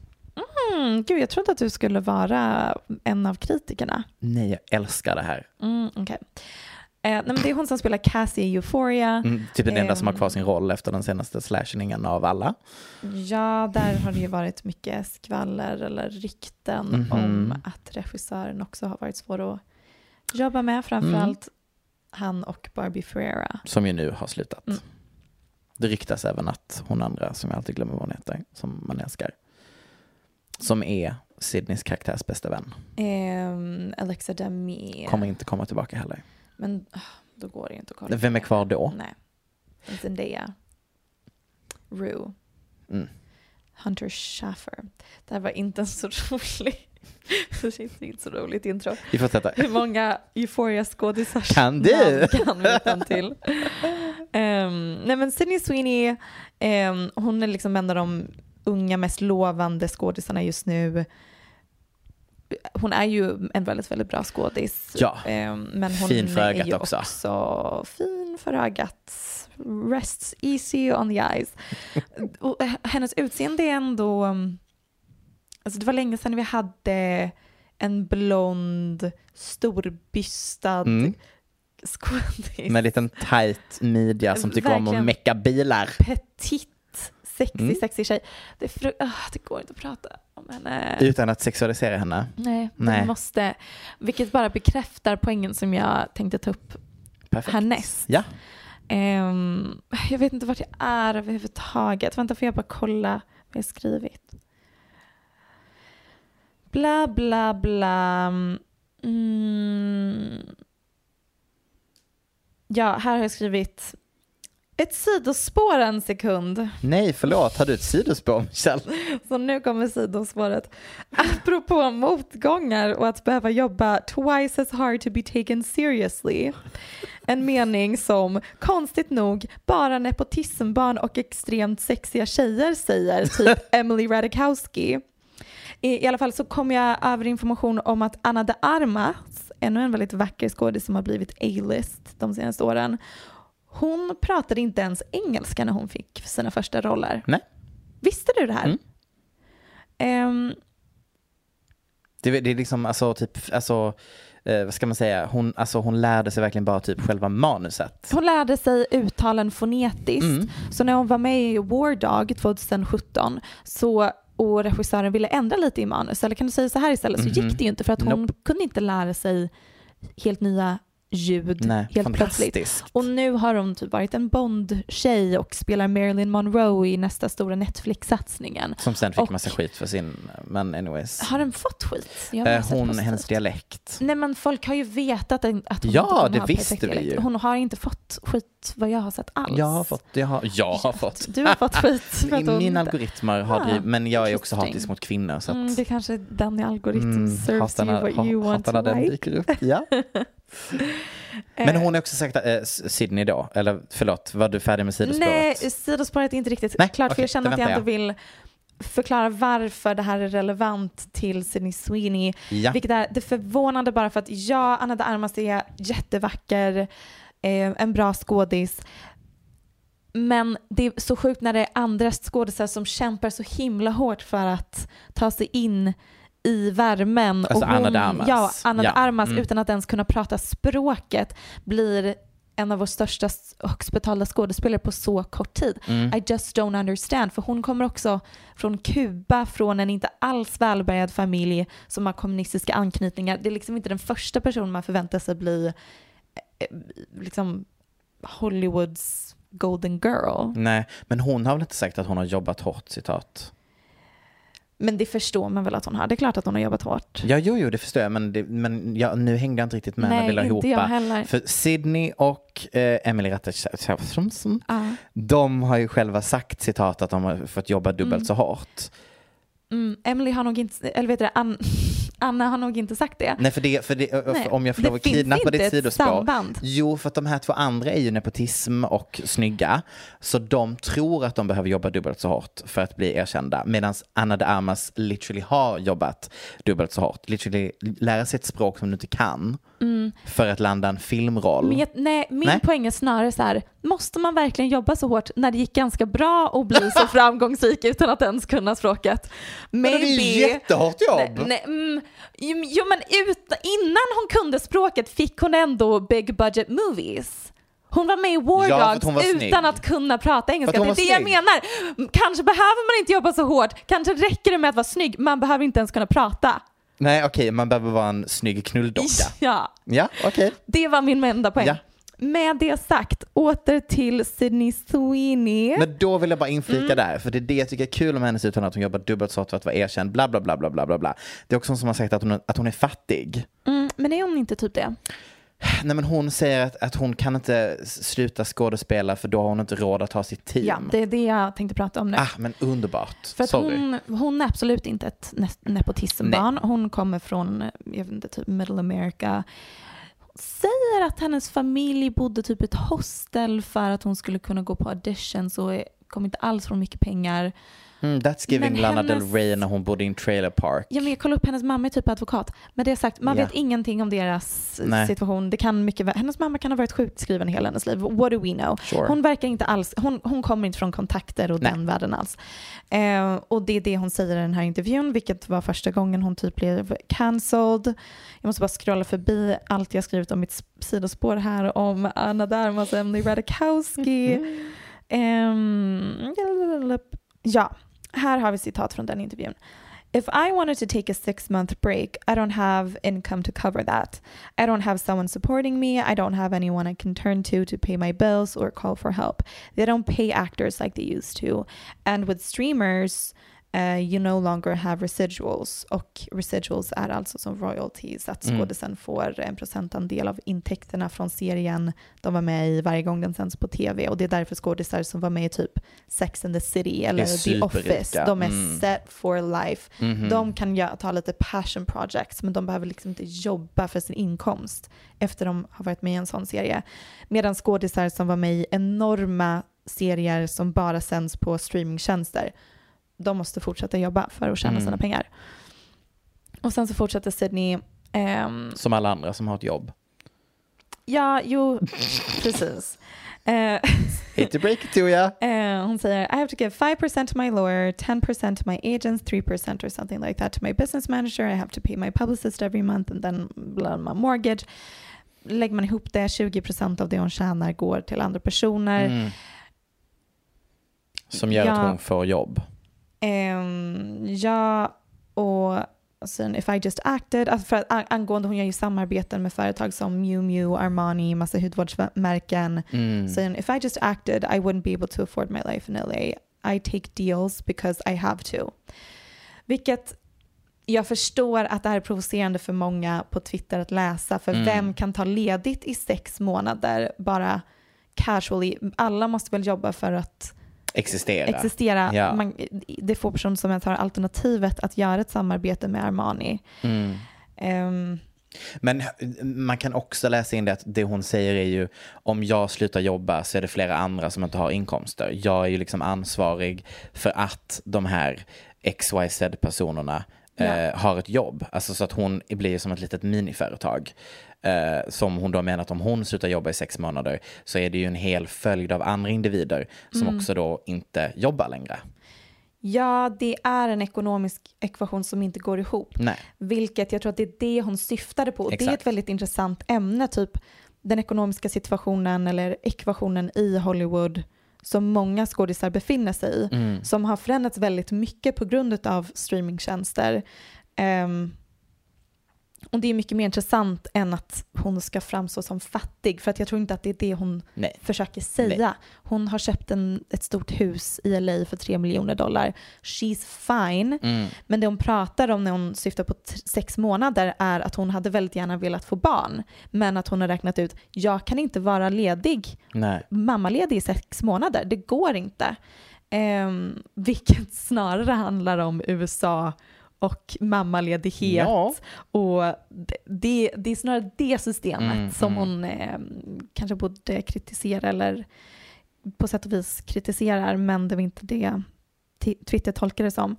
[SPEAKER 5] Mm, gud, jag tror inte att du skulle vara en av kritikerna.
[SPEAKER 4] Nej, jag älskar det här.
[SPEAKER 5] Mm, okej. eh, nej, men det är hon som spelar Cassie i Euphoria.
[SPEAKER 4] Mm, typ den enda som
[SPEAKER 5] Ehm.
[SPEAKER 4] har kvar sin roll efter den senaste slashningen av alla.
[SPEAKER 5] Ja, där har det ju varit mycket skvaller eller rykten
[SPEAKER 4] Mhm.
[SPEAKER 5] om att regissören också har varit svår att jobba med, framförallt
[SPEAKER 4] Mm.
[SPEAKER 5] han och Barbie Ferreira.
[SPEAKER 4] Som ju nu har slutat.
[SPEAKER 5] Mm.
[SPEAKER 4] Det ryktas även att hon andra, som jag alltid glömmer vad hon heter, som man älskar. Som är Sydneys karaktärs bästa vän.
[SPEAKER 5] Ehm, Alexa Demi.
[SPEAKER 4] Kommer inte komma tillbaka heller.
[SPEAKER 5] Men ah, då går det ju inte att kolla.
[SPEAKER 4] Vem är kvar då?
[SPEAKER 5] Nej. Zendaya. Rue.
[SPEAKER 4] Mm.
[SPEAKER 5] Hunter Schaffer. Det här var inte en så <laughs> rolig... det känns inte så roligt intro.
[SPEAKER 4] Vi fortsätter.
[SPEAKER 5] Hur många Euphoria-skådisar
[SPEAKER 4] Kan du?
[SPEAKER 5] namn kan vi utan till? Ehm, nej men Sydney Sweeney, ehm, hon är liksom en av de unga mest lovande skådisarna just nu. Hon är ju en väldigt, väldigt bra skådis.
[SPEAKER 4] Ja.
[SPEAKER 5] Ehm, men hon
[SPEAKER 4] Fin för
[SPEAKER 5] är
[SPEAKER 4] ögat
[SPEAKER 5] ju
[SPEAKER 4] också.
[SPEAKER 5] också fin för ögat. Rests easy on the eyes. Och eh, hennes utseende är ändå... mm, Alltså det var länge sedan vi hade en blond, storbystad
[SPEAKER 4] Mm.
[SPEAKER 5] skådis.
[SPEAKER 4] Med en liten tight midja som tycker om att
[SPEAKER 5] Verkligen.
[SPEAKER 4] mecka bilar.
[SPEAKER 5] Petit, sexig,
[SPEAKER 4] Mm.
[SPEAKER 5] sexig tjej. Det, är fru- ah, det går inte att prata om henne.
[SPEAKER 4] Utan att sexualisera henne.
[SPEAKER 5] Nej,
[SPEAKER 4] Nej.
[SPEAKER 5] Vi måste. Vilket bara bekräftar poängen som jag tänkte ta upp
[SPEAKER 4] Perfekt.
[SPEAKER 5] härnäst.
[SPEAKER 4] Ja.
[SPEAKER 5] Ehm, jag vet inte vart jag är överhuvudtaget. Vänta, får jag bara kolla vi har skrivit. Bla, bla, bla. Mm. Ja, här har jag skrivit ett sidospår en sekund.
[SPEAKER 4] Nej, förlåt. Har du ett sidospår, Michelle?
[SPEAKER 5] <laughs> Så nu kommer sidospåret. Apropå motgångar och att behöva jobba twice as hard to be taken seriously. En mening som konstigt nog bara nepotismbarn och extremt sexiga tjejer säger, typ
[SPEAKER 4] <laughs>
[SPEAKER 5] Emily Radikowski. I, I alla fall så kom jag över information om att Anna de Armas, ännu en väldigt vacker skådis som har blivit A-list de senaste åren, hon pratade inte ens engelska när hon fick sina första roller.
[SPEAKER 4] Nej.
[SPEAKER 5] Visste du det här?
[SPEAKER 4] Mm.
[SPEAKER 5] Ehm,
[SPEAKER 4] Det, det är liksom, alltså, typ, alltså, eh, vad ska man säga? Hon, alltså, hon lärde sig verkligen bara typ själva manuset.
[SPEAKER 5] hon lärde sig uttalen fonetiskt.
[SPEAKER 4] Mm.
[SPEAKER 5] Så när hon var med i War Dog 2017 så, och regissören ville ändra lite i manus, eller kan du säga så här istället, så gick det ju inte för att hon
[SPEAKER 4] Mhm. Nope.
[SPEAKER 5] kunde inte lära sig helt nya ljud
[SPEAKER 4] Nej,
[SPEAKER 5] helt plötsligt.
[SPEAKER 4] fantastiskt.
[SPEAKER 5] Och nu har hon typ varit en Bond-tjej och spelar Marilyn Monroe i nästa stora Netflix-satsningen.
[SPEAKER 4] Som sen fick
[SPEAKER 5] Och-
[SPEAKER 4] massa skit för sin, men anyways.
[SPEAKER 5] Har den fått skit? Jag har
[SPEAKER 4] Eh,
[SPEAKER 5] inte sett
[SPEAKER 4] hon,
[SPEAKER 5] positivt.
[SPEAKER 4] hennes dialekt.
[SPEAKER 5] Nej men folk har ju vetat att att hon
[SPEAKER 4] Ja,
[SPEAKER 5] inte kommer
[SPEAKER 4] det
[SPEAKER 5] ha
[SPEAKER 4] visste
[SPEAKER 5] perfekt
[SPEAKER 4] vi
[SPEAKER 5] dialekt.
[SPEAKER 4] ju.
[SPEAKER 5] Hon har inte fått skit vad jag har sett alls.
[SPEAKER 4] Jag har fått, jag har, jag har fått.
[SPEAKER 5] Du har fått
[SPEAKER 4] <laughs>
[SPEAKER 5] skit. för att hon inte-
[SPEAKER 4] Mina algoritmer har
[SPEAKER 5] Ah,
[SPEAKER 4] drivit, men jag är också
[SPEAKER 5] interesting.
[SPEAKER 4] hatisk mot kvinnor så att
[SPEAKER 5] Mm, det kanske är den i algoritm
[SPEAKER 4] mm,
[SPEAKER 5] serves
[SPEAKER 4] hatar
[SPEAKER 5] you
[SPEAKER 4] när-
[SPEAKER 5] what
[SPEAKER 4] ha-
[SPEAKER 5] you want
[SPEAKER 4] hatar
[SPEAKER 5] to
[SPEAKER 4] när den
[SPEAKER 5] like.
[SPEAKER 4] dyker upp.
[SPEAKER 5] <laughs>
[SPEAKER 4] Ja. men hon är också sagt, eh, Sydney då, eller förlåt, var du färdig med sidospåret?
[SPEAKER 5] Nej, sidospåret är inte riktigt
[SPEAKER 4] Nej,
[SPEAKER 5] klart för
[SPEAKER 4] okej,
[SPEAKER 5] jag känner
[SPEAKER 4] då
[SPEAKER 5] att jag
[SPEAKER 4] väntar
[SPEAKER 5] ändå vill förklara varför det här är relevant till Sydney Sweeney.
[SPEAKER 4] Ja.
[SPEAKER 5] Vilket är det förvånande bara för att jag, Anna de Armas, är jättevacker, eh, en bra skådis. Men det är så sjukt när det är andra skådisar som kämpar så himla hårt för att ta sig in i värmen.
[SPEAKER 4] Alltså Anna de Armas.
[SPEAKER 5] Ja, Anna de
[SPEAKER 4] Ja,
[SPEAKER 5] Armas
[SPEAKER 4] mm.
[SPEAKER 5] utan att ens kunna prata språket blir en av vår största s- högst betalda skådespelare på så kort tid.
[SPEAKER 4] Mm.
[SPEAKER 5] I just don't understand. För hon kommer också från Kuba, från en inte alls välbärgad familj som har kommunistiska anknytningar. Det är liksom inte den första personen man förväntar sig bli eh, liksom Hollywoods golden girl.
[SPEAKER 4] Nej, men hon har väl inte sagt att hon har jobbat hårt, citat.
[SPEAKER 5] Men det förstår man väl att hon har. Det är klart att hon har jobbat hårt.
[SPEAKER 4] Ja, jo, jo, det förstår jag, men, det, men jag, nu hängde jag inte riktigt med när
[SPEAKER 5] Typ. Nej,
[SPEAKER 4] vi la
[SPEAKER 5] inte
[SPEAKER 4] ihop.
[SPEAKER 5] jag heller.
[SPEAKER 4] För Sydney och eh, Emily Ratajkowski,
[SPEAKER 5] Ja.
[SPEAKER 4] de har ju själva sagt citat att de har fått jobba dubbelt så hårt.
[SPEAKER 5] Mm, Emily har nog inte, eller vet du det, Ann, <laughs> Anna har nog inte sagt det.
[SPEAKER 4] Nej, för, det, för, det,
[SPEAKER 5] Nej,
[SPEAKER 4] för om jag får lov
[SPEAKER 5] det
[SPEAKER 4] att
[SPEAKER 5] finns
[SPEAKER 4] kidnappa
[SPEAKER 5] inte
[SPEAKER 4] ditt
[SPEAKER 5] ett
[SPEAKER 4] sidospår.
[SPEAKER 5] samband.
[SPEAKER 4] Jo, för att de här två andra är ju nepotism och snygga. Så de tror att de behöver jobba dubbelt så hårt för att bli erkända. Medan Anna de Armas literally har jobbat dubbelt så hårt. Literally lära sig ett språk som du inte kan för att landa en filmroll.
[SPEAKER 5] Mm. Men jag, nej, min
[SPEAKER 4] Nej.
[SPEAKER 5] poäng är snarare så här, måste man verkligen jobba så hårt när det gick ganska bra och bli
[SPEAKER 4] <laughs>
[SPEAKER 5] så framgångsrik utan att ens kunna språket?
[SPEAKER 4] Men det är ju jättehårt
[SPEAKER 5] Nej,
[SPEAKER 4] jobb!
[SPEAKER 5] nej, mm, jo, jo men ut, innan hon kunde språket fick hon ändå big budget movies. Hon var med i War
[SPEAKER 4] Ja, för att hon var
[SPEAKER 5] Dogs utan
[SPEAKER 4] snygg.
[SPEAKER 5] att kunna prata engelska.
[SPEAKER 4] För att
[SPEAKER 5] Det
[SPEAKER 4] hon
[SPEAKER 5] är det jag
[SPEAKER 4] var
[SPEAKER 5] menar. Kanske behöver man inte jobba så hårt. Kanske räcker det med att vara snygg. Man behöver inte ens kunna prata.
[SPEAKER 4] Nej, okej, man behöver vara en snygg knulldocka.
[SPEAKER 5] <laughs> Ja.
[SPEAKER 4] Ja, okej.
[SPEAKER 5] Det var min enda poäng.
[SPEAKER 4] Ja.
[SPEAKER 5] Med det sagt, åter till Sydney Sweeney.
[SPEAKER 4] Men då vill jag bara inflika
[SPEAKER 5] Mm.
[SPEAKER 4] där, för det är det jag tycker är kul om hennes uttalande, att hon jobbar dubbelt så hårt för att vara erkänd, bla bla bla bla bla bla. bla. Det är också hon som har sagt att hon, att hon är fattig.
[SPEAKER 5] Mm, men är hon inte typ det?
[SPEAKER 4] Nej men hon säger att, att hon kan inte s- sluta skådespela för då har hon inte råd att ha sitt team.
[SPEAKER 5] Ja, det är det jag tänkte prata om nu.
[SPEAKER 4] Ah, men underbart.
[SPEAKER 5] För att
[SPEAKER 4] Sorry.
[SPEAKER 5] hon, hon är absolut inte ett ne- nepotismbarn. Hon kommer från, eh, jag vet inte, typ middle America. Hon säger att hennes familj bodde typ i ett hostel för att hon skulle kunna gå på auditions och eh, kom inte alls från mycket pengar.
[SPEAKER 4] Mm, that's giving
[SPEAKER 5] Men
[SPEAKER 4] Lana
[SPEAKER 5] hennes-
[SPEAKER 4] Del Rey när hon bodde i en trailer park.
[SPEAKER 5] Ja, men jag kollade upp, hennes mamma är typ advokat. Men det sagt, man
[SPEAKER 4] Ja.
[SPEAKER 5] vet ingenting om deras eh,
[SPEAKER 4] Nej.
[SPEAKER 5] situation. Det kan mycket väl, hennes mamma kan ha varit sjukskriven hela hennes liv. What do we know?
[SPEAKER 4] Sure.
[SPEAKER 5] Hon verkar inte alls, hon, hon kommer inte från kontakter och
[SPEAKER 4] Nej.
[SPEAKER 5] den världen alls. Eh, och det är det hon säger i den här intervjun, vilket var första gången hon typ blev cancelled. Jag måste bara scrolla förbi allt jag skrivit om mitt s- sidospår här om Anna Darmas och Emily
[SPEAKER 4] <laughs>
[SPEAKER 5] Radikowski. Ehm, ja, här har vi citat från den intervjun. if I wanted to take a six month break, I don't have income to cover that. I don't have someone supporting me. I don't have anyone I can turn to to pay my bills or call for help. They don't pay actors like they used to. And with streamers, eh, you no longer have residuals och residuals är alltså som royalties att
[SPEAKER 4] Mm.
[SPEAKER 5] skådisen får en procentandel av intäkterna från serien de var med i varje gång den sänds på tv och det är därför skådisar som var med i typ Sex and the City eller The
[SPEAKER 4] superrika.
[SPEAKER 5] Office, de är
[SPEAKER 4] Mm.
[SPEAKER 5] set for life. De kan göra, ta lite passion projects men de behöver liksom inte jobba för sin inkomst efter de har varit med i en sån serie. Medan skådisar som var med i enorma serier som bara sänds på streamingtjänster, de måste fortsätta jobba för att tjäna sina pengar. Och sen så fortsätter Sydney, ehm,
[SPEAKER 4] Som alla andra som har ett jobb.
[SPEAKER 5] ja jo precis. Eh,
[SPEAKER 4] Hate to break it to ya.
[SPEAKER 5] Eh, hon säger I have to give 5% to my lawyer, 10% to my agents, 3% or something like that to my business manager. I have to pay my publicist every month and then blah, my mortgage. Lägger man ihop det, 20% av det hon tjänar går till andra personer.
[SPEAKER 4] Mm. Som gör
[SPEAKER 5] Ja.
[SPEAKER 4] att hon får jobb.
[SPEAKER 5] Ehm, ja, och sen if I just acted, alltså för att, an- angående hon gör ju samarbeten med företag som Miu Miu, Armani, massa hudvårdsmärken.
[SPEAKER 4] Mm.
[SPEAKER 5] Sen if I just acted I wouldn't be able to afford my life in LA. I take deals because I have to. Vilket jag förstår att det här är provocerande för många på Twitter att läsa, för vem kan ta ledigt i sex månader bara casually? Alla måste väl jobba för att
[SPEAKER 4] Existera.
[SPEAKER 5] existera.
[SPEAKER 4] Ja.
[SPEAKER 5] Man, det är få personer som ens har alternativet att göra ett samarbete med Armani. Ehm,
[SPEAKER 4] Men man kan också läsa in det att det hon säger är ju om jag slutar jobba så är det flera andra som inte har inkomster. Jag är ju liksom ansvarig för att de här XYZ-personerna eh, har ett jobb. Alltså så att hon blir som ett litet miniföretag. Eh, som hon då menar att om hon slutar jobba i sex månader så är det ju en hel följd av andra individer som också då inte jobbar längre.
[SPEAKER 5] ja, det är en ekonomisk ekvation som inte går ihop.
[SPEAKER 4] Nej.
[SPEAKER 5] Vilket jag tror att det är det hon syftade på. Och Det är
[SPEAKER 4] Exakt.
[SPEAKER 5] ett väldigt intressant ämne, typ den ekonomiska situationen eller ekvationen i Hollywood som många skådisar befinner sig i. Som har förändrats väldigt mycket på grund av streamingtjänster. Ehm, och det är mycket mer intressant än att hon ska framstå som fattig. För att jag tror inte att det är det hon
[SPEAKER 4] Nej.
[SPEAKER 5] försöker säga. Hon har köpt en, ett stort hus i LA för 3 miljoner dollar. She's fine. Men det hon pratar om när hon syftar på t- sex månader är att hon hade väldigt gärna velat få barn. Men att hon har räknat ut, jag kan inte vara ledig,
[SPEAKER 4] Nej.
[SPEAKER 5] mammaledig i sex månader. Det går inte. Ehm, vilket snarare handlar om USA och mammaledighet.
[SPEAKER 4] Ja.
[SPEAKER 5] Och det- det, det är snarare det systemet som hon eh, kanske borde kritisera eller på sätt och vis kritiserar men det var inte det Ti- Twitter tolkar det som.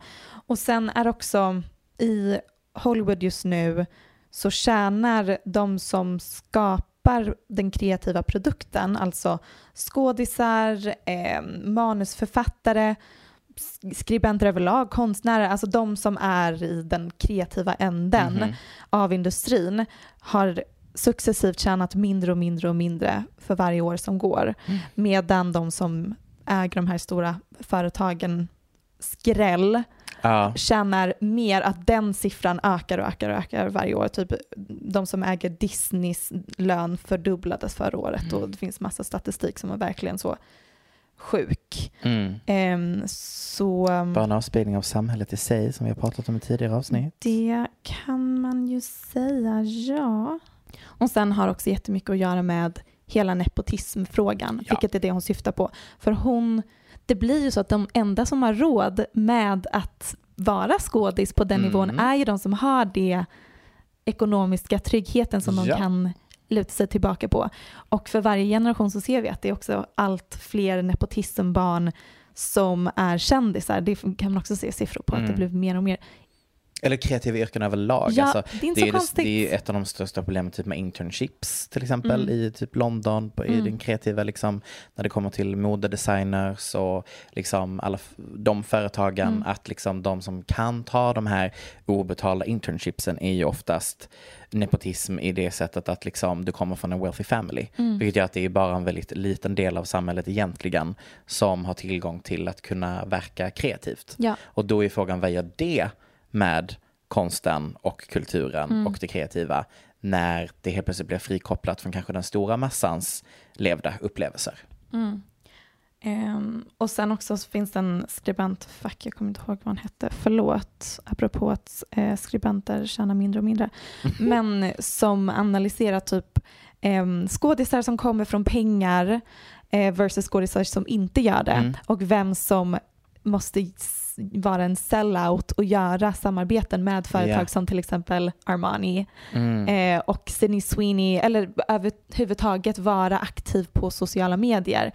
[SPEAKER 5] Och sen är också i Hollywood just nu så tjänar de som skapar den kreativa produkten, alltså skådisar, eh, manusförfattare, sk- skribenter överlag, konstnärer, alltså de som är i den kreativa änden
[SPEAKER 4] Mhm.
[SPEAKER 5] av industrin har successivt tjänat mindre och mindre och mindre för varje år som går. Medan de som äger de här stora företagen skräll
[SPEAKER 4] Ja.
[SPEAKER 5] tjänar mer, att den siffran ökar och ökar och ökar varje år. Typ de som äger Disneys lön fördubblades förra året och det finns massa statistik som är verkligen så sjuk.
[SPEAKER 4] Mm.
[SPEAKER 5] Ehm, så ehm,
[SPEAKER 4] Bara en avspegling av samhället i sig som vi har pratat om i tidigare avsnitt.
[SPEAKER 5] det kan man ju säga, ja. Och sen har också jättemycket att göra med hela nepotismfrågan,
[SPEAKER 4] Ja.
[SPEAKER 5] vilket är det hon syftar på. För hon, det blir ju så att de enda som har råd med att vara skådis på den nivån är ju de som har det ekonomiska tryggheten som de
[SPEAKER 4] Ja.
[SPEAKER 5] kan luta sig tillbaka på. Och för varje generation så ser vi att det är också allt fler nepotismbarn som är kändisar. Det kan man också se siffror på, att det blir mer och mer.
[SPEAKER 4] Eller kreativa yrken överlag.
[SPEAKER 5] Ja,
[SPEAKER 4] alltså,
[SPEAKER 5] det är inte så
[SPEAKER 4] ju
[SPEAKER 5] konstigt. Mm.
[SPEAKER 4] det är ju ett av de största problemen typ med internships till exempel i typ London, på, i den kreativa liksom, när det kommer till modedesigners och liksom alla f- de företagen,
[SPEAKER 5] Mm.
[SPEAKER 4] att liksom de som kan ta de här obetalda internshipsen är ju oftast nepotism i det sättet att liksom du kommer från en wealthy family.
[SPEAKER 5] Mm.
[SPEAKER 4] Vilket gör att det är bara en väldigt liten del av samhället egentligen som har tillgång till att kunna verka kreativt.
[SPEAKER 5] Ja.
[SPEAKER 4] Och då är frågan vad gör det med konsten och kulturen
[SPEAKER 5] Mm.
[SPEAKER 4] och det kreativa när det helt plötsligt blir frikopplat från kanske den stora massans levda upplevelser.
[SPEAKER 5] Mm. Ehm, och sen också så finns det en skribent, fuck jag kommer inte ihåg vad han hette, förlåt, apropå att eh, skribenter tjänar mindre och mindre, men som analyserar typ ehm, skådisar som kommer från pengar eh, versus skådisar som inte gör det
[SPEAKER 4] Mm.
[SPEAKER 5] och vem som måste s- vara en sellout och göra samarbeten med företag
[SPEAKER 4] Ja.
[SPEAKER 5] som till exempel Armani
[SPEAKER 4] Mm.
[SPEAKER 5] eh, och Sydney Sweeney, eller överhuvudtaget vara aktiv på sociala medier.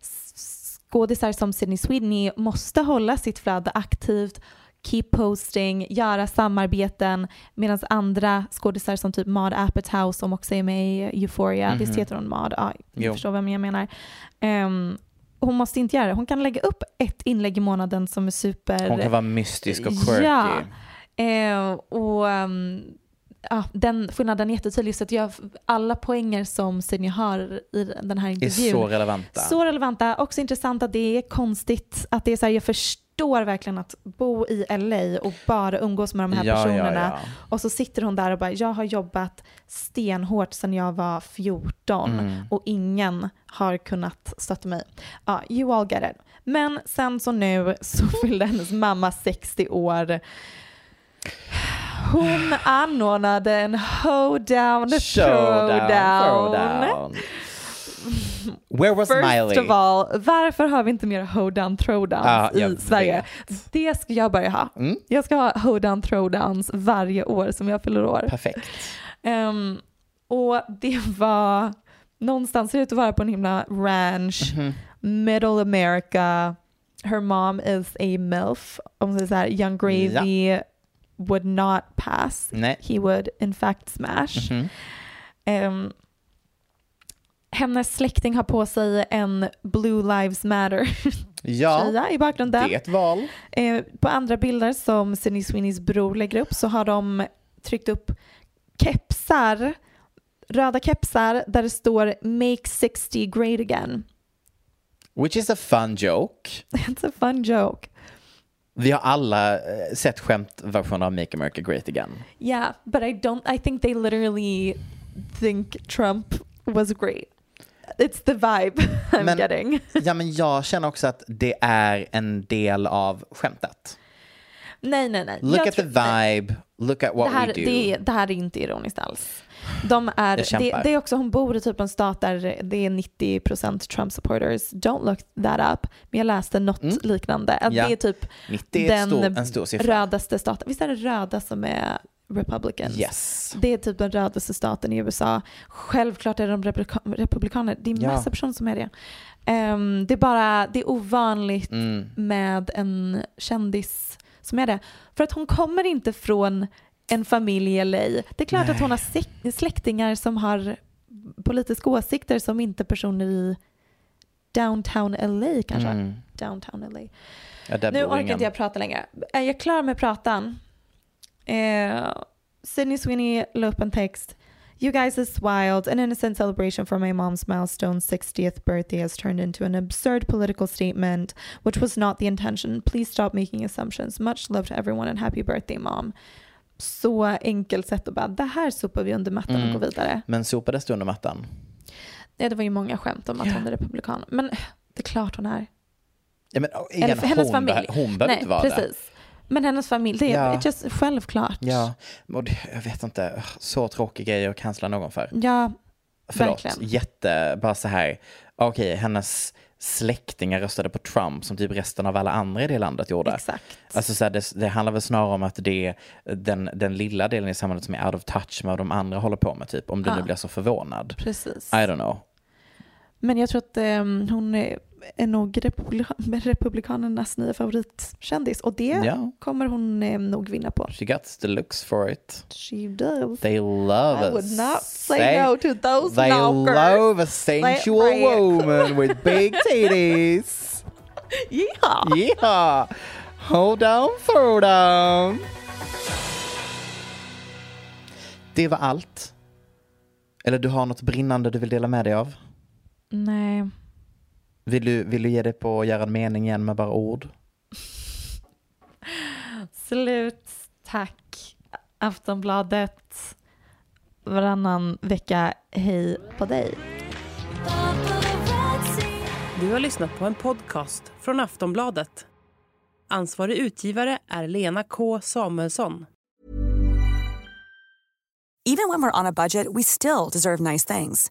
[SPEAKER 5] S- Skådisar som Sydney Sweeney måste hålla sitt flöde aktivt, keep posting, göra samarbeten medan andra skådisar som typ Maude Apatow som också är med i Euphoria,
[SPEAKER 4] Mhm.
[SPEAKER 5] visst heter hon Maude? Ja, ni
[SPEAKER 4] Jo.
[SPEAKER 5] förstår vem jag menar. Ehm, hon måste inte göra det. Hon kan lägga upp ett inlägg i månaden som är super...
[SPEAKER 4] Hon kan vara mystisk och quirky.
[SPEAKER 5] Ja. Eh, och ehm, ja, den skillnaden är jättetydlig. Så att jag, alla poänger som Sydney har i den här
[SPEAKER 4] Är
[SPEAKER 5] intervjun
[SPEAKER 4] så relevanta.
[SPEAKER 5] så relevanta. Också intressant att det är konstigt att det är så här, jag förstår verkligen att bo i LA och bara umgås med de här personerna.
[SPEAKER 4] Ja,
[SPEAKER 5] Och så sitter hon där och bara, jag har jobbat stenhårt sedan jag var 14
[SPEAKER 4] Mm.
[SPEAKER 5] och ingen har kunnat stötta mig. Ja, you all get it. Men sen så nu så <laughs> fyllde hennes mamma 60 år. Hon anordnade en hoedown
[SPEAKER 4] ja.
[SPEAKER 5] showdown.
[SPEAKER 4] Showdown. Throwdown. Where was
[SPEAKER 5] First
[SPEAKER 4] Miley?
[SPEAKER 5] of all, varför har vi inte mer hoedown throwdowns
[SPEAKER 4] Ja, jag Mm.
[SPEAKER 5] i Sverige? Det ska jag börja ha. Jag ska ha hoedown throwdowns varje år som jag fyller år.
[SPEAKER 4] Perfekt.
[SPEAKER 5] Ehm, och det var någonstans, ser det ut att vara på en himla ranch,
[SPEAKER 4] Mhm.
[SPEAKER 5] middle America. Her mom is a milf, om man säger så här, young gravy would not pass.
[SPEAKER 4] Nej. Mhm.
[SPEAKER 5] He would in fact smash. Ehm, hennes släkting har på sig en Blue Lives Matter-tröja
[SPEAKER 4] Ja,
[SPEAKER 5] i bakgrunden.
[SPEAKER 4] det är ett val.
[SPEAKER 5] Eh, på andra bilder som Sydney Sweeneys bror lägger upp så har de tryckt upp kepsar, röda kepsar där det står “Make 60 great again”. <laughs>
[SPEAKER 4] Which is a fun joke.
[SPEAKER 5] It's a fun joke.
[SPEAKER 4] Vi har alla eh, sett skämtversioner av Make America Great Again.
[SPEAKER 5] Yeah, but I don't, I think they literally think Trump was great. It's the vibe <laughs> I'm
[SPEAKER 4] Men-
[SPEAKER 5] getting.
[SPEAKER 4] Ja, men jag känner också att det är en del av skämtet.
[SPEAKER 5] Nej, nej, nej.
[SPEAKER 4] Look
[SPEAKER 5] Jag
[SPEAKER 4] at the
[SPEAKER 5] tror- nej.
[SPEAKER 4] vibe, look at what
[SPEAKER 5] det här,
[SPEAKER 4] we do.
[SPEAKER 5] Det, är- det här är inte ironiskt alls. De är,
[SPEAKER 4] Jag kämpar.
[SPEAKER 5] det, det är också, hon bor i typ en stat där det är 90% Trump supporters. Don't look that up. Men jag läste något liknande. Att
[SPEAKER 4] Mm. Ja.
[SPEAKER 5] Det är typ
[SPEAKER 4] 90 är
[SPEAKER 5] den
[SPEAKER 4] ett stor, en stor siffra.
[SPEAKER 5] rödaste staten. Visst är det röda som är republicans?
[SPEAKER 4] Yes.
[SPEAKER 5] Det är typ den rödaste staten i USA. Självklart är de republika- republikaner. Det är
[SPEAKER 4] Ja.
[SPEAKER 5] massa personer som är det. Ehm, det är bara det är ovanligt
[SPEAKER 4] Mm.
[SPEAKER 5] med en kändis som är det. För att hon kommer inte från en familj i LA. Det är klart att hon har sek- släktingar som har politiska åsikter som inte personer i downtown LA kanske.
[SPEAKER 4] Mm.
[SPEAKER 5] Downtown LA.
[SPEAKER 4] Ja, där
[SPEAKER 5] Nu
[SPEAKER 4] bor
[SPEAKER 5] orkar
[SPEAKER 4] ingen.
[SPEAKER 5] inte jag prata längre. Är jag klar med pratan? Eh, Sydney Sweeney la upp en text. You guys is wild. An innocent celebration for my mom's milestone 60th birthday has turned into an absurd political statement, which was not the intention. Please stop making assumptions. Much love to everyone and happy birthday mom. Så enkelt sätt att bara, det här sopar vi under mattan
[SPEAKER 4] Mm.
[SPEAKER 5] och går vidare.
[SPEAKER 4] Men sopades du under mattan?
[SPEAKER 5] Nej, det var ju många skämt om att hon är republikan. Men eh, det är klart hon är.
[SPEAKER 4] Ja, men, och igen,
[SPEAKER 5] Eller för hennes
[SPEAKER 4] hon,
[SPEAKER 5] familj.
[SPEAKER 4] beh- hon behöver inte vara det.
[SPEAKER 5] precis. Men hennes familj, det är
[SPEAKER 4] Ja.
[SPEAKER 5] it's just självklart.
[SPEAKER 4] Ja, och det- jag vet inte. Ugh, Så tråkig grej att cancella någon för.
[SPEAKER 5] Ja,
[SPEAKER 4] Förlåt,
[SPEAKER 5] verkligen.
[SPEAKER 4] jätte, bara så här. Okej, hennes släktingar röstade på Trump som typ resten av alla andra i det landet gjorde.
[SPEAKER 5] Exakt.
[SPEAKER 4] Alltså så här, det, det handlar väl snarare om att det är den, den lilla delen i samhället som är out of touch med vad de andra håller på med, typ. Om du nu blir så förvånad.
[SPEAKER 5] Precis.
[SPEAKER 4] I don't know.
[SPEAKER 5] Men jag tror att ehm, hon är, är nog republikan, <laughs> republikanernas nya favoritkändis och det
[SPEAKER 4] Ja.
[SPEAKER 5] kommer hon eh, nog vinna på.
[SPEAKER 4] She gets the looks for it.
[SPEAKER 5] She does.
[SPEAKER 4] They
[SPEAKER 5] I
[SPEAKER 4] love a
[SPEAKER 5] would not say
[SPEAKER 4] sen-
[SPEAKER 5] no to those
[SPEAKER 4] They
[SPEAKER 5] knockers.
[SPEAKER 4] love a
[SPEAKER 5] <laughs>
[SPEAKER 4] sensual
[SPEAKER 5] right.
[SPEAKER 4] woman with big titties.
[SPEAKER 5] Yeah.
[SPEAKER 4] yeah! Hold down, throw down. Det var allt. Eller du har något brinnande du vill dela med dig av?
[SPEAKER 5] Nej.
[SPEAKER 4] Vill du, vill du ge dig på att göra en mening igen med bara ord?
[SPEAKER 5] Slut. Tack Aftonbladet. Varannan vecka, hej på dig.
[SPEAKER 6] Du har lyssnat på en podcast från Aftonbladet. Ansvarig utgivare är Lena K Samuelsson.
[SPEAKER 7] Even when we're on a budget, we still deserve nice things.